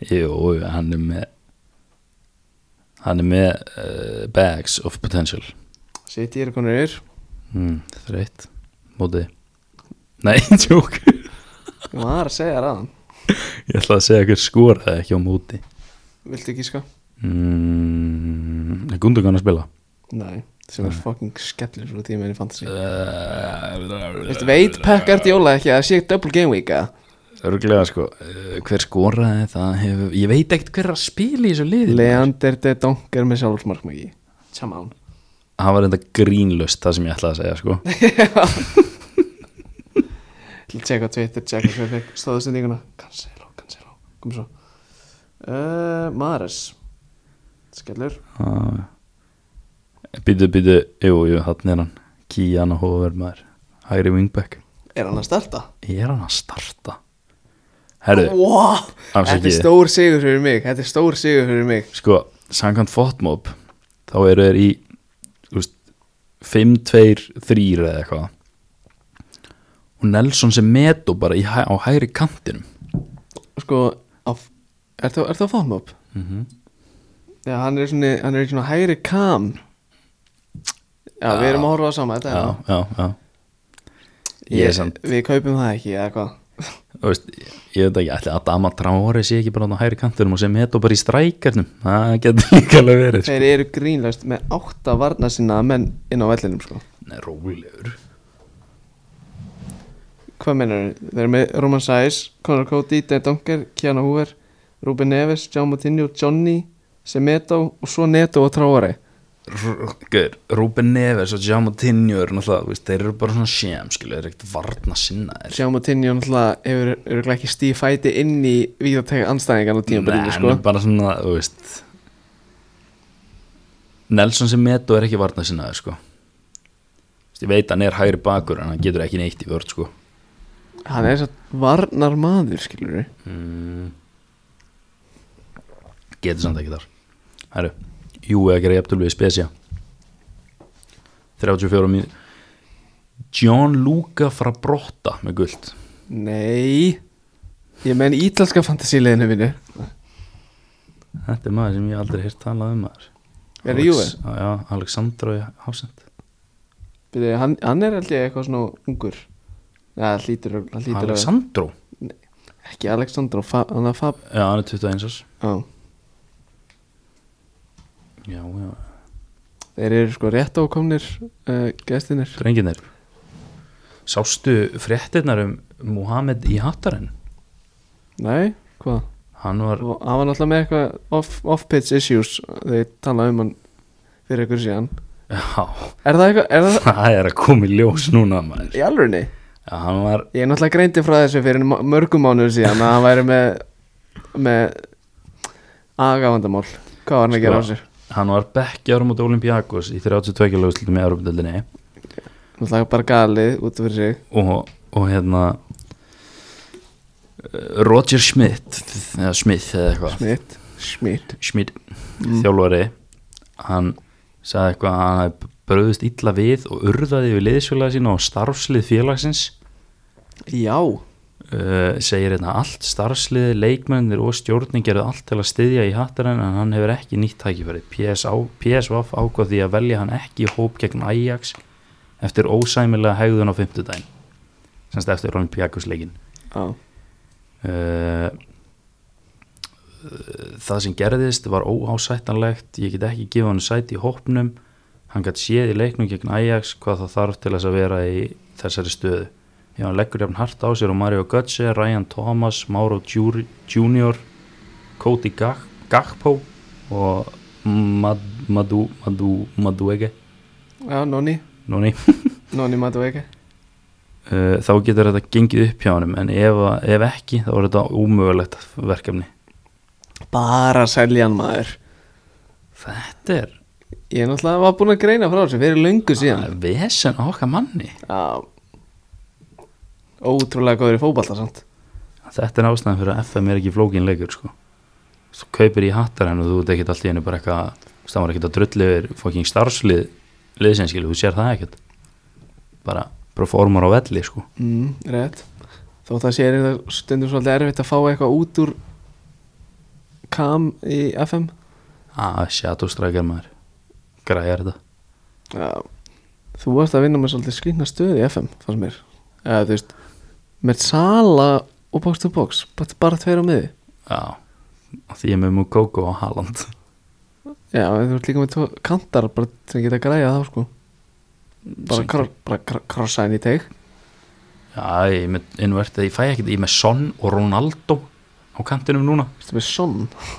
Speaker 2: Jú, hann er með hann er með uh, bags of potential
Speaker 1: Sitt ég er konur yfir
Speaker 2: mm, þreitt, mótið nei, tjók
Speaker 1: Ég var að segja ráðan
Speaker 2: ég ætla að segja hver skoraði ekki á móti
Speaker 1: Viltu ekki sko?
Speaker 2: mm, er Gundogan að spila
Speaker 1: Nei, sem er fucking skellur úr tíma í fantasy
Speaker 2: Eh,
Speaker 1: Viltu
Speaker 2: uh,
Speaker 1: veit Pekkart Jóla ekki að það sé double game week að
Speaker 2: örglega sko uh, hver skoraði það hefur ég veit ekkert hver er að spila í þessu liði
Speaker 1: Leander de Donk er með sjálfsmarkmæki Come on
Speaker 2: hann var enda grínlust það sem ég ætla að segja sko
Speaker 1: Til að tjekka á Twitter, tjekka hver fekk stóðsendinguna Cancelo, Cancelo, kom svo uh, Mares Skellur
Speaker 2: býtu, býtu, Ah. jú, jú, hann er hann Kían og Hóver maður hægri wingback
Speaker 1: Er hann að starta?
Speaker 2: ég er hann að starta herru,
Speaker 1: wow, Þetta er
Speaker 2: afsakið
Speaker 1: stór sigur fyrir mig Þetta er stór sigur fyrir mig
Speaker 2: sko, samkvæmt fotmob þá eru þeir í úst, 5, 2, 3 eða eitthvað og Nelson sem metu bara í, hæ- á hægri kantinum
Speaker 1: Sko, á, er það, er það fóðum upp?
Speaker 2: Mhm.
Speaker 1: Já, hann er svona, hann er í svona hægri kam Já, við erum að horfa á sama þetta
Speaker 2: já,
Speaker 1: já.
Speaker 2: já, já ég er samt,
Speaker 1: Við kaupum það ekki, eða hvað
Speaker 2: þú veist ég veit ekki, ætli að Dama Traore sé ekki bara á hægri kantinum og sem metu bara í strækarnum það getur líka alveg verið sko.
Speaker 1: Þeir eru grínlaust með átta varna sinna menn inn á vellinum sko
Speaker 2: Nei, rólegur
Speaker 1: Hvað mennur þeir? Þeir eru með Roman Sæs, Conor Cody, Dan Donker, Keanu Hoover, Ruben Neves, John Moutinho, Johnny, Semedo og svo Neto og Traore
Speaker 2: Gaur, Ruben Neves og Jamotinho eru náttúrulega, þú veist, þeir eru bara svona sjem, skilja, þeir eru ekkert varna sinna þeir
Speaker 1: John Moutinho náttúrulega hefur örugglega ekki stíð fæti inn í víðatæka anstæðingan á
Speaker 2: Nei,
Speaker 1: tímabilinu
Speaker 2: hann
Speaker 1: sko
Speaker 2: er bara svona, þú veist Nelson sem metu er ekki varna sinnaður sko Þú veist, Ég veit hann er hægri bakur en hann getur ekki neitt í vörð sko
Speaker 1: Hann er svo varnar maður skilur við
Speaker 2: Getur samt ekki þar Herru, jú eða gera jafntölu við Spesja 34 mín John Luca fra Brotta með guld
Speaker 1: Nei Ég menn ítalska fantasíleðinu vinnu
Speaker 2: Þetta er maður sem ég aldrei hýrt talað um maður
Speaker 1: Er það
Speaker 2: Alex-
Speaker 1: Juve?
Speaker 2: Já, já, Alexandra Hafsend
Speaker 1: Byrja, hann, hann er alltaf eitthvað svona ungur Já, hann hlýtur, að- hann hlýtur að-
Speaker 2: Alexandro?
Speaker 1: Ekki Alexander og Fab, hann er Fab
Speaker 2: Já, hann er 21 árs
Speaker 1: á.
Speaker 2: Já, já,
Speaker 1: Þeir eru sko rétt ákomnir uh, gestinir
Speaker 2: drenginir Sástu fréttirnar um Mohamed í Hattarinn?
Speaker 1: Nei, hvað?
Speaker 2: Hann var,
Speaker 1: Og Hann var náttúrulega með eitthvað off- off-pitch issues þeir tala um hann fyrir ykkur síðan
Speaker 2: já,
Speaker 1: Er það eitthvað, er það
Speaker 2: það er að koma í ljós núna maður
Speaker 1: í alvörinni?
Speaker 2: Já, hann var,
Speaker 1: Ég er náttúrulega greindi frá þessu fyrir mo- mörgum mánuðum síðan að hann væri með með agavandamál Hvað var hann að gera á
Speaker 2: Sko.
Speaker 1: sér?
Speaker 2: hann var bekkjarum út Olympiakos í 32 kilóðslutum í Európa-döldinni
Speaker 1: Náttúrulega bara galið út fyrir sig
Speaker 2: og, og hérna eh, Roger Smith eða Smith eða eitthvað
Speaker 1: Smitt Smitt
Speaker 2: Schmidt, þjálfari hann sagði eitthvað að hann hafði bröðust illa við og urðaði við liðsfélaga sína og starfslið félagsins
Speaker 1: Já
Speaker 2: uh, segir hérna allt starfslið, leikmennir og stjórnin gerðu allt til að styðja í hattarinn en hann hefur ekki nýtt tækifæri PSA, PSVF ákvað því að velja hann ekki í hóp gegn Ajax eftir ósæmilega hegðun á fimmtudaginn semst eftir Olympiakosleikin
Speaker 1: Já
Speaker 2: Eh, það sem gerðist var óásættanlegt ég get ekki gefa hann sæti í hópnum hann gætt séð í leiknum gegn Ajax hvað það þarf til þess að vera í þessari stöðu já, hann leggur jafn hart á sér og Mario Götze, Ryan Thomas Mauro Djúri- Junior Cody Gag Gagpo og Mad Madu Madu Maduege
Speaker 1: Já, Nonni
Speaker 2: Núni
Speaker 1: Nonni Madueke
Speaker 2: Uh, þá getur þetta gengið upp hjá honum en ef, ef ekki þá er þetta ómögulegt verkefni
Speaker 1: bara að selja hann maður
Speaker 2: Þetta er
Speaker 1: Ég er náttúrulega var búin að greina frá þessu fyrir löngu síðan
Speaker 2: vesen á okkar manni
Speaker 1: Já Ótrúlega góður í fótbalta samt
Speaker 2: Þetta er ástæðan fyrir að FM er ekki flókin leikur sko. Þú kaupir í hattar og þú ert ekkert allt í henni bara eitthvað þú veist, það var ekkert að drulli yfir fóking starfslið liðsinskilu, þú sér það ekkert bara performar á velli sko.
Speaker 1: mm, Rétt Þó það sé er það stundum svolítið erfitt að fá eitthvað út úr Kam í FM
Speaker 2: að sjátústrækjar Ah, maður græjar þetta
Speaker 1: Já Þú varst að vinna með svolítið skrýna stöðu í FM fannst mér Eða þú veist Með sala og box to box bara, bara tveir á miði
Speaker 2: Já, af því ég er með Mukoko og Haaland
Speaker 1: Já, en þú ert líka með tvo kantar bara sem geta græja þá sko bara,
Speaker 2: Sem-
Speaker 1: kr bara kr krossa henni í teg
Speaker 2: Já, ég er með innvertið, ég fæ ekkert Ég er með Son og Ronaldo á kantinum núna
Speaker 1: Þetta er sonn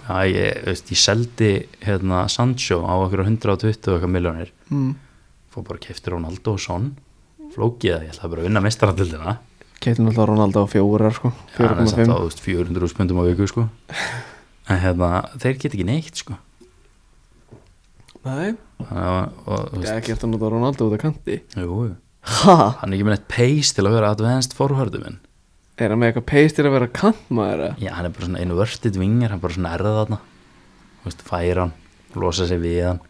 Speaker 2: Já, ég, veist, ég seldi hérna, Sancho á okkur 120 okkar miljónir
Speaker 1: mm.
Speaker 2: Fór bara að kefti Ronaldo og Son Flókið það, ég ætlaði bara að vinna mestarandildina
Speaker 1: Kefti náttúrulega Ronaldo á fjórar sko
Speaker 2: Já, en þess að
Speaker 1: 4,5
Speaker 2: það, þú veist, 400 spundum á viku, sko En hérna, þeir get ekki neitt, sko
Speaker 1: Nei
Speaker 2: Þannig að, og, þú
Speaker 1: Ég
Speaker 2: veist,
Speaker 1: hef gert að nota Ronaldo út af kanti
Speaker 2: jú, jú.
Speaker 1: Ha?
Speaker 2: hann er ekki með neitt pace til að vera advanced forhörðu minn
Speaker 1: Er hann með eitthvað peist til að vera kantmaður eða?
Speaker 2: Já, hann er bara svona inverted vingar, hann bara svona erða þarna Þú veist, færa hann, losa sig við hann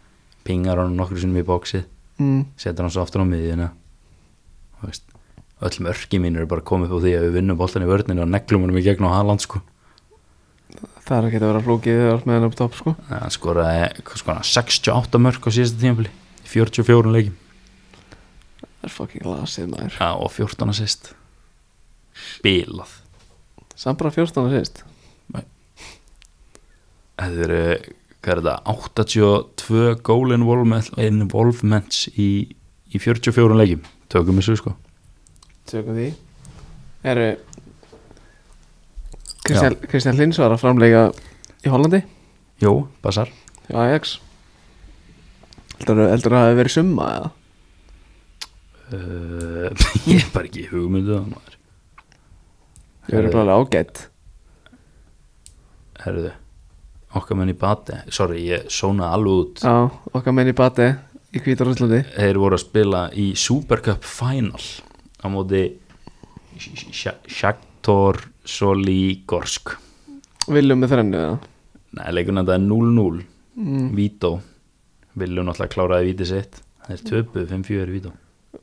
Speaker 2: Pingar hann nokkru sinnum í bóksið
Speaker 1: mm.
Speaker 2: Setur hann svo aftur á miðjuna Þú veist, öll mörki mín eru bara komið upp á því að við vinnum boltan í vörninu og neglum hann í gegn á Haaland sko
Speaker 1: Það er að geta að vera flókið þegar þú ert með hann upp topp sko
Speaker 2: Þannig að Hann skoraði, hvað skoraði, hann, 68 mörk á síðasta tímafili 44 leikim
Speaker 1: Það er fucking lasið maður
Speaker 2: Já, og 14 assist Bilað
Speaker 1: Samt bara 14 að síðist
Speaker 2: Þetta eru, hvað er þetta, 82 goal involvement, involvements í, í 44 leikjum. Tökum þessu sko.
Speaker 1: Tökum því Eru Kristján, Kristján Lins var að framleika í Hollandi
Speaker 2: Jó, Basar.
Speaker 1: í Ajax Heldur að það hafi verið summa eða?
Speaker 2: Uh, ég er bara ekki í hugmyndu það maður.
Speaker 1: Þau eru
Speaker 2: Herðu,
Speaker 1: bara ágætt
Speaker 2: herðu, okkar menn í bati, sorry, ég sónaði alveg út.
Speaker 1: Já, okkar menn í bati í hvítur útlandi
Speaker 2: Þeir voru að spila í Super Cup Final á móti Sh- Sh- Shakhtar Soligorsk.
Speaker 1: Viljum með þrennu eða?
Speaker 2: Nei, leikurinn þetta er 0-0
Speaker 1: Mm.
Speaker 2: Vító Villu náttúrulega kláraði vítið sitt Það er töpuð 5-4 Vító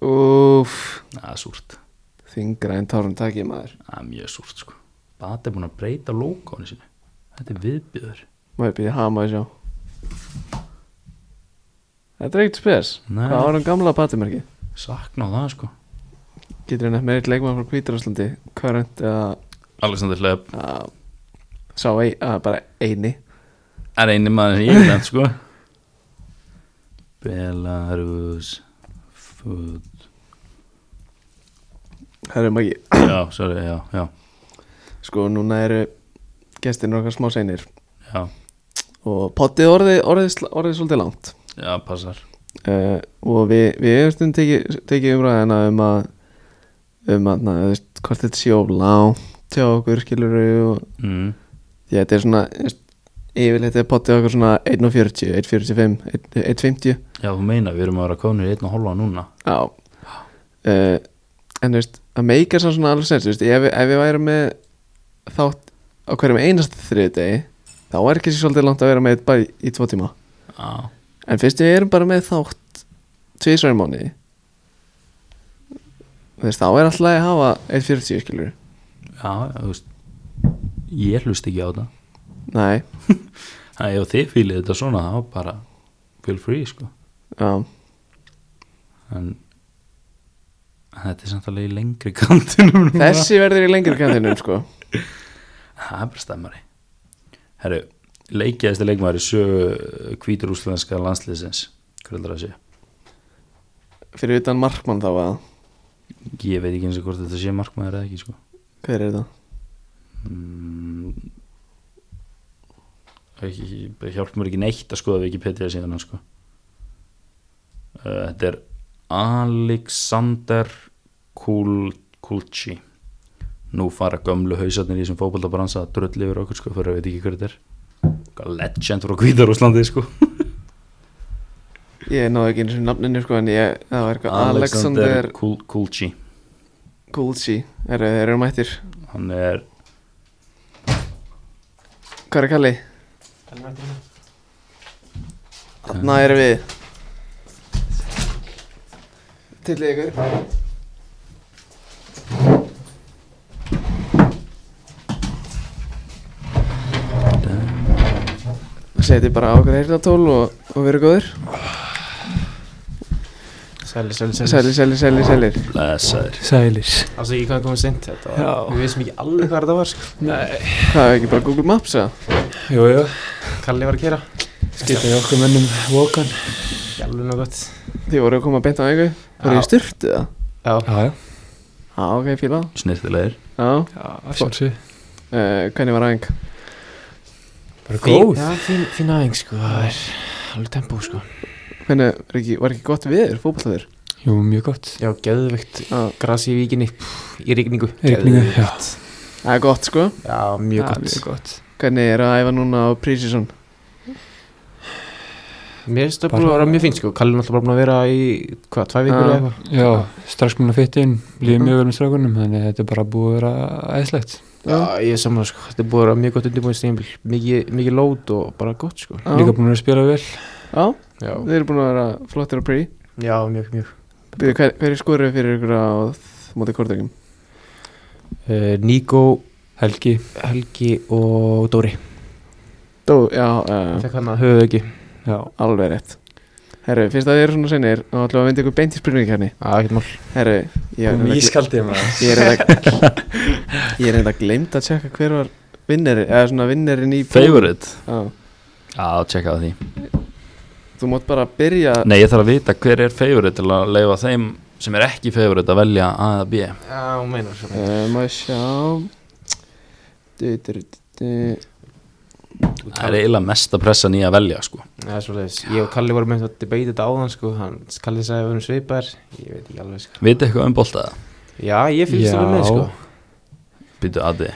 Speaker 1: Úf,
Speaker 2: Það er súrt,
Speaker 1: þingra en tárum takið maður
Speaker 2: það er mjög súrt sko Bata er búin að breyta lókónu sinu Þetta er viðbjöður
Speaker 1: Maður býði hama að sjá Þetta er ekkert spes
Speaker 2: Nei.
Speaker 1: Hvað var hann gamla batimerki?
Speaker 2: Sakna á það sko
Speaker 1: Getur hann eftir með eitt leikmann frá hvítur útlandi Current eða
Speaker 2: Alexander Hlöp
Speaker 1: að, Sá ei, að, bara eini
Speaker 2: er eini maður sem ég hef nefnt sko Belarus Food
Speaker 1: Herru magi
Speaker 2: Já, sorry, já, já,
Speaker 1: Sko núna eru gestirnir okkar smá seinir
Speaker 2: já,
Speaker 1: Og pottið orðið, orðið, sl- orðið svolítið langt
Speaker 2: já passar
Speaker 1: uh, og við, við hefum stund tekið teki umræðina um að um að, na, þú veist, hvort þetta sé of langt hjá okkur, skilur og
Speaker 2: mm.
Speaker 1: því að þetta er svona, þú veist, yfirleitt er potið okkur svona 1.40, 1.45 1- 1.50,
Speaker 2: Já, þú meina, við erum að vera konur í einn og hálfa núna
Speaker 1: já uh, en þú veist, að meika svo svona alveg sens, þú veist, ef, við- ef við værum með þátt á hverjum einasta þriði degi, þá er ekki sér svolítið langt að vera með bara í, í tvo tíma
Speaker 2: Já,
Speaker 1: En fyrst við erum bara með þátt tvisværi mánuði Þú veist, þá er alltaf að hafa 1.40 skilur
Speaker 2: já, þú veist Ég hlust ekki á það
Speaker 1: Nei,
Speaker 2: Það ef þið fýlið þetta svona þá bara feel free sko
Speaker 1: já,
Speaker 2: en þetta er samt alveg í lengri kantinum núna.
Speaker 1: þessi verður í lengri kantinum sko
Speaker 2: Það er bara stemmari Herru, leikiðasti leikmaður í sögu hvítur úslenska landsliðsins Hvað heldur það að sé?
Speaker 1: Fyrir utan markmann þá að
Speaker 2: Ég veit ekki eins og hvort þetta sé markmaður eða ekki sko
Speaker 1: Hver er það?
Speaker 2: mm, ekki, ekki- Hjálp mér ekki neitt að skoða Wikipedia síðan hans sko Uh, Þetta er Alexander Kul Kulci Nú fara gömlu hausarnir í þessum fótboltabransa að dröll yfir okkur sko fyrir að veit ekki hver þetta er eitthvað legend frá Hvítarúslandi sko.
Speaker 1: Ég náðu ekki eins og nafninu sko en ég, það var eitthvað Alexander
Speaker 2: Kul- Kulji
Speaker 1: Kulci Þeir þeir eru mættir
Speaker 2: hann er,
Speaker 1: Hvað er Kalli? Þarna erum við Tillið ykkur Seti bara á okkur heyrnatól og, og veru góður
Speaker 3: Sælir, sælir,
Speaker 1: Sælir, sælir, sælir, sælir
Speaker 2: blessaður
Speaker 4: Sælir
Speaker 3: Það sé ekki hvað komið sent þetta var,
Speaker 4: Já.
Speaker 3: Við veistum ekki alveg hvað þetta var sko.
Speaker 4: Nei
Speaker 1: Hvað er ekki bara Google Maps að?
Speaker 4: Jú, jú
Speaker 3: Kalli var að kera
Speaker 4: Skiptaði okkur mönnum Walkan
Speaker 3: Ekki alveg nú gott
Speaker 1: Þið voru að koma að beinta á ykkur Voru
Speaker 3: Já.
Speaker 1: ég styrtu það?
Speaker 3: Já,
Speaker 4: Já, já
Speaker 1: Já, ok, fíla það.
Speaker 2: snirtilegir
Speaker 1: Já,
Speaker 4: Já, sjálfsög
Speaker 1: uh, hvernig var æfing?
Speaker 4: Bara
Speaker 3: fín,
Speaker 4: góð
Speaker 3: já, fín, fín aðeins sko Það er alveg tempó sko
Speaker 1: Hvernig, var ekki, var ekki gott viður, fótballtaður?
Speaker 4: Jú, mjög gott
Speaker 3: Já, geðveikt
Speaker 1: Já,
Speaker 3: Grasi í víkinni pff, Í rigningu
Speaker 4: Rigningu, já.
Speaker 3: Geðveikt.
Speaker 1: það er gott sko
Speaker 3: Já, mjög
Speaker 4: Já,
Speaker 3: gott
Speaker 4: Mjög gott
Speaker 1: Hvernig er að æfa núna á Prísísson?
Speaker 3: Mér finnst það
Speaker 4: Bara-
Speaker 3: búin að vera mjög fín sko Kalli er náttúrulega bara búin að vera í Hvað, tvær vikur
Speaker 1: Já.
Speaker 3: eða eitthvað
Speaker 4: Já, strax mun að fytta inn Líði mjög vel með strákunum Þannig að þetta er bara búið að vera æðislegt
Speaker 1: Já.
Speaker 3: Já, ég er saman sko Þetta er búin að vera mjög gott undirbúin stímbil Mikið, mikið lót og bara gott sko
Speaker 1: Já.
Speaker 4: Líka búin að vera að spila vel
Speaker 1: Já,
Speaker 3: Já,
Speaker 1: þið eru búin að vera flottir á Prí
Speaker 3: já mjög, mjög
Speaker 1: Byrðu, hver, hver er skorið fyrir ykkur á þ- móti kortökjum?
Speaker 3: uh, Níko,
Speaker 4: Eh, Helgi
Speaker 3: Helgi og Dóri
Speaker 1: Dó, já, uh,
Speaker 3: Fekk hann að höfuð ekki
Speaker 4: Já
Speaker 1: alveg rétt Herru, fyrst að þið eru svona senir og ætlum við að vinda ykkur beint í spurningi hérna
Speaker 3: Já, ekkert mál
Speaker 1: Herru, ég er
Speaker 4: Búin
Speaker 1: reynda-
Speaker 4: ískaldið maður
Speaker 1: ég er reynda Ég er reynda glemt að tjekka hver var vinneri eða svona vinnerinn í
Speaker 2: favorite,
Speaker 1: Já,
Speaker 2: já, tjekka á því
Speaker 1: þú mátt bara byrja
Speaker 2: nei, ég þarf að vita hver er favorite til að leifa þeim sem er ekki favorite að velja A eða B
Speaker 3: Já, hún meinar svo
Speaker 1: uh, Má ég sjá du, du, du, du.
Speaker 2: það er eiginlega mesta pressan í að velja sko.
Speaker 3: Það er svo leiðis Ég og Kalli vorum með að debate þetta áðan sko hann, Kalli sagði að við erum svipar Ég veit ekki alveg sko
Speaker 2: vita eitthvað um boltaða,
Speaker 3: Já, ég fylgst
Speaker 4: Já.
Speaker 3: það með sko
Speaker 2: byttu aði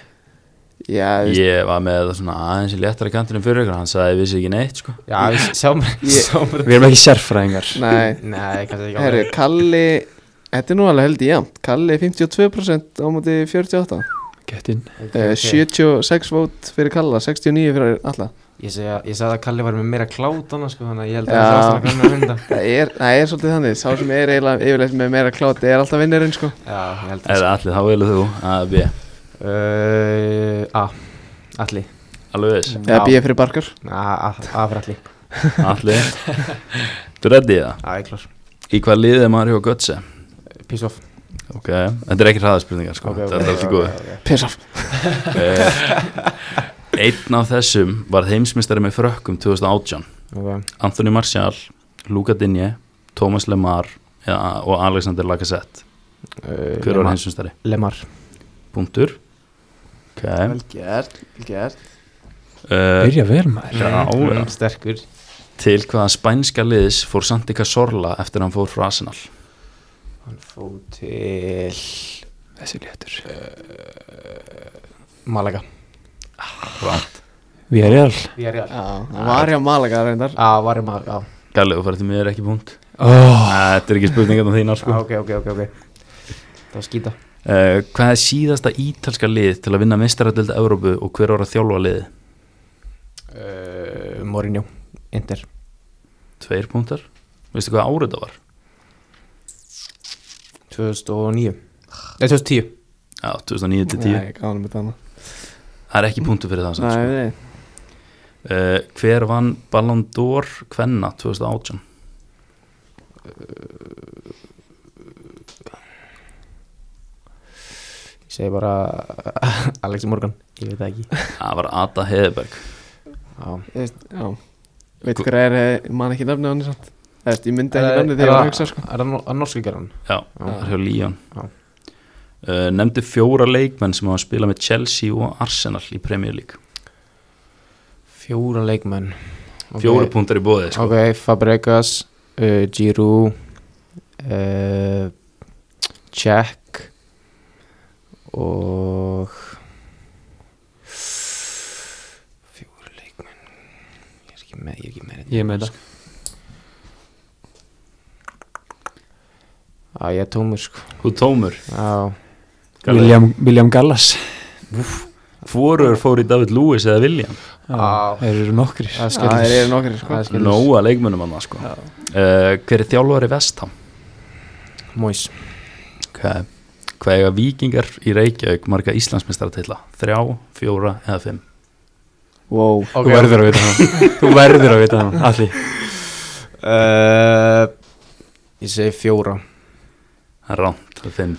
Speaker 1: Já, þú veist,
Speaker 2: ég var með svona aðeins í léttara kantinum fyrir ykkur, hann sagði ég vissi ekki neitt sko.
Speaker 3: Já, við sjáum Sjáum bara
Speaker 4: Við erum ekki sérfræðingar
Speaker 1: nei
Speaker 3: Nei, kannski ekki
Speaker 1: Herru,
Speaker 3: alveg
Speaker 1: Kalli Þetta er nú alveg held í jæmt Kalli 52% á móti 48
Speaker 4: Gett inn
Speaker 2: eh,
Speaker 3: Ok,
Speaker 1: okay.
Speaker 3: ok.
Speaker 1: 76 vót fyrir Kalla 69 fyrir alla
Speaker 3: Ég segi að- ég sagði að Kalli var með meira klát annars sko Þannig að ég held
Speaker 1: Já.
Speaker 3: að það er svona kannar að vinda
Speaker 1: Það er, það er svolítið þannig Sá sem er eiginlega yfirleitt með meira kláti er alltaf vinnirinn sko
Speaker 3: Já, ég held að
Speaker 2: eða allir, þá velur þú A eða B
Speaker 3: Uh, A Alli
Speaker 2: alveg viss,
Speaker 1: Eða býja fyrir barkar
Speaker 3: A, A, A fyrir Alli
Speaker 2: allir þú reddi það,
Speaker 3: A, ég klár
Speaker 2: í hvað liðið er maður hjá Götze
Speaker 3: Peace off
Speaker 2: ok, þetta er ekki hraðaspurningar sko.
Speaker 3: Ok, ok,
Speaker 2: þetta er allt í
Speaker 3: ok,
Speaker 2: góðu
Speaker 3: ok.
Speaker 1: Piss off
Speaker 2: Eh, Einn af þessum var heimsmyndstari með frökkum 2018
Speaker 3: Ok.
Speaker 2: Anthony Martial, Luka Dinje, Thomas Lemar ja, og Alexander Lacazette
Speaker 3: Uh,
Speaker 2: Hver var
Speaker 3: Lemar-
Speaker 2: heimsmyndstari?
Speaker 3: Lemar
Speaker 2: Búndur okay.
Speaker 1: gert, vel gert
Speaker 2: uh,
Speaker 4: Byrja vel maður
Speaker 2: Já,
Speaker 3: Mm,
Speaker 2: já.
Speaker 3: Sterkur
Speaker 2: Til hvaða spænska liðs fór Santi Cazorla eftir hann fór frá Arsenal?
Speaker 3: Hann fór til
Speaker 4: Þessi léttur
Speaker 3: Malaga
Speaker 4: Við erum real
Speaker 3: Við erum
Speaker 1: Já, hann var hjá Malaga reyndar
Speaker 3: Já, varum að Já,
Speaker 2: Gæli, þú færði mér ekki punkt
Speaker 4: oh,
Speaker 1: Ah.
Speaker 2: Þetta er ekki spurningan á þínar
Speaker 3: ah,
Speaker 2: sko
Speaker 3: ok, ok, ok, ok Það var skýta
Speaker 2: uh, Hvað er síðasta ítalska lið til að vinna mistaradölda Evrópu og hver var að þjálfa liðið?
Speaker 3: uh, Mourinho Inter
Speaker 2: Tveir punktar Veistu hvað árið það var?
Speaker 3: 2009 Nei, 2010
Speaker 2: Já, 2009 til 10
Speaker 1: Nei, gáðum við þannig
Speaker 2: Það er ekki punktu fyrir það sem
Speaker 1: Nei,
Speaker 2: sko.
Speaker 1: nei
Speaker 2: uh, Hver vann Ballon d'Or Kvenna 2018?
Speaker 3: Ég segi bara Alex Morgan Ég veit það ekki
Speaker 2: Það var Ada Heðberg
Speaker 1: Þú
Speaker 3: Já
Speaker 1: veist, Já Veit hver er, eh, man ekki nefnið hann samt Það veist, ég myndi ekki
Speaker 3: Er-
Speaker 1: nefnið þegar ég var
Speaker 3: Eh, er það-
Speaker 1: að hugsa sko
Speaker 3: Er það nor- að norska gerðan?
Speaker 2: Já, það er hjá Líón
Speaker 3: Já.
Speaker 2: uh, Nemndi fjóra leikmenn sem hafa spilað með Chelsea og Arsenal í Premier League
Speaker 3: Fjóra leikmenn Ok.
Speaker 2: Fjóra punktar í bóðið sko.
Speaker 3: Ok, Fabregas uh, Giroud uh, Jack og fjóri leikmenn ekki með, ég er ekki með þetta
Speaker 4: Ég er með þetta
Speaker 3: Já, ég er tómur sko
Speaker 2: Þú tómur
Speaker 3: Já,
Speaker 4: William, William Gallas
Speaker 2: Hvorur fór í David Lewis eða William
Speaker 3: Á.
Speaker 4: Þeir eru nokkrir
Speaker 3: það
Speaker 1: Já,
Speaker 3: er
Speaker 1: þeir
Speaker 3: skellur
Speaker 1: eru nokkri sko
Speaker 3: Það er skellur
Speaker 2: Nóa leikmunum annað sko uh, Hver er þjálfari vestam?
Speaker 3: Móis
Speaker 2: Okay. Hvað eiga vikingar í Reykjavík marga Íslandsmeistaratitla? Þrjá, fjóra eða fimm?
Speaker 1: Wow
Speaker 4: Þú verður að vita hann Þú verður að vita hann Alli
Speaker 3: uh, Ég segi fjóra
Speaker 2: Það er rámt, það er fimm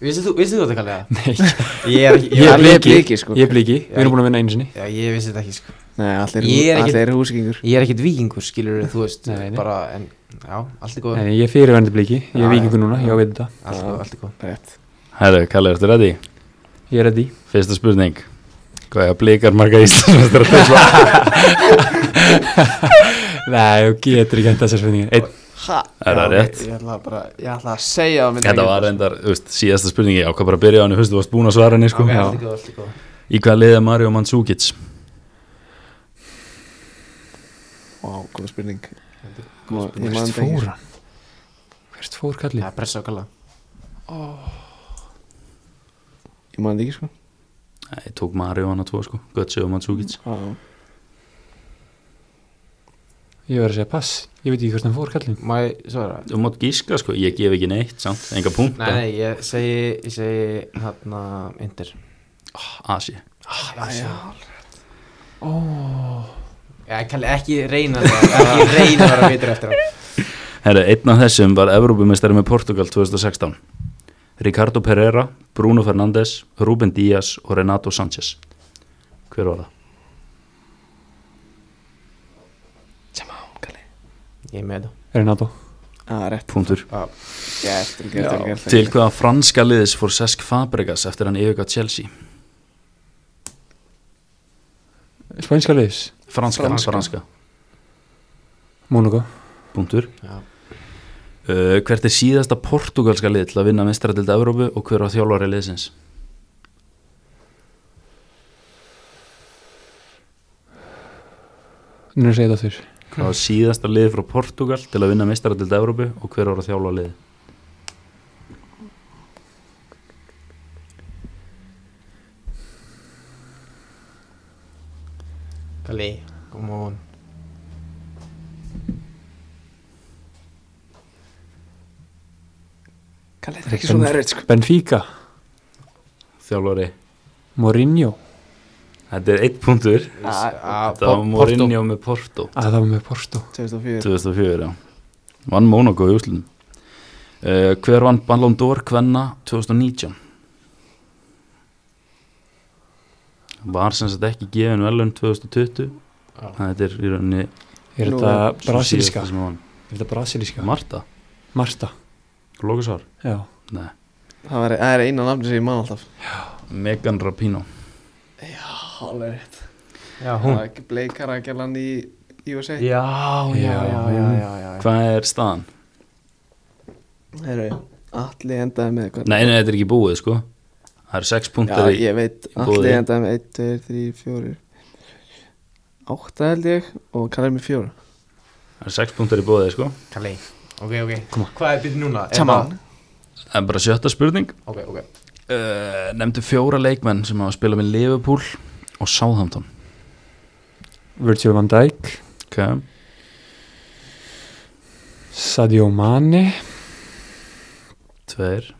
Speaker 3: Vissið þú, vissið þú þetta kallega?
Speaker 4: Nei
Speaker 3: Ég er ekki
Speaker 1: Ég er
Speaker 3: ég,
Speaker 1: alveg bliki sko
Speaker 4: Ég er bliki Við erum búin að vinna einu sinni
Speaker 3: Já, ég vissi þetta ekki sko
Speaker 1: Nei, allir,
Speaker 3: Ég er ekki-
Speaker 1: allir húskingur
Speaker 3: Ég er ekkit vikingur, skilur þú veist
Speaker 4: Nei, nei.
Speaker 3: Bara, en, já, allt
Speaker 1: Sko.
Speaker 3: er góð
Speaker 4: Nei, ég er fyrirverandi bliki Ég
Speaker 3: Já,
Speaker 4: er vikingur
Speaker 3: já.
Speaker 4: núna Ég á að vita þetta
Speaker 3: Allt er góð, allt er góð
Speaker 1: Rétt
Speaker 2: Herru, Kalli, ertu ready?
Speaker 4: Ég er að því
Speaker 2: Fyrsta spurning Hvað eiga blikar marga Íslandsmeistaratitla?
Speaker 4: Nei, þú getur ekki enda þessar spurningar Einn
Speaker 1: Ha
Speaker 2: Er
Speaker 1: Já,
Speaker 2: það rétt?
Speaker 1: ok, Ég ætla bara, ég ætla að segja það myndi
Speaker 2: Þetta
Speaker 1: ekki-
Speaker 2: var reyndar, þú veist, síðasta spurningi Ég ákvað bara að byrja á henni, þú veist, þú varst búin að svara henni sko.
Speaker 3: Ok, allt er góð, allt er góð
Speaker 2: Í hvaða liða Mario Mandzukic?
Speaker 1: Vá, góð spurning Má- Ég man
Speaker 4: Hvert
Speaker 1: þetta ekki
Speaker 4: fór hann? Hvert fór kallið?
Speaker 3: Það er pressa á kalla
Speaker 1: Ég man þetta ekki sko
Speaker 2: Nei, tók Mario hana tvo sko, Götze og Mandzukic
Speaker 1: Já.
Speaker 4: Ég var að segja pass Ég veit ekki hvert hann fór kallið
Speaker 3: Má ég svara?
Speaker 2: Þú mátt gíska sko, ég gef ekki neitt, samt, enga punkt
Speaker 3: Nei, nei, ég segi, ég segi, hérna, Inder
Speaker 2: Ah, Asi
Speaker 3: Ég kalli ekki reyna það, ekki reyna það að vitra eftir það
Speaker 2: Herru, einn af þessum var Evrópumistari með Portugal 2016 Ricardo Pereira, Bruno Fernandes, Ruben Díaz og Renato Sanchez Hver var það?
Speaker 3: Ég er með það
Speaker 4: Renato
Speaker 1: Já, rétt
Speaker 2: Punktur
Speaker 1: Gert, vel gert, vel gert
Speaker 2: Til hvaða franska liðis fór Sesk Fabregas eftir hann yfirgað Chelsea?
Speaker 4: Spænska liðis
Speaker 2: Franska,
Speaker 1: Franska.
Speaker 2: franska,
Speaker 4: Monaco
Speaker 2: Punktur
Speaker 3: Já.
Speaker 2: uh, Hvert er síðasta portugalska lið til að vinna mistaratildi Evrópu og hver var þjálfari liðsins?
Speaker 4: Nú er að segja þetta aftur
Speaker 2: Hvað var síðasta lið frá Portugal til að vinna mistaratildi Evrópu og hver var að þjálfa liði?
Speaker 3: Kalli, come on
Speaker 1: Kalli, þetta er ekki svona erfitt sko
Speaker 4: Benfica
Speaker 2: Þjálfari
Speaker 4: Mourinho
Speaker 2: Þetta er eitt punktur
Speaker 3: Já,
Speaker 2: Ah, Þetta var Mourinho með Porto
Speaker 4: að það var með Porto
Speaker 1: 2004
Speaker 2: 2004, já Vann Monaco í úslinum uh, Hver vann Ballon d'Or kvenna 2019? Var sem sagt ekki gefin velun 2020
Speaker 3: Já.
Speaker 2: Þannig að Þetta er í rauninni
Speaker 4: Er
Speaker 1: Nú sko.
Speaker 4: þetta
Speaker 1: er-
Speaker 4: brasilíska?
Speaker 2: síðasta sem hann vann.
Speaker 4: Er þetta brasilíska?
Speaker 2: Marta,
Speaker 4: Marta
Speaker 2: Lókusar
Speaker 4: Já
Speaker 2: Nei,
Speaker 1: Það var- það er eina nafni sem ég man alltaf
Speaker 2: Megan Rapino
Speaker 1: Hálfur rétt
Speaker 3: Já,
Speaker 1: Það
Speaker 3: hún
Speaker 1: var ekki bleikara að gæla hann í USA
Speaker 3: Já, já, já, já, já, já
Speaker 2: Hvað er staðan?
Speaker 1: Herru, allir endaði með hvað
Speaker 2: Nei, nei, þetta er ekki búið sko Það eru 6
Speaker 1: Já,
Speaker 2: punktar í
Speaker 1: ég veit
Speaker 2: boði.
Speaker 1: Allir um endaði með 1, 2, 3, 4 8 held ég og Kalli með 4
Speaker 2: Það eru 6 punktar í búið sko
Speaker 3: Kalli, ok, ok Hvað er byrðið núna? Er
Speaker 1: Come
Speaker 3: það-
Speaker 1: on.
Speaker 2: Það er bara sjötta spurning
Speaker 3: Ok, ok
Speaker 2: uh, nefndu fjóra leikmenn sem hafa spilað með Liverpool og Southampton
Speaker 4: Virgil van Dijk
Speaker 2: okay.
Speaker 4: Sadio Mane
Speaker 2: tveir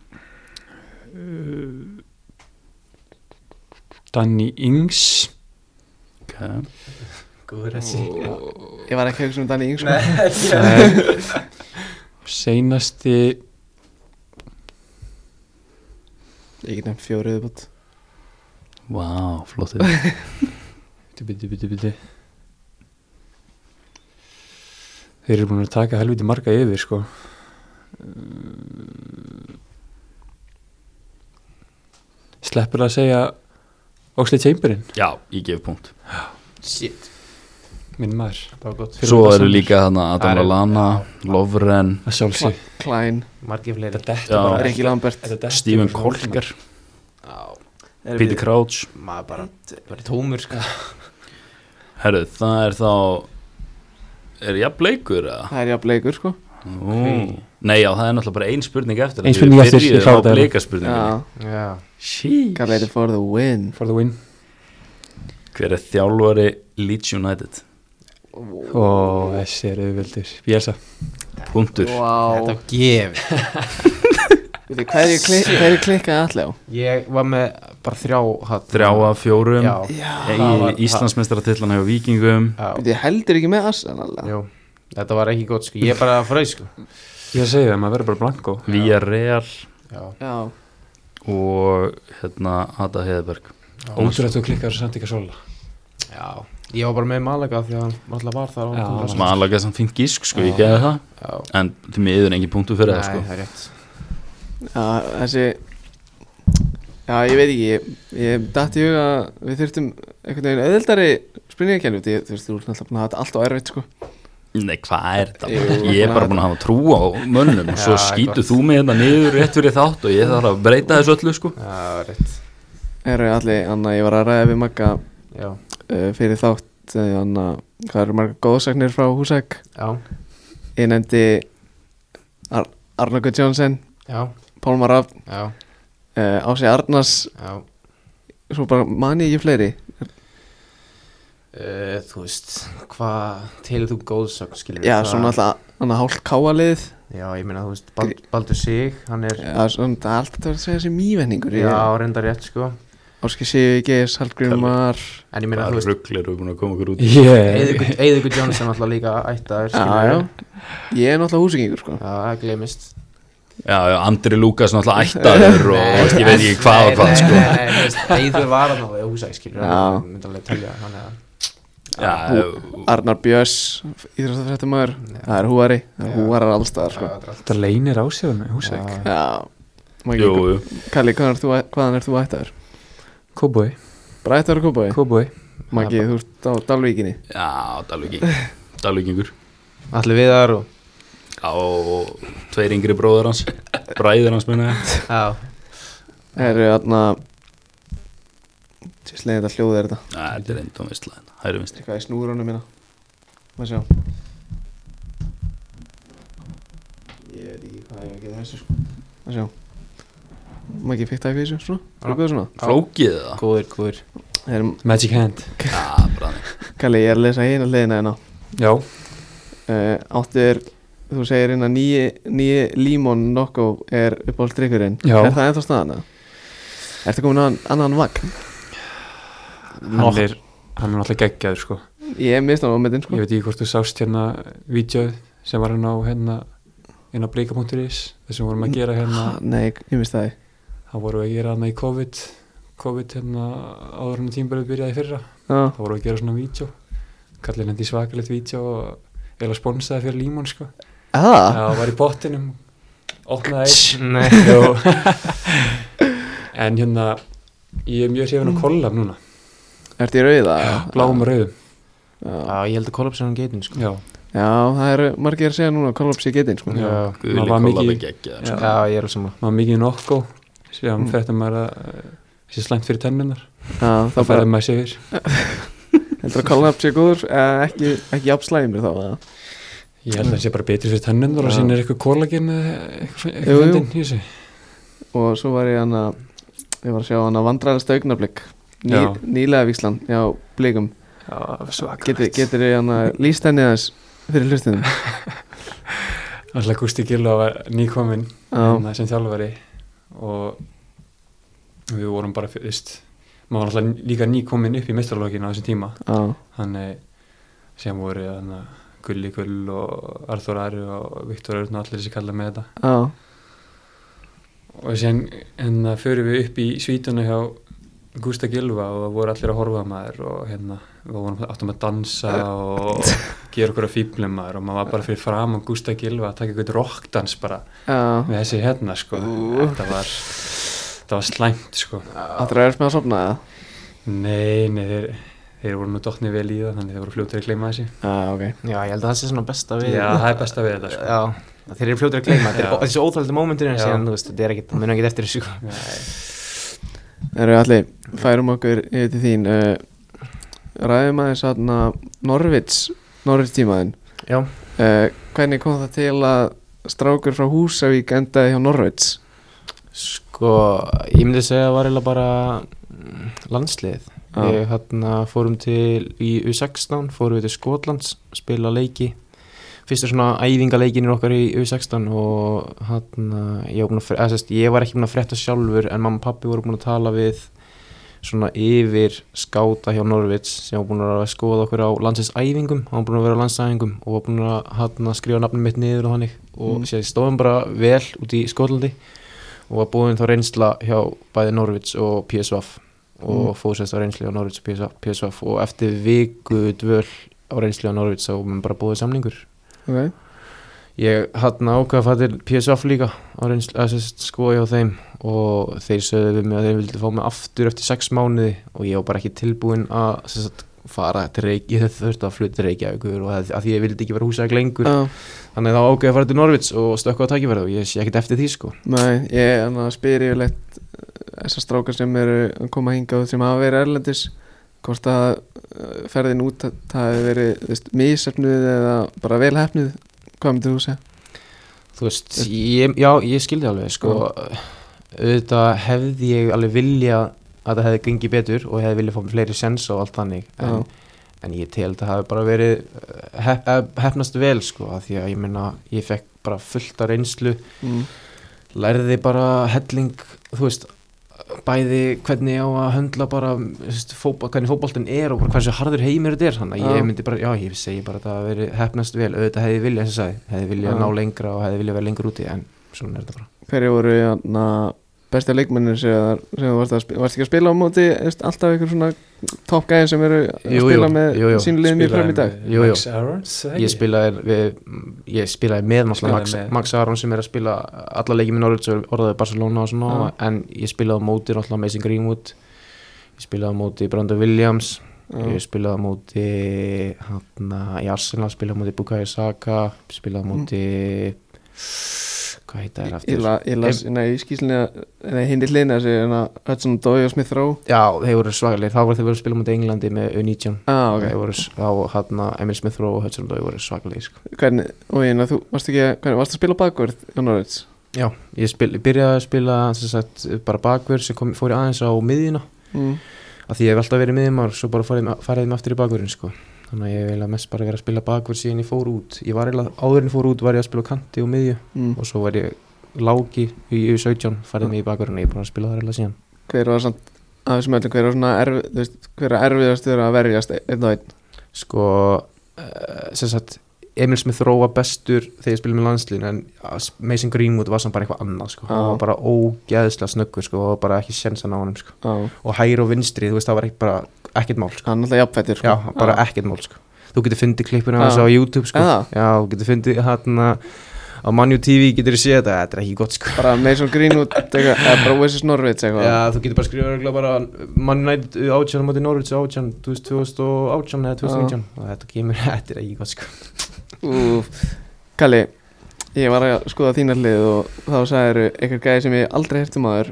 Speaker 4: Danny Ings
Speaker 2: okay.
Speaker 3: Góður að sé
Speaker 1: Ég var ekki að hugsa um Danny Ings sko.
Speaker 4: Eh, Seinasti
Speaker 1: Ég get nefnt 4 viðbútt
Speaker 2: wow, flottir
Speaker 4: Bitti, bitti, bitti, bitti Þeir eru búin að taka helviti marga yfir sko Mm. Sleppur að segja Oxley Chamberlain,
Speaker 2: já, ég gef punkt
Speaker 3: Shit,
Speaker 4: minn maður
Speaker 3: það var gott
Speaker 4: Fyrir
Speaker 2: svo
Speaker 4: þetta
Speaker 2: eru
Speaker 4: saman.
Speaker 2: líka þarna Adam
Speaker 3: Það eru-
Speaker 2: Lallana Lovren,
Speaker 4: að sjálfsög
Speaker 1: Klein,
Speaker 3: Margir fleiri
Speaker 2: Já. bara-
Speaker 1: Rikki Lambert
Speaker 2: Steven Kolkar
Speaker 3: Já,
Speaker 2: Peter Crouch
Speaker 3: maður bara, bara tómur sko
Speaker 2: Herru, það er þá Er ég bleikur eða?
Speaker 1: Það er jafnleikur sko
Speaker 2: Nú. Nei, já, það er náttúrulega bara ein spurning eftir
Speaker 4: Ein spurning eftir,
Speaker 2: Ég
Speaker 4: ég klára
Speaker 2: kláði
Speaker 4: þetta.
Speaker 2: það Bleikaspurning
Speaker 1: Já,
Speaker 3: Já,
Speaker 1: kallir for the win
Speaker 4: for the win
Speaker 2: Hver er þjálfari Leeds United?
Speaker 4: og þessi er auðvöldur Bielsa
Speaker 2: Punktur
Speaker 1: Vá,
Speaker 3: þetta var gefið
Speaker 1: veitir hverju klik- hverju klikkaði allir á?
Speaker 3: Ég var með bara þrjá hatt
Speaker 2: Þrjá af fjórum
Speaker 3: Já,
Speaker 1: Já,
Speaker 3: það var-
Speaker 2: Íslandsmeistratillan hefur vikingum
Speaker 3: já,
Speaker 1: veitir heldur ekki með Arsenal eða?
Speaker 3: jú Þetta var ekki gott sko, ég er bara fröð sko
Speaker 4: ég er að segja það, maður verður bara blanko
Speaker 2: Vía Real
Speaker 3: Já,
Speaker 1: Já,
Speaker 2: og hérna Ada Heðberg
Speaker 4: ótrúlega þú klikkar samt ekki að sola
Speaker 3: já Ég var bara með Malaga því að hann alltaf var þar á
Speaker 4: Já.
Speaker 3: Kúlfarsa.
Speaker 2: Malaga sem fint gísk sko, ég geði það
Speaker 3: Já,
Speaker 2: en því miður engin punktu fyrir það
Speaker 3: Nei,
Speaker 2: sko
Speaker 3: það er rétt
Speaker 1: já þessi Já, ég veit ekki, ég, ég datt í hug að við þurftum einhvern veginn auðveldari spurningakennu Þú veist, þú ert náttúrulega búin að hafa þetta allt á erfitt sko
Speaker 2: Nei, hvað er þetta?
Speaker 1: Jú,
Speaker 2: ég er bara búin að hafa trú á mönnum og svo
Speaker 3: Já,
Speaker 2: skýtu
Speaker 3: gott.
Speaker 2: þú mig hérna niður rétt fyrir þátt og ég þarf að breyta þessu öllu sko
Speaker 3: Já, það er rétt
Speaker 1: Eru allir, Anna, ég var að ræða við Magga
Speaker 3: Já,
Speaker 1: uh, fyrir þátt uh, Anna, hvað eru margar góðsagnir frá Húsæk?
Speaker 3: já,
Speaker 1: Ég nefndi Ar Arnokur Jónsson,
Speaker 3: já,
Speaker 1: Pálmar Rafn,
Speaker 3: já,
Speaker 1: uh, Ási Arnars,
Speaker 3: já
Speaker 1: svo bara mani ég ekki fleiri
Speaker 3: Uh, þú veist, hvað telur þú góðsögn, skilur
Speaker 1: Já, svona alltaf hann að hálf káalið
Speaker 3: Já, ég meina, þú veist, Bald, Baldur Sig, hann er
Speaker 1: Já, svona það er alltaf að vera að segja þessi mývenningur
Speaker 3: Já, reyndar rétt, sko
Speaker 1: Áski Sigurgeis, Hallgrímar
Speaker 3: En ég meina,
Speaker 2: Hvað
Speaker 3: þú veist,
Speaker 2: rugglir eru búin að koma okkur út
Speaker 4: yeah.
Speaker 3: Eðugur Jónsson alltaf líka ættaður,
Speaker 1: Já, já Ég er náttúrulega húsingingur sko
Speaker 3: Já, það glemist
Speaker 2: Já, já, Andri Lukas náttúrulega ættaður og þú veist, ég veit ekki hvað og hvað sko
Speaker 3: Nei, nei, nei, þú veist, Eiður var hann alveg húsæk, skilur
Speaker 1: Já.
Speaker 3: hann myndi alveg telja, hann eða
Speaker 2: Já,
Speaker 1: Arnar Björns, íþróttafrættumæður Það er húari, það er
Speaker 3: Mm. Já.
Speaker 1: húarar allstaðar sko
Speaker 3: sko
Speaker 4: þetta leynir á sig með húsæk
Speaker 3: Já.
Speaker 1: Já Maggi,
Speaker 2: jú, jú
Speaker 1: Kalli, hvaðan er þú, hvaðan er þú ættaður?
Speaker 4: kóboi
Speaker 1: Bara ættaður að kópaði?
Speaker 4: kóboi
Speaker 1: Maggi, þú ert á Dalvíkinni
Speaker 2: Já, Dalvíking Dalvíkingur
Speaker 3: Allir viðar og
Speaker 2: Já, og tveir yngri bróður hans Bræður hans minna
Speaker 3: Já,
Speaker 4: Ah.
Speaker 1: Herru, þarna Sérst leiðin þetta hljóð er þetta
Speaker 2: Þetta er einn tónvistla Hæru vinstri
Speaker 1: Eitthvað í snúrunum minna Má sjá Ég veit ekki hvað ég ekki þessu sko Má sjá Maggi, fikk það í físu, svona? Frúkuðu svona?
Speaker 2: Flókið það
Speaker 3: góður, góður
Speaker 1: Herru,
Speaker 4: magic hand
Speaker 2: Já, bræðin
Speaker 1: Kalli, ég er að lesa hérna hliðina hérna
Speaker 4: já
Speaker 1: uh, Áttur, þú segir hérna nýji, nýji límón nokko er uppáhaldsdrykkurinn
Speaker 4: Já.
Speaker 1: Er það ennþá staðan? eða? Ertu komin á annan- annan vagn?
Speaker 4: hann er hann er alltaf geggjaður sko
Speaker 1: Ég er mistan á metin
Speaker 4: ég
Speaker 1: sko
Speaker 4: veit ekki hvort þú sást hérna vídjóð sem var hann á hérna inn á blika.is þessum vorum að gera hérna
Speaker 1: Ha, Nei, ég mist það
Speaker 4: það vorum við að gera hérna í COVID COVID hérna áður hann tímbalið byrjaði í fyrra
Speaker 1: Já,
Speaker 4: þá vorum við að gera svona vídjó kallið henni svakalegt vídjó og eða sponsaði fyrir límón sko
Speaker 1: ah,
Speaker 4: það var í bottinum opnaði eitt
Speaker 3: Nei,
Speaker 4: Jó. en hérna ég er mjög hrifin á kollab núna
Speaker 1: ertu í rauða?
Speaker 4: bláum og rauðum
Speaker 1: Já,
Speaker 3: já, ég held að kollapsa hann geitin, sko
Speaker 4: já,
Speaker 1: Já, það eru margir að segja núna að kollapsi getinn sko
Speaker 4: Já.
Speaker 2: Guðli
Speaker 4: Maður var mikið-
Speaker 2: kollaði geggja
Speaker 4: já.
Speaker 3: Já, ég er alveg saman
Speaker 4: maður mikið nokko síðan mm. fættum maður að eh, sé slæmt fyrir tennunar
Speaker 1: Já,
Speaker 4: þá
Speaker 1: það bara
Speaker 4: fættum maður sér
Speaker 1: heldur að kollapsi góður eh, ekki, ekki jafnslæmir þá eða?
Speaker 4: ég held að það sé bara betur fyrir tennunar og
Speaker 1: Já.
Speaker 4: síðan er eitthvað kollagin eða eitthvað svona-
Speaker 1: Jú,
Speaker 4: eitthvað
Speaker 1: jú.
Speaker 4: fyndin í þessu
Speaker 1: og svo var ég hann að ég var að sjá hann að vandræðast augnablik Ný,
Speaker 4: Já.
Speaker 1: nýlega víslan, já, blikum
Speaker 4: já,
Speaker 1: getur,
Speaker 4: svakalegt
Speaker 1: getur ég hann að líst henni aðeins fyrir hlustinum
Speaker 4: alltaf Gusti Gillo var nýkominn
Speaker 1: já,
Speaker 4: hérna, sem þjálfari og við vorum bara fyrst maður var alltaf líka nýkominn upp í mestralókinu á þessum tíma
Speaker 1: já,
Speaker 4: þannig sem voru hana, Gulli Gull og Arþór Ari og Viktor Örn og allir þessi kalla með þetta
Speaker 1: já,
Speaker 4: og sen hérna förum við upp í svítuna hjá Gústa Gilva og það voru allir að horfa á maður og hérna við vorum áttum að dansa og gera okkur að fýblum maður og maður var bara fyrir fram á Gústa Gilva að taka eitthvað rockdans bara
Speaker 1: já
Speaker 4: með þessi hérna sko þetta var, þetta var slæmt sko
Speaker 1: áttur að erast með að sopna eða?
Speaker 4: nei, nei, þeir, þeir voru nú dottni vel í það þannig þeir voru fljóttir að gleyma þessi
Speaker 1: já, ok,
Speaker 3: Já, ég held að það sé svona besta við
Speaker 4: já, það er besta við þetta sko
Speaker 3: Já, þeir eru fljótur að gleyma þetta
Speaker 4: Já.
Speaker 3: er þessi óþældu mómentur en
Speaker 4: Já.
Speaker 3: síðan, þú veist, þetta er ekkert, það munum ekkert eftir þessu sko.
Speaker 4: Nei.
Speaker 1: erum við allir færum okkur yfir til þín uh, ræðum aðeins aðna Norvits, Norvits tímaðin
Speaker 3: Já.
Speaker 1: uh, Hvernig kom það til að strákur frá Húsavík endaði hjá Norvits?
Speaker 3: Sko, ég myndi segja að það var eiginlega bara mm, landslið
Speaker 1: Já.
Speaker 3: Við hérna fórum til í U16, fórum við til Skotlands spila leiki Fyrstu svona æfingaleikinir okkar í U16 og hérna ég, var búinn að fre- eða sem sagt, ég var ekki búin að frétta sjálfur en mamma og pappi voru búin að tala við svona yfir skáta hjá Norvits sem var búin að vera að skoða okkur á landsins æfingum, hann var búin að vera á landsæfingum og var búin að hérna, skrifa nafnum mitt niður og hannig og
Speaker 1: Mm.
Speaker 3: mm. sér stóðum bara vel út í Skotlandi og var búin þá reynsla hjá bæði Norvits og PSV og
Speaker 1: Mm.
Speaker 3: mm. fór sérst á reynslu á Norvits og PSV, PSV og eftir viku dvöl á reynslu á Norvits þá var mér bara búið samningur
Speaker 1: Okay.
Speaker 3: ég hann ákvað að fara til PSV líka á reynslu að sérst skoja hjá þeim og þeir sögðu við mig að þeir vildi fá mig aftur eftir sex mánuði og ég var bara ekki tilbúin að sérst fara til Reykjavík, ég þurfti að fluta til Reykjavík og að, að því ég vildi ekki vera húsæk lengur
Speaker 1: Já,
Speaker 3: þannig þá ákveði að fara til Norvits og stökka á tækifærið og ég sé ekkert eftir því sko
Speaker 1: Nei, ég annað, spyr yfirleitt eh, þessar strákar sem eru að koma hingað sem hafa verið erlendis hvort að eh, ferðin út að- það hefur verið þú veist, misefnuð eða bara velhefnuð hvað myndir þú segja?
Speaker 3: Þú veist, ég, já, ég skildi alveg sko, auðvitað hefði ég alveg vilja að það hefði gengið betur og hefði viljað fá fleiri sens og allt þannig
Speaker 1: Ah,
Speaker 3: en, en ég tel að það hefði bara verið eh, hef, hef- hefnast vel sko, af því að ég minna, ég fekk bara fullt af reynslu
Speaker 1: Mm.
Speaker 3: lærði bara helling þú veist, bæði hvernig á að höndla bara þú veist, fótbol, hvernig fótboltin er og bara hversu harður heimur þetta er þannig að
Speaker 1: Já.
Speaker 3: ég myndi bara, já ég segi bara að það hafi verið hefnast vel, auðvitað hefði vilja þess að hefði vilja
Speaker 1: Já.
Speaker 3: ná lengra og hefði vilja vera lengur úti en svona er þetta bara
Speaker 1: Hverju voru na, besta leikmennir sem, þar- sem þú varst, að sp- varst ekki að spila á móti þú veist, alltaf ykkur svona top gæði sem eru að
Speaker 3: Jú, jú,
Speaker 1: spila með
Speaker 3: jú, jú,
Speaker 1: sínliðum í fram í dag
Speaker 3: Jú, jú.
Speaker 4: Max Aarons eða
Speaker 3: ég
Speaker 4: ekki?
Speaker 3: spilaði, við, ég spilaði með náttúrulega Max,
Speaker 4: Spilaði með.
Speaker 3: Max Aron sem er að spila alla leiki með Norwich og orðaði Barcelona og svona en ég spilaði á móti náttúrulega Mason Greenwood ég spilaði á móti Brandon Williams
Speaker 1: Já.
Speaker 3: ég spilaði á móti hana, í Arsenal, spilaði á móti Bukayo Saka spilaði á móti hvað heita þér
Speaker 1: Ég,
Speaker 3: aftur
Speaker 1: la, ég las, nei, í skýslinni að hindi hlinna þessu en að Hudson Dói og Smith Rowe
Speaker 3: já, þeir voru svagalegir, þá voru þeir voru að spila á móti Englandi með U19
Speaker 1: ah, okay.
Speaker 3: þeir voru, s- þá hana, Emil Smith Rowe og Hudson Odoi voru svagalegir sko.
Speaker 1: Hvernig, og ég, ná, þú varst ekki að, hvernig, varst að spila bakvörð á Norveits?
Speaker 3: já, ég spil, byrjaði að spila sem sagt, bara bakverð sem kom, fór í aðeins á miðjuna
Speaker 1: Mm.
Speaker 3: af því ég hef alltaf verið miðjumar svo bara farið, farið með aftur í bakverðin sko. þannig að ég hef eiginlega mest bara verið að spila bakverð síðan ég fór út, ég var eiginlega áður en ég fór út var ég að spila á kanti og miðju
Speaker 1: Mm.
Speaker 3: og svo var ég lági í U17 farið mig í bakverðinu, ég er búin að spila þar eða síðan
Speaker 1: Hver var samt, að þessum öllum, hver var svona erf, þú veist, hver er erfiðast þeirra að verjast einn og einn?
Speaker 3: sko uh, sem sagt Emil Smith Rowe var bestur þegar ég spilaði með landslín en uh, Mason Greenwood var samt bara eitthvað annað sko. hann
Speaker 1: Já.
Speaker 3: var bara ógeðslega snöggur sko, og bara ekki sensan á honum sko.
Speaker 1: Á,
Speaker 3: og hægri og vinstri, þú veist það var ekki bara ekkert mál sko.
Speaker 1: hann er alltaf jafnfættir, sko.
Speaker 3: já, bara ekkert mál sko. þú getur fundið klippuna
Speaker 1: Já.
Speaker 3: hans á YouTube sko.
Speaker 1: Eða?
Speaker 3: já, þú getur fundið hérna á Manju TV getur þið séð þetta, þetta er ekki gott sko.
Speaker 1: Bara Mason Greenwood, eitthvað, eða bara Wessis Norveits eitthvað.
Speaker 3: Já, þú getur bara skrifað örugglega bara Man United átján á móti Norwich átján 2018 eða 2019 og þetta kemur, þetta er ekki gott sko
Speaker 1: Úf. Kalli, ég var að skoða þína hlið og þá sagðið eitthvað gæði sem ég aldrei hefði maður,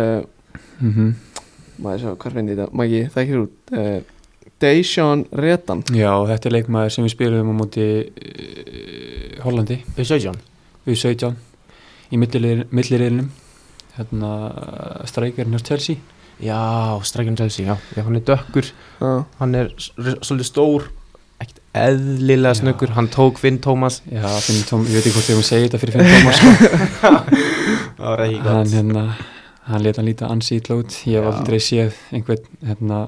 Speaker 1: uh,
Speaker 4: Mhm.
Speaker 1: maður sjá, hvað finn ég þetta, Maggi, það ekki út, uh, Dejan Redan.
Speaker 4: Já, þetta er leikmaður sem við spilum á móti uh, Hollandi
Speaker 3: U17
Speaker 4: við 17 í millirriðinum hérna streikarinn hjá Chelsea
Speaker 3: Já, Strækjum Chelsea, já. já Hann er dökkur,
Speaker 1: Já,
Speaker 3: hann er s- r- svolítið stór ekkert eðlilega
Speaker 4: Já.
Speaker 3: snöggur hann tók Finn Tómas
Speaker 4: Já, Finn Tom, ég veit ekki hvort ég maður segja þetta fyrir Finn Thomas sko.
Speaker 3: Það var ekki
Speaker 4: hann hérna hann leta hann líta ansi ítla út ég hef
Speaker 3: Já.
Speaker 4: aldrei séð einhvern hérna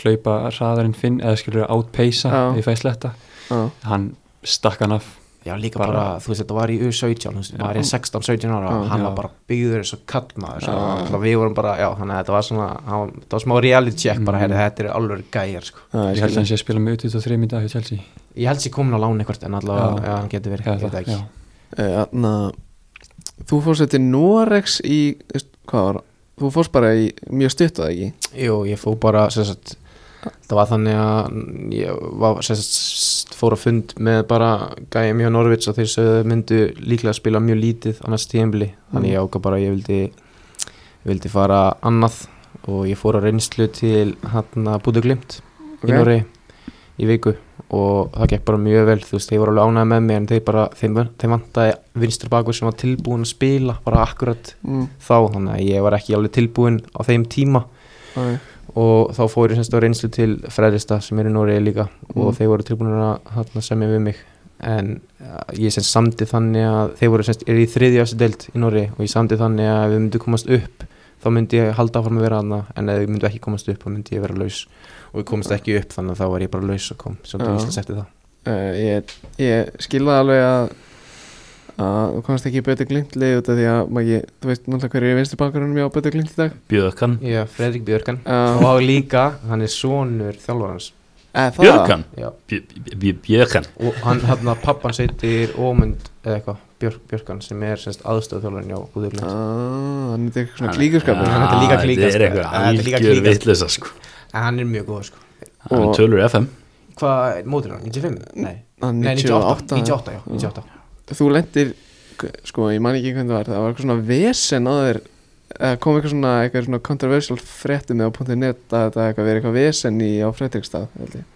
Speaker 4: hlaupa hraðarinn Finn eða skilur átpeisa
Speaker 1: Já.
Speaker 4: ef ég fæ sletta
Speaker 1: já,
Speaker 4: hann stakk hann af
Speaker 3: Já, líka
Speaker 4: Bara-
Speaker 3: bara, þú veist, þetta var í U17 þú veist,
Speaker 4: Já.
Speaker 3: var í 16-17 ára
Speaker 1: Já.
Speaker 3: hann
Speaker 4: Já.
Speaker 3: var bara byggður eins og kallmaður sko.
Speaker 1: Já.
Speaker 3: Þannig að við vorum bara, já, þannig að þetta var svona hann, þetta var smá reality check bara,
Speaker 4: Mm.
Speaker 3: herri, þetta er alveg gæjar sko.
Speaker 1: já,
Speaker 4: ég held að hann sé að spila með 23 í dag hjá Chelsea
Speaker 3: Ég held sér komin á láni eitthvað en allavega,
Speaker 4: Já.
Speaker 3: já, hann getur verið,
Speaker 4: Eða
Speaker 3: ég veit
Speaker 4: það,
Speaker 3: það ekki
Speaker 4: já.
Speaker 1: Þannig að Eh, þú fórst þetta í Norex í, þú veist, hvað var, þú fórst bara í mjög stutt að ekki?
Speaker 3: Jú, ég fó bara sem sagt, það var þannig að ég var, sem sagt, fór að fund með bara gæja mjög Norvits og þeir sögðu þau myndu líklega að spila mjög lítið annars tíðanbili,
Speaker 4: Mm.
Speaker 3: þannig ég áka bara að ég vildi, vildi fara annað og ég fór á reynslu til hann að Búdu Glimt
Speaker 1: Ok.
Speaker 3: í Noregi í viku og það gekk bara mjög vel þú veist, þeir voru alveg ánægði með mig en þeir bara, þeim, þeim vantaði vinstri bakur sem var tilbúin að spila bara akkurat
Speaker 1: mm,
Speaker 3: þá þannig að ég var ekki alveg tilbúin á þeim tíma
Speaker 1: ok.
Speaker 3: og þá fór ég semst á reynslu til Fredrista sem er í Noregi líka
Speaker 1: Mm.
Speaker 3: og þeir voru tilbúin að þarna semja við mig en uh, ég sem samdi þannig að þeir voru semst, er í þriðja þessu deild í Noregi og ég samdi þannig að ef við myndum komast upp þá myndi ég halda áfram að vera þarna en ef við myndum ekki komast upp þá myndi ég vera laus og ég komast ekki upp þannig að þá var ég bara laus og kom
Speaker 1: Já.
Speaker 3: svolítið ja. íslens eftir það
Speaker 1: Uh, ég, ég skilða alveg að að þú komst ekki í betur glimtlið út af því að maður ekki, þú veist náttúrulega hverju er vinstri bankarunum ég á betur glimt í dag
Speaker 2: Björkan
Speaker 3: Já, Fredrik Björkan
Speaker 1: uh,
Speaker 3: og líka, hann er sonur þjálfarans
Speaker 1: eða það
Speaker 2: Björkan
Speaker 3: Já.
Speaker 2: Bj- bj- bj- Björkan
Speaker 3: og hann, hann að pappan heitir Ómund eða eitthvað, Björk, Bjarkan sem er semst aðstöðþjólarinn á
Speaker 1: Ah,
Speaker 3: Guðurlund
Speaker 1: hann er þetta eitthvað svona klíkurskapur
Speaker 3: Já. Þetta er líka klíkan,
Speaker 2: Þetta er
Speaker 3: sko.
Speaker 2: eitthvað
Speaker 3: Þetta er líka
Speaker 2: algjör
Speaker 3: klíkan.
Speaker 2: vitleysa sko
Speaker 3: en hann er mjög góð sko
Speaker 2: Hann
Speaker 1: Og-
Speaker 2: er tölur í FM
Speaker 3: hvað er mótir hann, 95? Nei,
Speaker 1: Hann
Speaker 3: Nei 98,
Speaker 1: 98,
Speaker 3: 98, já, 98
Speaker 1: þú lendir sko, ég man ekki hvernig það var það var eitthvað svona vesen á þér eða kom eitthvað svona, eitthvað svona controversial fréttum eða á .net að þetta eitthvað verið eitthvað vesen í á fréttingstað held ég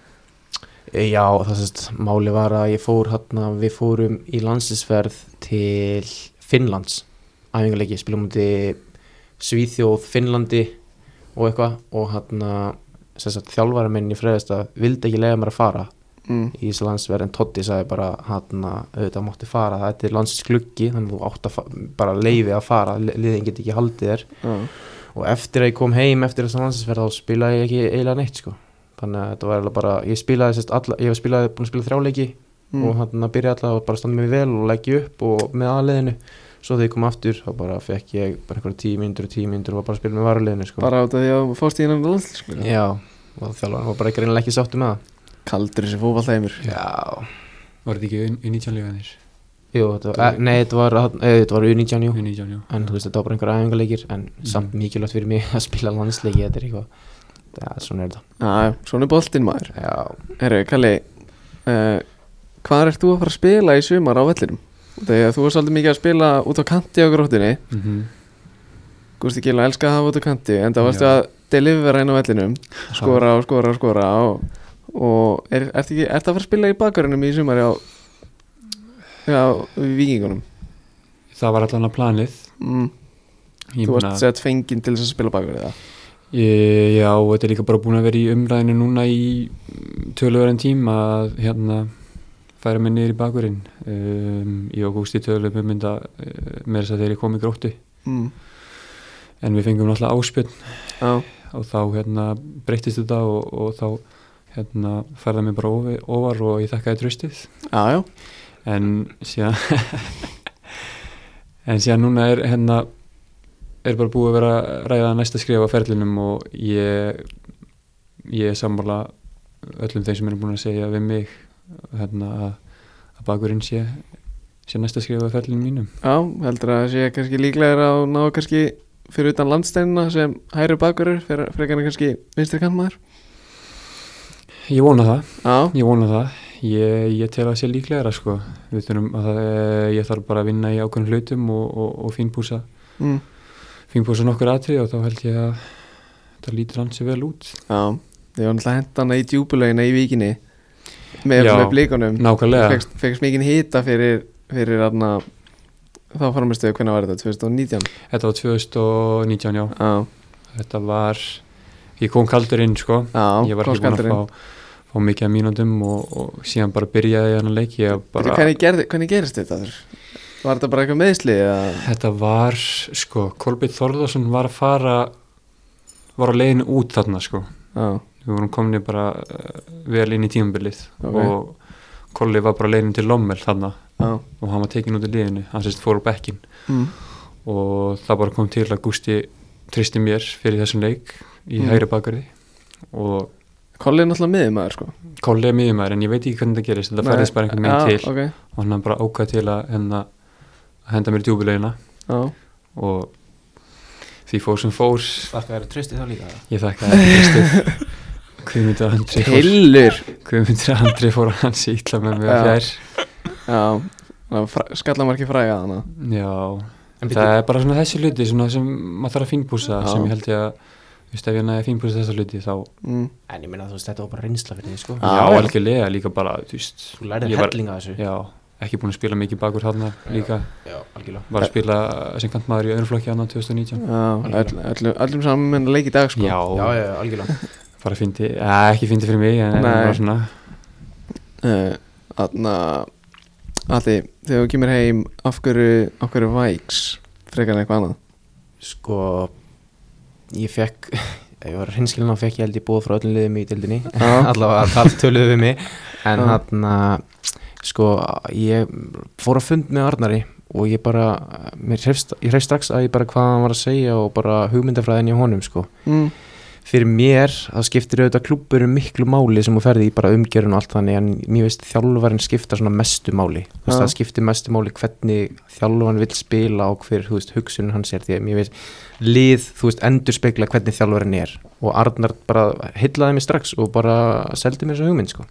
Speaker 3: Já, það sést, máli var að ég fór hann við fórum í landsinsferð til Finnlands æfingarleiki, spilum múti Svíþjóð, Finnlandi og eitthvað og hann þjálfara minn í fræðasta vildi ekki lega mér að fara
Speaker 1: mm.
Speaker 3: í þessu landsverð en Totti sagði bara hann auðvitað mátti fara þetta er landsins gluggi þannig að þú átt að fa- bara leifi að fara li- liðin get ekki haldið þér
Speaker 1: á,
Speaker 3: og eftir að ég kom heim eftir þessu landsinsverð þá spilaði ég ekki eiginlega neitt sko þannig að þetta var eiginlega bara ég spilaði sérst alla ég var spilaði búin að spila þrjáleiki
Speaker 1: mm.
Speaker 3: og hann að byrja alla og bara standa mig vel og leggja upp og með aðleðinu svo þegar ég kom aftur þá bara fekk ég bara einhverja tíu myndur og tíu myndur og var bara að spila með varuleginu sko
Speaker 1: bara út af því að fórst í sko. hennan landsl
Speaker 3: já og þjálfan var bara greinilega ekki sáttu með
Speaker 1: kaldur þessi fókvallheimur
Speaker 3: það já
Speaker 4: Var þetta ekki U19-legaðir?
Speaker 3: Jú, þetta var, eh, nei, þetta var, þarna- eh, þetta var U19, jú
Speaker 4: U19, já
Speaker 3: En þú veist, þetta var bara einhverja æfingarleikir En samt mikilvægt fyrir mig að spila landsleiki Þetta er eitthvað, það er svona er þetta
Speaker 1: Já, svona er boltinn maður
Speaker 3: Já,
Speaker 1: Herru, Kalli uh, Hvað ert þú að fara að spila í sumar á vellinum? Þegar þú er svolítið mikið að spila út á kanti á gróttinni
Speaker 4: mm
Speaker 1: Gústi Gila elska að hafa út á kanti En það varstu
Speaker 4: Já.
Speaker 1: að delivera inn á vellinum Skora og skora og skora og, og er, ert, ekki, ert að fara að spila í bakverðinum í sumar á Já, í vikingunum
Speaker 4: Það var allan að planið
Speaker 1: mm,
Speaker 4: Ég
Speaker 1: Þú
Speaker 4: meina-
Speaker 1: varst sett fenginn til þess að spila bakverðið það
Speaker 4: Ég, já, og þetta er líka bara búin að vera í umræðinu núna í mm, töluverðan tíma að hérna færa mig niður í bakurinn um, ég og Gústi tölum um mynda uh, með þess að þeir komi gróttu
Speaker 1: mm,
Speaker 4: en við fengum náttúrulega áspjörn
Speaker 1: Já,
Speaker 4: og þá hérna breyttist þetta og, og þá hérna færða mig bara ofi, ofar og ég þakkaði tröstið
Speaker 1: já, já
Speaker 4: en síðan en síðan núna er hérna er bara búið að vera að ræða næsta skrif á ferlinum og ég ég er sammála öllum þeim sem eru búin að segja við mig hérna að, að bakurinn sé sé næsta skrif á ferlinum mínum
Speaker 1: Já, heldur að það sé kannski líklegur að ná kannski fyrir utan landsteinina sem hæri bakurur fyrir frekarna kannski vinstri kantmaður
Speaker 4: ég vona það,
Speaker 1: Já,
Speaker 4: ég vona það ég, ég tel að sé líklegra sko við þurfum að það, ég þarf bara að vinna í ákveðnum hlutum og, og, og fínbúsa
Speaker 1: mm.
Speaker 4: fínbúsa nokkur atrið og þá held ég að það lítur hans vel út
Speaker 1: já Ég var náttúrulega hendana í djúpulegina í vikinni með,
Speaker 4: Já,
Speaker 1: með blíkunum
Speaker 4: nákvæmlega
Speaker 1: fegst, fegst mikið hýta fyrir, fyrir aðna, þá farmistu hvernig var þetta, 2019
Speaker 4: Þetta var 2019, já.
Speaker 1: Já,
Speaker 4: Þetta var, ég kom kaldur inn, sko.
Speaker 1: já,
Speaker 4: ég var ekki búinn
Speaker 1: kostgaldurinn
Speaker 4: að fá, fá mikið af mínúndum og, og síðan bara byrjaði ég hann að leiki. Ég
Speaker 1: Bara...
Speaker 4: Bara,
Speaker 1: Hvernig, gerði, hvernig gerist þetta? þurr? Var þetta bara eitthvað meðsli? eða-
Speaker 4: Þetta var, sko, Kolbjörn Þorðarsson var að fara, var á leiðinu út þarna, sko.
Speaker 1: Já,
Speaker 4: Við vorum komni bara uh, vel inn í tímabilið
Speaker 1: Ok.
Speaker 4: og Kolli var bara á leiðinu til Lommel þarna
Speaker 1: já
Speaker 4: og hann var tekin út í liðinu, hann sérst fór á bekkin.
Speaker 1: mm.
Speaker 4: og það bara kom til að Gústi tristi mér fyrir þessum leik í
Speaker 1: Mm.
Speaker 4: hægri bakari og
Speaker 1: Kolli er náttúrulega miðumæður sko
Speaker 4: Kolli er miðjum en ég veit ekki hvernig það gerist þetta færðist bara einhvern veginn
Speaker 1: Já,
Speaker 4: til
Speaker 1: Ah, ok.
Speaker 4: og hann bara ákvað til að henda, að henda mér í djúbulegina
Speaker 1: Já,
Speaker 4: og því fór sem fór
Speaker 3: þakka þér að trösti það líka
Speaker 4: ég þakka það bestið Guðmundur Andri fór,
Speaker 1: Hillur
Speaker 4: Guðmundur Andri fór að hans ítla með mig
Speaker 1: Já.
Speaker 4: að fjær
Speaker 1: Já, það var skallamarki fræga hana
Speaker 4: Já,
Speaker 3: En
Speaker 4: það er bara svona þessi hluti svona sem maður þarf að fínbúsa
Speaker 1: Já.
Speaker 4: sem ég held ég að Þú veist, ef ég næði að fínbústa þessa hluti þá
Speaker 1: mm.
Speaker 3: En ég meina þú veist, þetta var bara reynsla fyrir því sko
Speaker 1: Já,
Speaker 4: Já,
Speaker 1: já.
Speaker 4: algjörlega líka bara, þú veist
Speaker 3: Þú lærið
Speaker 4: ég var-
Speaker 3: helling að þessu
Speaker 4: Já, ekki búin að spila mikið bakur þarna líka
Speaker 3: Já, algjörlega
Speaker 4: Var að spila sem kantmaður í öðrum flokki hann 2019
Speaker 1: Já, öll, öll, öllum saman leik í dag sko
Speaker 4: Já,
Speaker 3: Já, já, já, algjörlega
Speaker 4: bara fyndi, eh, ekki fyndi fyrir mig en en
Speaker 1: Nei.
Speaker 4: bara svona
Speaker 1: Þannig að Alli, Eh, þegar þú kemur heim af hverju, af hverju væks frekar en eitthvað annað
Speaker 3: Sko, ég fekk ef ég var hinskilin þá fekk ég held ég búið frá öllum liðum í dildinni
Speaker 1: Já.
Speaker 3: allavega það töluðu við mig en
Speaker 1: Já.
Speaker 3: hann sko, ég fór að fund með Arnari og ég bara mér hreifst, ég hreifst strax að ég bara hvað hann var að segja og bara hugmyndafræðin í honum sko
Speaker 1: mm.
Speaker 3: fyrir mér það skiptir auðvitað klúbbur um miklu máli sem þú ferði í bara umgjörun og allt þannig en mér veist þjálfarinn skipta svona mestu máli þú veist
Speaker 1: Já.
Speaker 3: það skiptir mestu máli hvernig þjálfarinn vil spila og hver þú veist hugsun hans er því að mér veist lið þú veist endur spekla hvernig þjálfarinn er og Arnar bara hillaði mig strax og bara seldi mér þessu hugmynd sko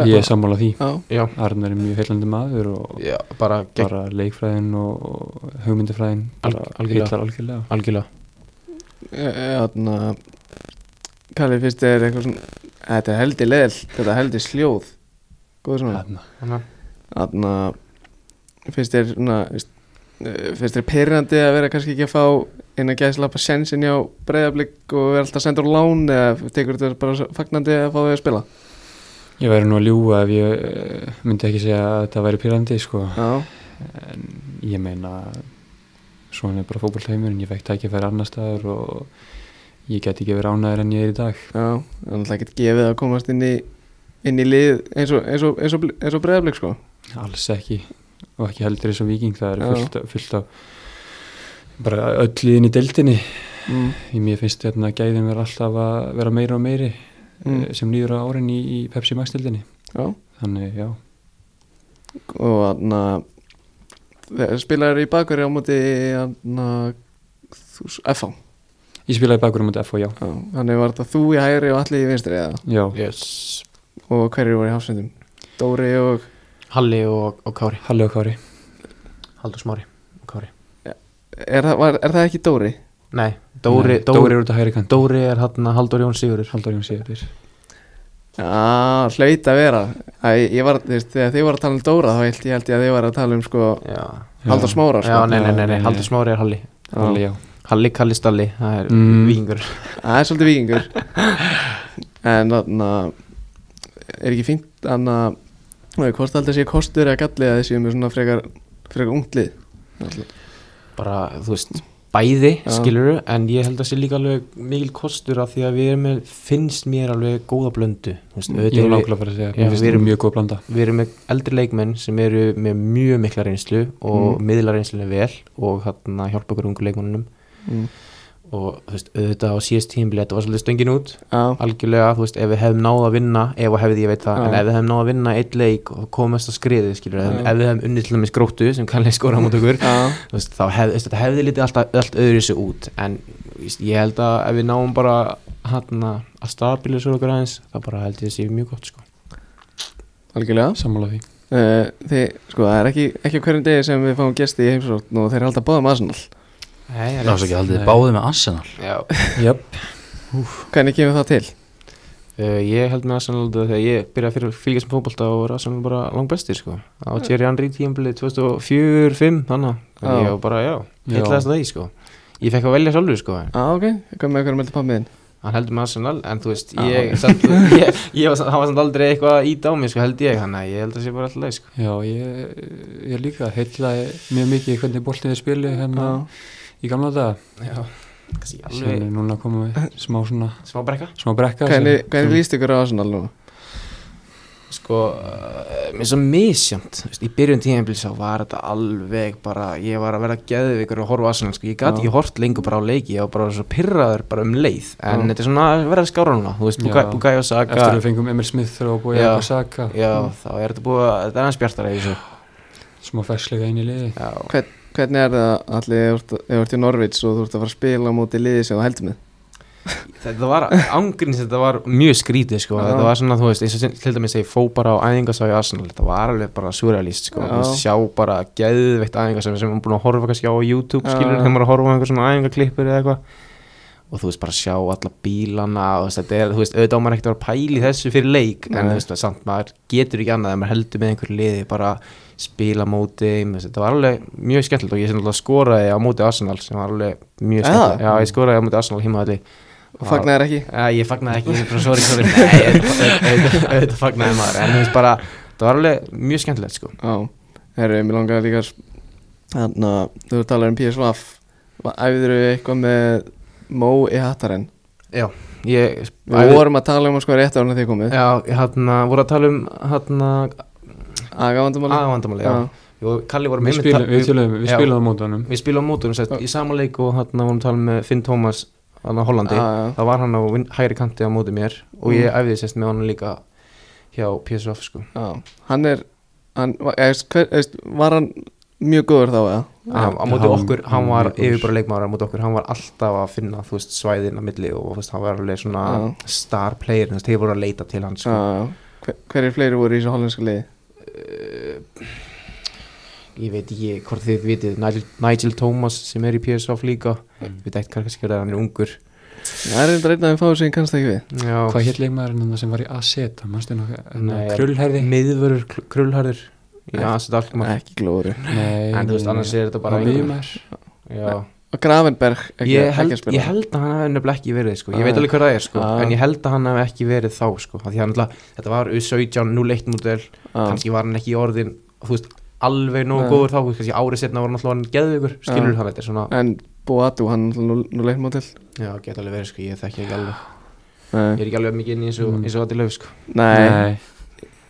Speaker 1: Já,
Speaker 4: Ég er sammála því
Speaker 1: já,
Speaker 3: já,
Speaker 4: Arnar er mjög heillandi maður og
Speaker 3: já bara gegn
Speaker 4: bara leikfræðin og og hugmyndafræðin bara
Speaker 3: Alg- algjörlega.
Speaker 4: heillar algjörlega
Speaker 3: algjörlega
Speaker 1: þannig að E, Kalli, fyrst er eitthvað svona Þetta er heldig leðil, þetta er heldig sljóð Góður svona
Speaker 4: Þarna.
Speaker 3: Hérna.
Speaker 1: Þannig að Fyrst er svona veist, eh, Fyrst er pyrrandi að vera kannski ekki að fá inn að gæsla bara sensin hjá breyðablík og vera alltaf sendur á lán eða tekur þetta bara svo fagnandi að fá þau að spila
Speaker 4: Ég væri nú að ljúga ef ég eh, myndi ekki segja að þetta væri pyrrandi sko.
Speaker 1: Já,
Speaker 4: en ég meina svona er bara fókbaltæmurinn ég vekk tækifæri annar staðar og ég get ekki verið ánæður en ég er í dag
Speaker 1: já, það er alltaf ekkert gefið að komast inn í inn í lið eins og, eins og, eins og, eins og breyðablík sko
Speaker 4: alls ekki og ekki heldur eins og viking það
Speaker 1: Já.
Speaker 4: er fullt, fullt af bara öll liðin í deildinni
Speaker 1: mm.
Speaker 4: Í mér finnst hérna gæðin vera alltaf að vera meira og meiri
Speaker 1: Mm.
Speaker 4: mm. sem nýður á árin í, í Pepsi Max deildinni
Speaker 1: Já,
Speaker 4: þannig já,
Speaker 1: og þannig að spilaður í bakverði á móti þannig að FH
Speaker 4: ég spilaði bakur um þetta F og já
Speaker 1: Já, þannig var þetta þú í hægri og allir í vinstri eða
Speaker 4: já,
Speaker 3: yes.
Speaker 1: og hverju voru í hafsendum? Dóri og
Speaker 3: Halli og, og Kári
Speaker 4: Halli og Kári
Speaker 3: Haldur Smári og Kári
Speaker 1: er það, var, er það ekki Dóri?
Speaker 3: nei, Dóri,
Speaker 4: Nei, Dóri
Speaker 3: Dóri,
Speaker 4: er út að hægri kant
Speaker 3: Dóri er hann Haldur Jón Sigurður
Speaker 4: Halldór Jón Sigurður
Speaker 1: Já, hlaut að vera Æ, ég var, þú veist, þegar þið voru að tala um Dóra þá held ég held ég að þið voru að tala um sko
Speaker 3: já
Speaker 1: Haldur Smára sko
Speaker 3: Já, nei, nei,
Speaker 4: Já,
Speaker 3: nei, nei,
Speaker 4: nei,
Speaker 3: Haldur
Speaker 4: nei.
Speaker 3: Smári er Halli
Speaker 4: Halli já
Speaker 3: Halli, Kalli, Stalli, það er
Speaker 4: Mm.
Speaker 3: vikingur
Speaker 1: Það er svolítið vikingur En þannig að er ekki fínt þannig að hvort alltaf sé kostur eða galli að þið séu með svona frekar, frekar unglið
Speaker 3: Bara, þú veist, bæði,
Speaker 1: Já.
Speaker 3: skilur En ég held að sé líka alveg mikil kostur af Því að við erum með, finnst mér alveg góða blöndu Þú veist,
Speaker 4: ég
Speaker 3: auðvitað
Speaker 4: er
Speaker 3: erum við,
Speaker 4: nákvæmlega að fara að segja
Speaker 3: Já,
Speaker 4: mér finnst
Speaker 3: við
Speaker 4: það
Speaker 3: erum-
Speaker 4: mjög góð að blanda
Speaker 3: við erum með eldri leikmenn Sem eru með mjög mikla reynslu Og mm. miðla reynslunni vel Og hann að hjálpa okkur ungu leikmennunum
Speaker 1: mm.
Speaker 3: Og þú veist, auðvitað á síðast tímabili Þetta var svolítið stöngin út
Speaker 1: Já,
Speaker 3: algjörlega, þú veist, ef við hefðum náð að vinna ef og hefði, ég veit það,
Speaker 1: Já.
Speaker 3: en ef við hefðum náð að vinna eitt leik og komast að skriði, skilur
Speaker 1: Já.
Speaker 3: ef við hefðum unnið til dæmis gróttu sem kannlega skora á mót okkur,
Speaker 1: já,
Speaker 3: þú veist, þá hef, veist, þetta hefði litið alltaf allt öðru þessu út en þú veist, ég held að ef við náum bara hann að stabilisa okkur aðeins þá bara held ég að sé mjög gott, sko
Speaker 1: algjörlega
Speaker 4: sammála því
Speaker 1: uh, Þið, sko, það er ekki, ekki á hverjum degi sem við fáum gesti í heimsókn og þeir er alltaf báðum aðsannal
Speaker 3: Nei,
Speaker 2: Það var svo ekki haldið
Speaker 4: Nei.
Speaker 2: báðið með Arsenal
Speaker 3: Já,
Speaker 4: jöp
Speaker 1: Hvernig kemur það til?
Speaker 3: uh, ég held með Arsenal þegar ég byrjaði fyrir að fylgjast með fótbolta og var Arsenal bara langbestir, sko á Thierry Henry tímabilið 2004-05 þannig
Speaker 1: Já.
Speaker 3: að ég var bara, já, heitlaðast að það í, sko ég fekk að velja sjálfur, sko
Speaker 1: Já, ok, hvað með hverjum heldur pappiðin?
Speaker 3: hann heldur með Arsenal, en þú veist
Speaker 1: Já.
Speaker 3: ég, samt, ég, ég var, samt- hann var samt aldrei eitthvað að íta á mig, sko, held ég, þannig að ég held að sé bara alltaf leið, sko
Speaker 4: Já, ég, ég líka heillaði mjög mikið í hvernig boltin þið spili hérna í gamla daga
Speaker 3: já, kannski ekki
Speaker 4: sem er
Speaker 3: alveg
Speaker 4: núna komið smá svona
Speaker 3: smá brekka
Speaker 4: smá brekka
Speaker 1: Hvernig,
Speaker 4: sem-
Speaker 1: hvernig
Speaker 4: sem-
Speaker 1: líst ykkur á aðsannal nú?
Speaker 3: sko, uh, mér er svo misjönd veist, í byrjun tíðanbils þá var þetta alveg bara, ég var að vera geðvikur og horfa á Arsenal, sko, ég
Speaker 1: Já.
Speaker 3: gat ekki hort lengur bara á leiki, ég var bara svo pyrraður bara um leið en
Speaker 1: Já.
Speaker 3: þetta er svona að vera að skára núna, þú veist,
Speaker 4: Já.
Speaker 3: Bukayo Saka
Speaker 4: eftir um að við fengum Emil Smith þrjá og búið
Speaker 3: Já.
Speaker 4: að saka
Speaker 3: já, þá er þetta búið að, þetta er aðeins bjartara í þessu
Speaker 4: smá fersleika inn í liði
Speaker 3: já,
Speaker 1: Hvern, hvernig er það allir ef þú ert- ef þú ert í Norvits og þú ert að fara að spila á móti liði sem þú heldur með?
Speaker 3: Þetta var, ángrins þetta var mjög skrítið sko,
Speaker 1: Já.
Speaker 3: þetta var svona, þú veist, eins og sem- til dæmis þegar ég fó bara á æðingasæði Arsenal, þetta var alveg bara surrealist sko,
Speaker 1: Já.
Speaker 3: þú veist, sjá bara geðveitt æðingasæði sem maður er búin að horfa kannski á YouTube
Speaker 1: Já.
Speaker 3: skilur þegar maður er að horfa á einhver svona æðingaklippur eða eitthvað og þú veist bara sjá alla bílana og þú veist, þetta er, þú veist, auðvitað á maður ekkert að vera pæli þessu fyrir leik, en
Speaker 1: Nei.
Speaker 3: þú veist, samt maður getur ekki annað, en maður heldur með einhverju liði bara spila móti, þetta var alveg mjög skemmtilegt og ég sem alltaf skoraði á móti Arsenal sem var alveg mjög
Speaker 1: Eða?
Speaker 3: skemmtilegt já, ég skoraði á móti Arsenal heimavalli
Speaker 1: og fagnaðir ekki
Speaker 3: Já, ég fagnaði ekki, ég bara sorry, sorry Nei, auðvitað- auðvitað auðvitað fagnaði maður En þú veist bara, það var alveg mjög skemmtilegt sko
Speaker 1: Já, herru, mér langar líka Þannig að þú voru að tala um PSV Æfður við eitthvað með Mó í hattaren
Speaker 3: Já, ég
Speaker 1: Við vorum að tala um að sko rétt ára þegar komið
Speaker 3: Já, hérna, voru að tala um hérna
Speaker 1: Agavandumáli
Speaker 3: aðvandamáli, já Ég og Kalli vorum
Speaker 4: Við
Speaker 3: einmitt
Speaker 4: spilum,
Speaker 3: ta-
Speaker 4: við spilum, við
Speaker 3: Já.
Speaker 4: spilum á mótunum
Speaker 3: Við spilum á mótunum, sett, í sama leik og hérna vorum að tala með Finn Thomas hann á Hollandi
Speaker 4: Ah,
Speaker 1: já
Speaker 3: Það var hann á vin- hægri kanti á móti mér og ég
Speaker 1: Mm.
Speaker 3: æfði sérst með honum líka hjá PSV sko
Speaker 1: já. Hann er hann, var- ég veist, hver, ég veist, Var hann mjög góður þá eða?
Speaker 3: á, á móti
Speaker 4: hann-
Speaker 3: okkur, hann
Speaker 4: hann
Speaker 3: var
Speaker 4: leikur.
Speaker 3: yfirbara leikmáður á móti okkur, hann var alltaf að finna þú veist, svæðin á milli og þú veist, hann var alveg svona
Speaker 1: Já.
Speaker 3: star player, þú veist, þeir voru að leita til hann
Speaker 1: Já,
Speaker 3: sko.
Speaker 1: já Hver, Hverjir fleiri voru í þessu hollensku liði?
Speaker 3: ég veit ekki hvort þið vitið Nigel, Nigel Thomas sem er í PSV líka mm. við dætt kannski að hann er ungur
Speaker 1: Það er eitthvað reyndaðum fáið sem kannast ekki við
Speaker 3: Já,
Speaker 4: Hvað hétt leikmaðurinn þarna sem var í AZ mannstu nokkuð,
Speaker 3: Nei.
Speaker 4: krullherði
Speaker 3: miðvörur kr- krullharður já,
Speaker 1: Nei.
Speaker 3: þessi dalkma
Speaker 1: Ekki glóri
Speaker 4: Nei,
Speaker 3: en þú veist, annars er þetta bara
Speaker 4: mjög
Speaker 3: einhver-
Speaker 4: maður
Speaker 3: Já.
Speaker 1: Og Gravenberg ekki,
Speaker 3: ég,
Speaker 1: ekki
Speaker 3: held,
Speaker 1: að spila Ah.
Speaker 3: ég held að hann hefði nefnilega ekki verið sko. ég
Speaker 1: Nei.
Speaker 3: veit alveg hvað það er sko.
Speaker 1: Já.
Speaker 3: en ég held að hann hefði ekki verið þá sko. Af því hann alltaf, þetta var U17 0-1 model
Speaker 1: Já.
Speaker 3: kannski var hann ekki í orðin þú veist, alveg nógu
Speaker 1: Nei.
Speaker 3: góður þá þú veist, kannski árið setna var hann alltaf hann geðveikur skilur
Speaker 1: Já.
Speaker 3: hann þetta er svona
Speaker 1: En Boatu, hann er nú, nú leitt mótil
Speaker 3: já, geta alveg verið sko, ég þekki ekki alveg ég
Speaker 1: Nei,
Speaker 3: er ekki alveg mikið inn í eins og,
Speaker 4: Mm.
Speaker 3: eins og að til löf sko
Speaker 1: nei,
Speaker 4: Nei,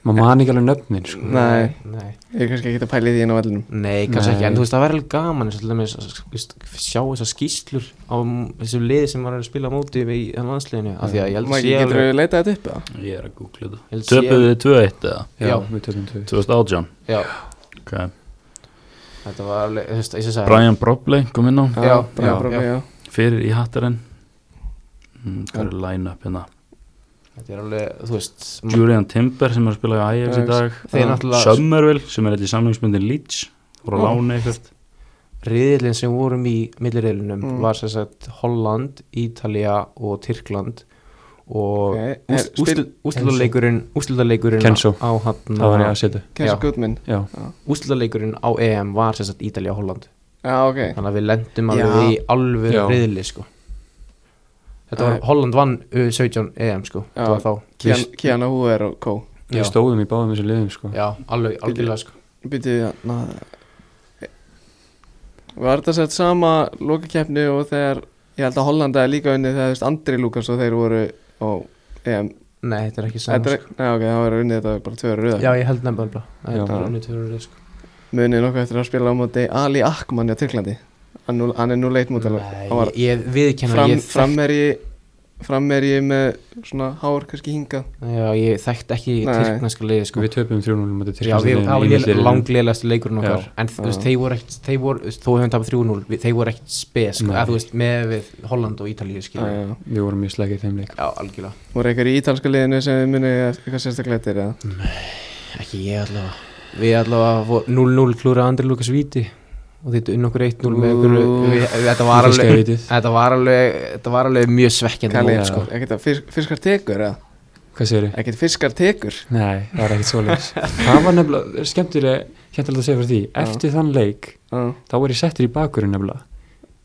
Speaker 4: maður man ekki alveg nöfnin sko.
Speaker 1: Nei.
Speaker 3: nei,
Speaker 1: ég er kannski ekki að pæla í því inn á vellinum
Speaker 3: nei kannski
Speaker 4: Nei.
Speaker 3: ekki en þú veist, það var alveg gaman eins og til dæmis að sk- veist, sjá þessar skýslur á m- þessu liði sem var að spila á móti í hann landsliðinu af því að ég held að
Speaker 1: Maggi,
Speaker 3: sé
Speaker 1: getur
Speaker 3: alveg
Speaker 1: við leitað þetta upp eða?
Speaker 2: Ég er að googla þetta
Speaker 3: ég held að sé
Speaker 2: Töpuðu
Speaker 3: alveg-
Speaker 2: þið 2-1 eða?
Speaker 4: Já,
Speaker 3: Já.
Speaker 4: við tökum tvö
Speaker 2: 2018
Speaker 3: já,
Speaker 2: Ok
Speaker 3: þetta var alveg þú veist, eins og sagði
Speaker 2: Brian Brobley kom inn á
Speaker 3: Já, já,
Speaker 1: Brian Broby,
Speaker 3: já.
Speaker 1: já.
Speaker 2: Fyrir í hattarinn mm, Hvað eru line-up hérna?
Speaker 3: þetta er alveg þú veist ma-
Speaker 2: Julian Timber sem er að spila í Ajax í dag
Speaker 3: þeir
Speaker 1: Já.
Speaker 3: náttúrulega
Speaker 2: Summerville sem er eitthvað í samlingsmyndin Leeds voru að
Speaker 1: Já.
Speaker 2: lána eitthvað
Speaker 3: riðilinn sem vorum í millireilunum
Speaker 1: Mm.
Speaker 3: var sem sagt Holland, Ítalía og Tyrkland og
Speaker 1: Ok, er- spil-
Speaker 3: úsluleikurinn úsluleikurinn
Speaker 4: Kenzo.
Speaker 3: á hann
Speaker 4: Það var í AZ
Speaker 1: Kenzo
Speaker 3: Já.
Speaker 1: Goodman
Speaker 4: Já,
Speaker 3: úsluleikurinn á EM var sem sagt Ítalía og Holland
Speaker 1: Já, ok
Speaker 3: þannig að við lendum
Speaker 1: Já.
Speaker 3: alveg í alveg
Speaker 4: Já.
Speaker 3: riðli sko þetta var
Speaker 1: Æ.
Speaker 3: Holland vann uh, 17 EM sko
Speaker 1: Já.
Speaker 3: þetta var þá
Speaker 1: Kian- Kiana Hoover og Co
Speaker 3: Já.
Speaker 4: við stóðum í báðum þessu liðum sko.
Speaker 3: já, alveg, algjörlega sko
Speaker 1: Býtið við na, Var þetta sett sama lokakeppni og þegar ég held að Hollanda er líka unni þegar þú veist Andri Lukas og þeir voru á EM
Speaker 3: nei, þetta er ekki
Speaker 1: Þetta
Speaker 3: saman
Speaker 1: er- Nei, ok, það var unnið þetta bara tvöru
Speaker 3: sko
Speaker 1: röða
Speaker 3: já, ég held nefnilega
Speaker 4: Já.
Speaker 3: þetta var unnið tvö röð, sko.
Speaker 1: Munið nokkuð eftir að spila á móti Ali Akman í Tyrklandi Hann nú- hann er nú leitt móti Hann var
Speaker 3: Nei, ég viðkenna
Speaker 1: fram,
Speaker 3: ég þekki
Speaker 1: fram er ég fram er ég með svona hár kannski hingað
Speaker 3: Já, ég þekkt ekki
Speaker 1: Nei.
Speaker 3: tyrkneska liði
Speaker 4: Sko,
Speaker 3: sko.
Speaker 4: Við töpum 3-0 mútið
Speaker 3: Já, við hafa langlegast leikurinn okkar
Speaker 4: Já.
Speaker 3: En þú veist,
Speaker 1: Já.
Speaker 3: þeir voru ekkert þeir voru, þú veist, þó hefum tapað 3-0, við- þeir voru ekkert spes sko,
Speaker 4: Nei.
Speaker 3: eða þú veist, með við Holland og Ítalíu skilur við.
Speaker 1: Æ,
Speaker 4: Við vorum mjög slegið í þeim leik
Speaker 3: Já, algjörlega
Speaker 1: voru eitthvað í ítalska liðinu sem þið munið eitthvað sérstaklega eftir eða?
Speaker 3: Ekki ég allavega Við allavega fór 0-0 klúra Andri Lukas Víti og þetta unn okkur 1-0 með okkur
Speaker 1: Ú.
Speaker 3: við, þetta, var
Speaker 4: Fiskar
Speaker 3: alveg,
Speaker 4: vitið.
Speaker 3: þetta var alveg Þetta var alveg mjög svekkjandi
Speaker 1: Kalli,
Speaker 3: mót,
Speaker 1: sko,
Speaker 3: sko.
Speaker 1: ekkert að fisk, fiskar tekur eða?
Speaker 4: Hvað segir þið?
Speaker 1: ekkert fiskar tekur
Speaker 4: Nei, það var ekkert svoleiðis Það var nefnilega skemmtilega skemmtilega að segja fyrir því Eftir þann leik,
Speaker 1: Já.
Speaker 4: þá var ég settur í bakurinn nefnilega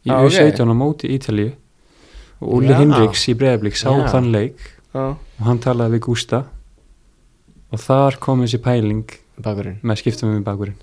Speaker 4: Í
Speaker 1: Já,
Speaker 4: ah,
Speaker 1: ok.
Speaker 4: U17 á móti Ítalíu og Úli
Speaker 3: Já.
Speaker 4: Hinriks í Breiðablík sá
Speaker 3: Já.
Speaker 4: þann leik
Speaker 1: Já.
Speaker 4: og hann talaði við Gústa og þar kom þessi pæling
Speaker 3: Bakurinn
Speaker 4: með skiptum við bakurinn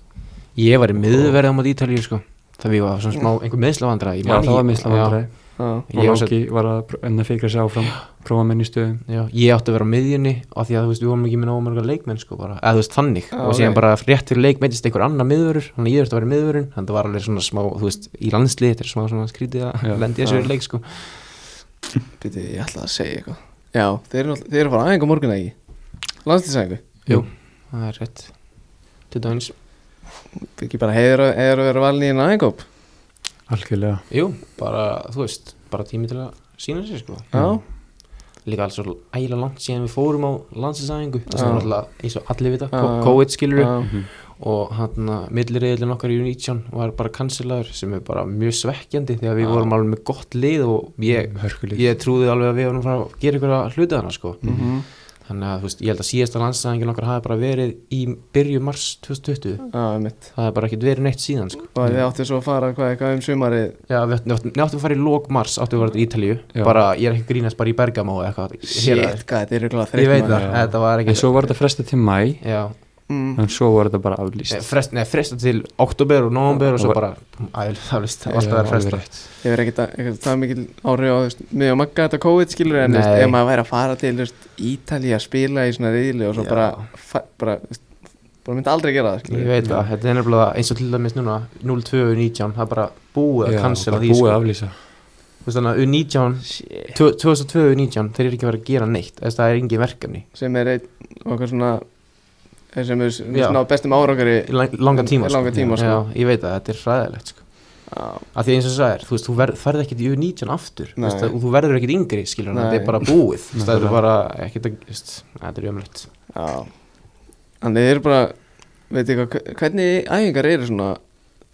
Speaker 3: Ég var í miðverði á móti Ítalíu sko. Það við var svona smá, einhver meðslavandra
Speaker 4: Já, það var mislavandræði
Speaker 1: Já.
Speaker 4: og Lóki var að pr- enn að fikra sig áfram prófa menn í stöðum
Speaker 3: Já, ég átti að vera á miðjunni af því að þú veist, við vorum ekki með nógu mörga leikmenn sko bara, eða þú veist, þannig,
Speaker 1: Já,
Speaker 3: og síðan
Speaker 1: ok.
Speaker 3: bara rétt fyrir leik meittist einhver annar miðvörur, þannig að ég þurfti að vera miðvörun þannig að það var alveg svona smá, þú veist, í landslið þetta er smá svona skrítið
Speaker 4: Já.
Speaker 3: að lendi þessu
Speaker 1: Já.
Speaker 3: leik sko
Speaker 1: Býtu, ég ætla að segja eitthvað já, þeir eru, náttúrulega- þeir eru að fara aðeins á morgun eða ekki landslýsæðingu
Speaker 3: það er rétt til dæmis,
Speaker 1: ekki bara heiður að, heiður að vera valin í einn aðeins
Speaker 4: Algjörlega
Speaker 3: jú, bara, þú veist bara tími til að sína sér sko
Speaker 1: já,
Speaker 3: líka alls svo ægilega langt síðan við fórum á landsinsæðingu það sem
Speaker 1: Já.
Speaker 3: er alltaf eins og allir vita,
Speaker 1: Já,
Speaker 3: uh,
Speaker 1: já.
Speaker 3: COVID skilur
Speaker 1: Já.
Speaker 2: Mhm.
Speaker 3: og hann að millirriðilin okkar í Unítjón var bara kansilaður sem er bara mjög svekkjandi þegar við
Speaker 2: Já.
Speaker 3: vorum alveg með gott lið og ég,
Speaker 4: Hörkulið.
Speaker 3: ég trúði alveg að við varum að fara að gera ykkur að hluta þarna sko
Speaker 1: Mhm.
Speaker 3: þannig að þú veist, ég held að síðasta landsæðingin okkar hafi bara verið í byrju mars 2020
Speaker 1: Já, mitt
Speaker 3: það er bara ekkert verið neitt síðan sko.
Speaker 1: Og þið áttu svo að fara hvað, hvað um sumarið
Speaker 3: Já, við áttum, við áttum, við áttum að fara í lók mars áttum við að fara til Ítalíu
Speaker 4: Já.
Speaker 3: bara, ég er ekki að grínast bara í Bergamo eða eitthvað hér að-
Speaker 1: Shit, hvað þetta er ykkur að
Speaker 3: ég
Speaker 1: þreikna
Speaker 3: veit það, þetta var ekki
Speaker 4: En svo var þetta fresta til mæ
Speaker 3: já,
Speaker 1: mm.
Speaker 4: En svo var þetta bara aflýst
Speaker 3: Nei, frest, nei, fresta til oktober og november og svo
Speaker 4: Og-
Speaker 3: bara, æl, það veist, það var alltaf að
Speaker 4: Já, alveg
Speaker 3: fresta
Speaker 4: rétt.
Speaker 1: Ég verð ekkert að- ekkert að það mikil áhrif á þú veist, mig og Magga þetta COVID skilur en þú veist,
Speaker 3: Nei.
Speaker 1: ef maður væri að fara til þú veist, Ítalía að spila í svona riðli og svo
Speaker 3: Já.
Speaker 1: bara, fa- bara, þú veist, bara myndi aldrei gera það
Speaker 3: ég
Speaker 1: skilur
Speaker 3: veit það, þetta er nefnilega eins og til dæmis núna 02 U19, það er bara búið
Speaker 4: Já,
Speaker 3: að cancela
Speaker 4: bara
Speaker 3: því
Speaker 4: Búið
Speaker 3: sko.
Speaker 4: að aflýsa
Speaker 3: Þú veist þannig að U19
Speaker 1: Shit.
Speaker 3: 2002 U19, þeir eru ekki að vera að gera neitt þess að það er engin verkefni
Speaker 1: sem er einn okkar svona eh, sem er
Speaker 3: Já.
Speaker 1: svona á bestum árangari
Speaker 3: í lang, langa tíma,
Speaker 1: Í langan tíma, sko.
Speaker 3: Já, ég veit það, þetta er hræðilegt sko.
Speaker 1: á,
Speaker 3: að því eins og það er, þú veist, þú verð, ferð ekkert í U19 aftur, þú veist,
Speaker 1: Nei.
Speaker 3: og þú verður ekkert yngri skilur hann,
Speaker 1: Nei.
Speaker 3: þetta er bara búið þú veist, það er
Speaker 4: Nákvæmlega.
Speaker 3: bara ekkert að, þú veist, að þetta er umrætt
Speaker 1: á. Þannig þið eru bara veit ég hvað, hvernig æfingar eru svona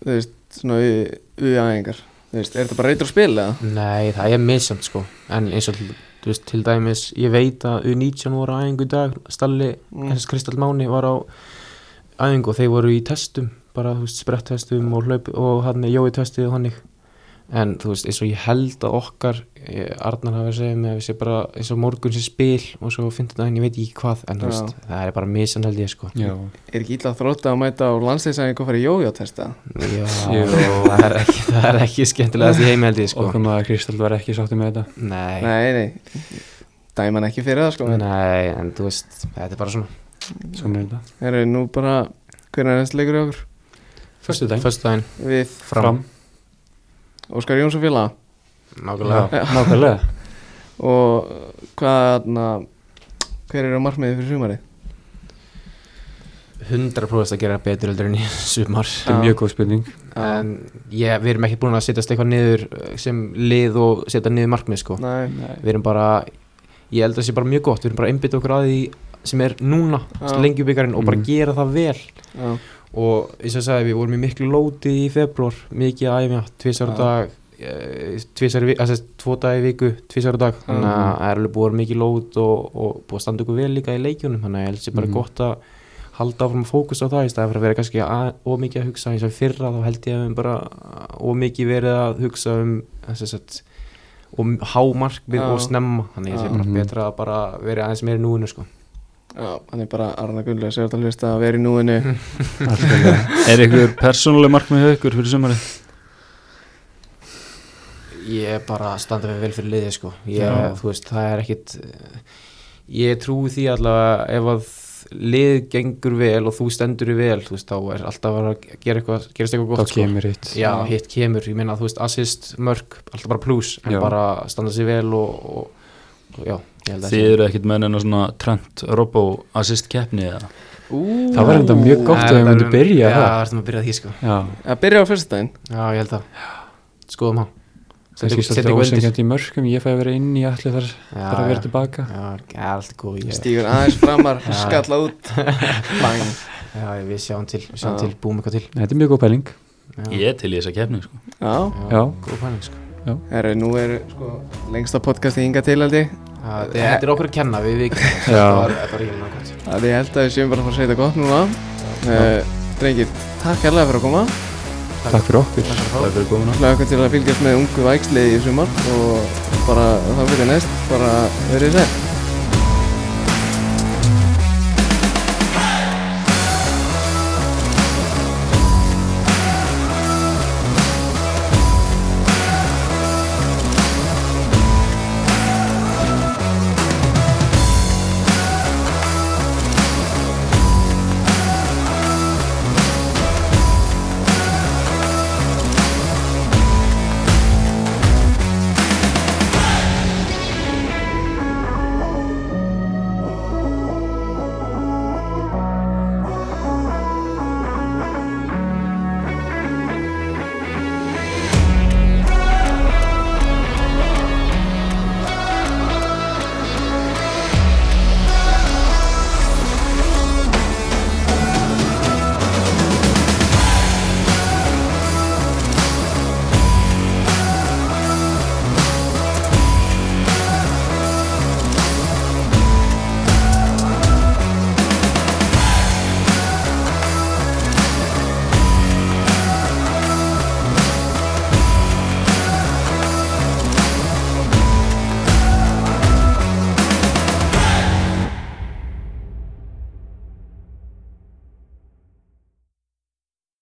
Speaker 1: þú veist, svona U-æfingar þú veist, er þetta bara reytur að spila eða?
Speaker 3: Nei, það er misjönd sko En eins og til, þú veist, til dæmis Ég veit að U19 voru á æfingu í dag Stalli,
Speaker 1: Mm.
Speaker 3: mm. SS Kristall Máni var á æfingu og þeir voru í testum bara, þú veist, sprettestum og hlaup og hann er jói testið og hannig en þú veist, eins og ég held að okkar eh, Arnar hafa að segja mig að við sé bara eins og morgun sé spil og svo finnst þetta ég veit ekki hvað, en
Speaker 1: Já.
Speaker 3: þú veist, það er bara misjönd held ég sko
Speaker 4: Já,
Speaker 1: er ekki illa að þrótta að mæta á landsleysæðing og fara í jójátesta
Speaker 3: Já,
Speaker 4: Jú.
Speaker 3: það er ekki, það er ekki skemmtilegast í heimi held ég sko
Speaker 4: okkar maður Kristall var ekki sátti með þetta
Speaker 3: Nei,
Speaker 1: nei, nei, dæman ekki fyrir það sko en
Speaker 3: Nei, en þú veist, þetta er bara svona
Speaker 4: Svona er þetta
Speaker 1: erum við nú bara hvernig er næst leikur í okkur
Speaker 4: Fyrstu dag
Speaker 3: Föstudaginn
Speaker 1: við
Speaker 3: fram,
Speaker 1: Óskar Jónsson félaga
Speaker 4: Já,
Speaker 3: nákvæmlega
Speaker 4: nákvæmlega
Speaker 1: og hvað na, hver eru markmiðið fyrir sumarið
Speaker 3: 100% að gera betur heldur en í sumar
Speaker 4: Þetta er mjög góð spurning
Speaker 3: en ég, við erum ekki búin að setjast eitthvað niður eh, sem lið og setja niður markmið sko
Speaker 1: Nei,
Speaker 3: við erum bara, ég held að það sé bara mjög gott við erum bara að einbytta okkur að því sem er núna
Speaker 1: Já.
Speaker 3: lengjubikarinn og bara
Speaker 4: Mhm.
Speaker 3: gera það vel
Speaker 1: já,
Speaker 3: og eins og ég sagði við vorum í miklu lóti í februar mikið að æfja, tvisar á
Speaker 1: Já.
Speaker 3: dag eh, tvisar, þess að tvo dag í viku tvisar á dag, þannig að það er alveg búið að vera mikið lót og, og búið að standa ykkur vel líka í leikjunum, þannig að ég held sér bara
Speaker 4: Mhm.
Speaker 3: gott að halda áfram að fókusa á það í staðan fyrir að vera kannski að- of mikið að hugsa eins og í fyrra þá held ég að við bara of mikið verið að hugsa um þess að og
Speaker 1: Já.
Speaker 3: hámarkmið og snemma þannig að ég sé
Speaker 1: Já.
Speaker 3: bara
Speaker 4: Mhm.
Speaker 3: betra að bara vera aðeins meira í núinu sko.
Speaker 1: já, hann er bara Arna Gunnlega segjart að hlusta að vera í núinu
Speaker 2: Er ykkur persónuleg markmið hjá ykkur fyrir sumari?
Speaker 3: Ég er bara að standa mig vel fyrir liðið sko ég,
Speaker 2: Já.
Speaker 3: Þú veist, það er ekkit Ég trúi því allavega ef að lið gengur vel og þú stendur í vel þú veist, þá er alltaf að gera eitthvað gerast eitthvað
Speaker 4: Þá
Speaker 3: gott sko
Speaker 4: kemur hitt
Speaker 3: Já,
Speaker 1: Já.
Speaker 3: hitt kemur, ég meina þú veist assist, mörg, alltaf bara pluss en
Speaker 4: Já.
Speaker 3: bara standa sig vel og, og, og já, ég held að
Speaker 2: Þið eru ekkert með neina svona Trent Robo assist keppni eða?
Speaker 1: Ú,
Speaker 4: Það var enda mjög gott ef við myndum byrja
Speaker 3: Já,
Speaker 4: það.
Speaker 3: það verðum að byrja því sko
Speaker 4: Já,
Speaker 1: að byrja á fyrstudaginn
Speaker 3: Já, ég held að Skoðum hann
Speaker 4: kannski svolítið ósengjandi hérna í mörgum Ég fæði að vera inn í allir þar þar að vera
Speaker 3: Já,
Speaker 4: tilbaka
Speaker 3: já, allt góð ég-
Speaker 1: stígur aðeins framar,
Speaker 3: Já.
Speaker 1: skalla út bang,
Speaker 3: Já, við sjáum til, við sjáum
Speaker 1: Já.
Speaker 3: til, búum eitthvað til
Speaker 4: Nei, Þetta er mjög góð pæling
Speaker 3: Já.
Speaker 2: Ég er til í þessa keppni sko.
Speaker 1: já
Speaker 4: Já.
Speaker 3: Góð pæling sko
Speaker 1: Herru, nú er sko, lengsta podcasti hinga til held ég
Speaker 3: Það- Þetta er okkur að kenna við vikið Það var
Speaker 4: Já,
Speaker 3: bara ekki nákvæmt
Speaker 1: að ég held að við séum bara að fara að segja þetta gott núna uh, drengir, takk hérlega fyrir að koma
Speaker 4: takk fyrir okkur
Speaker 2: Takk fyrir komuna
Speaker 1: hlaka ykkur til að fylgjast með ungu væksliði í sumar og bara þá fyrir næst bara verið sér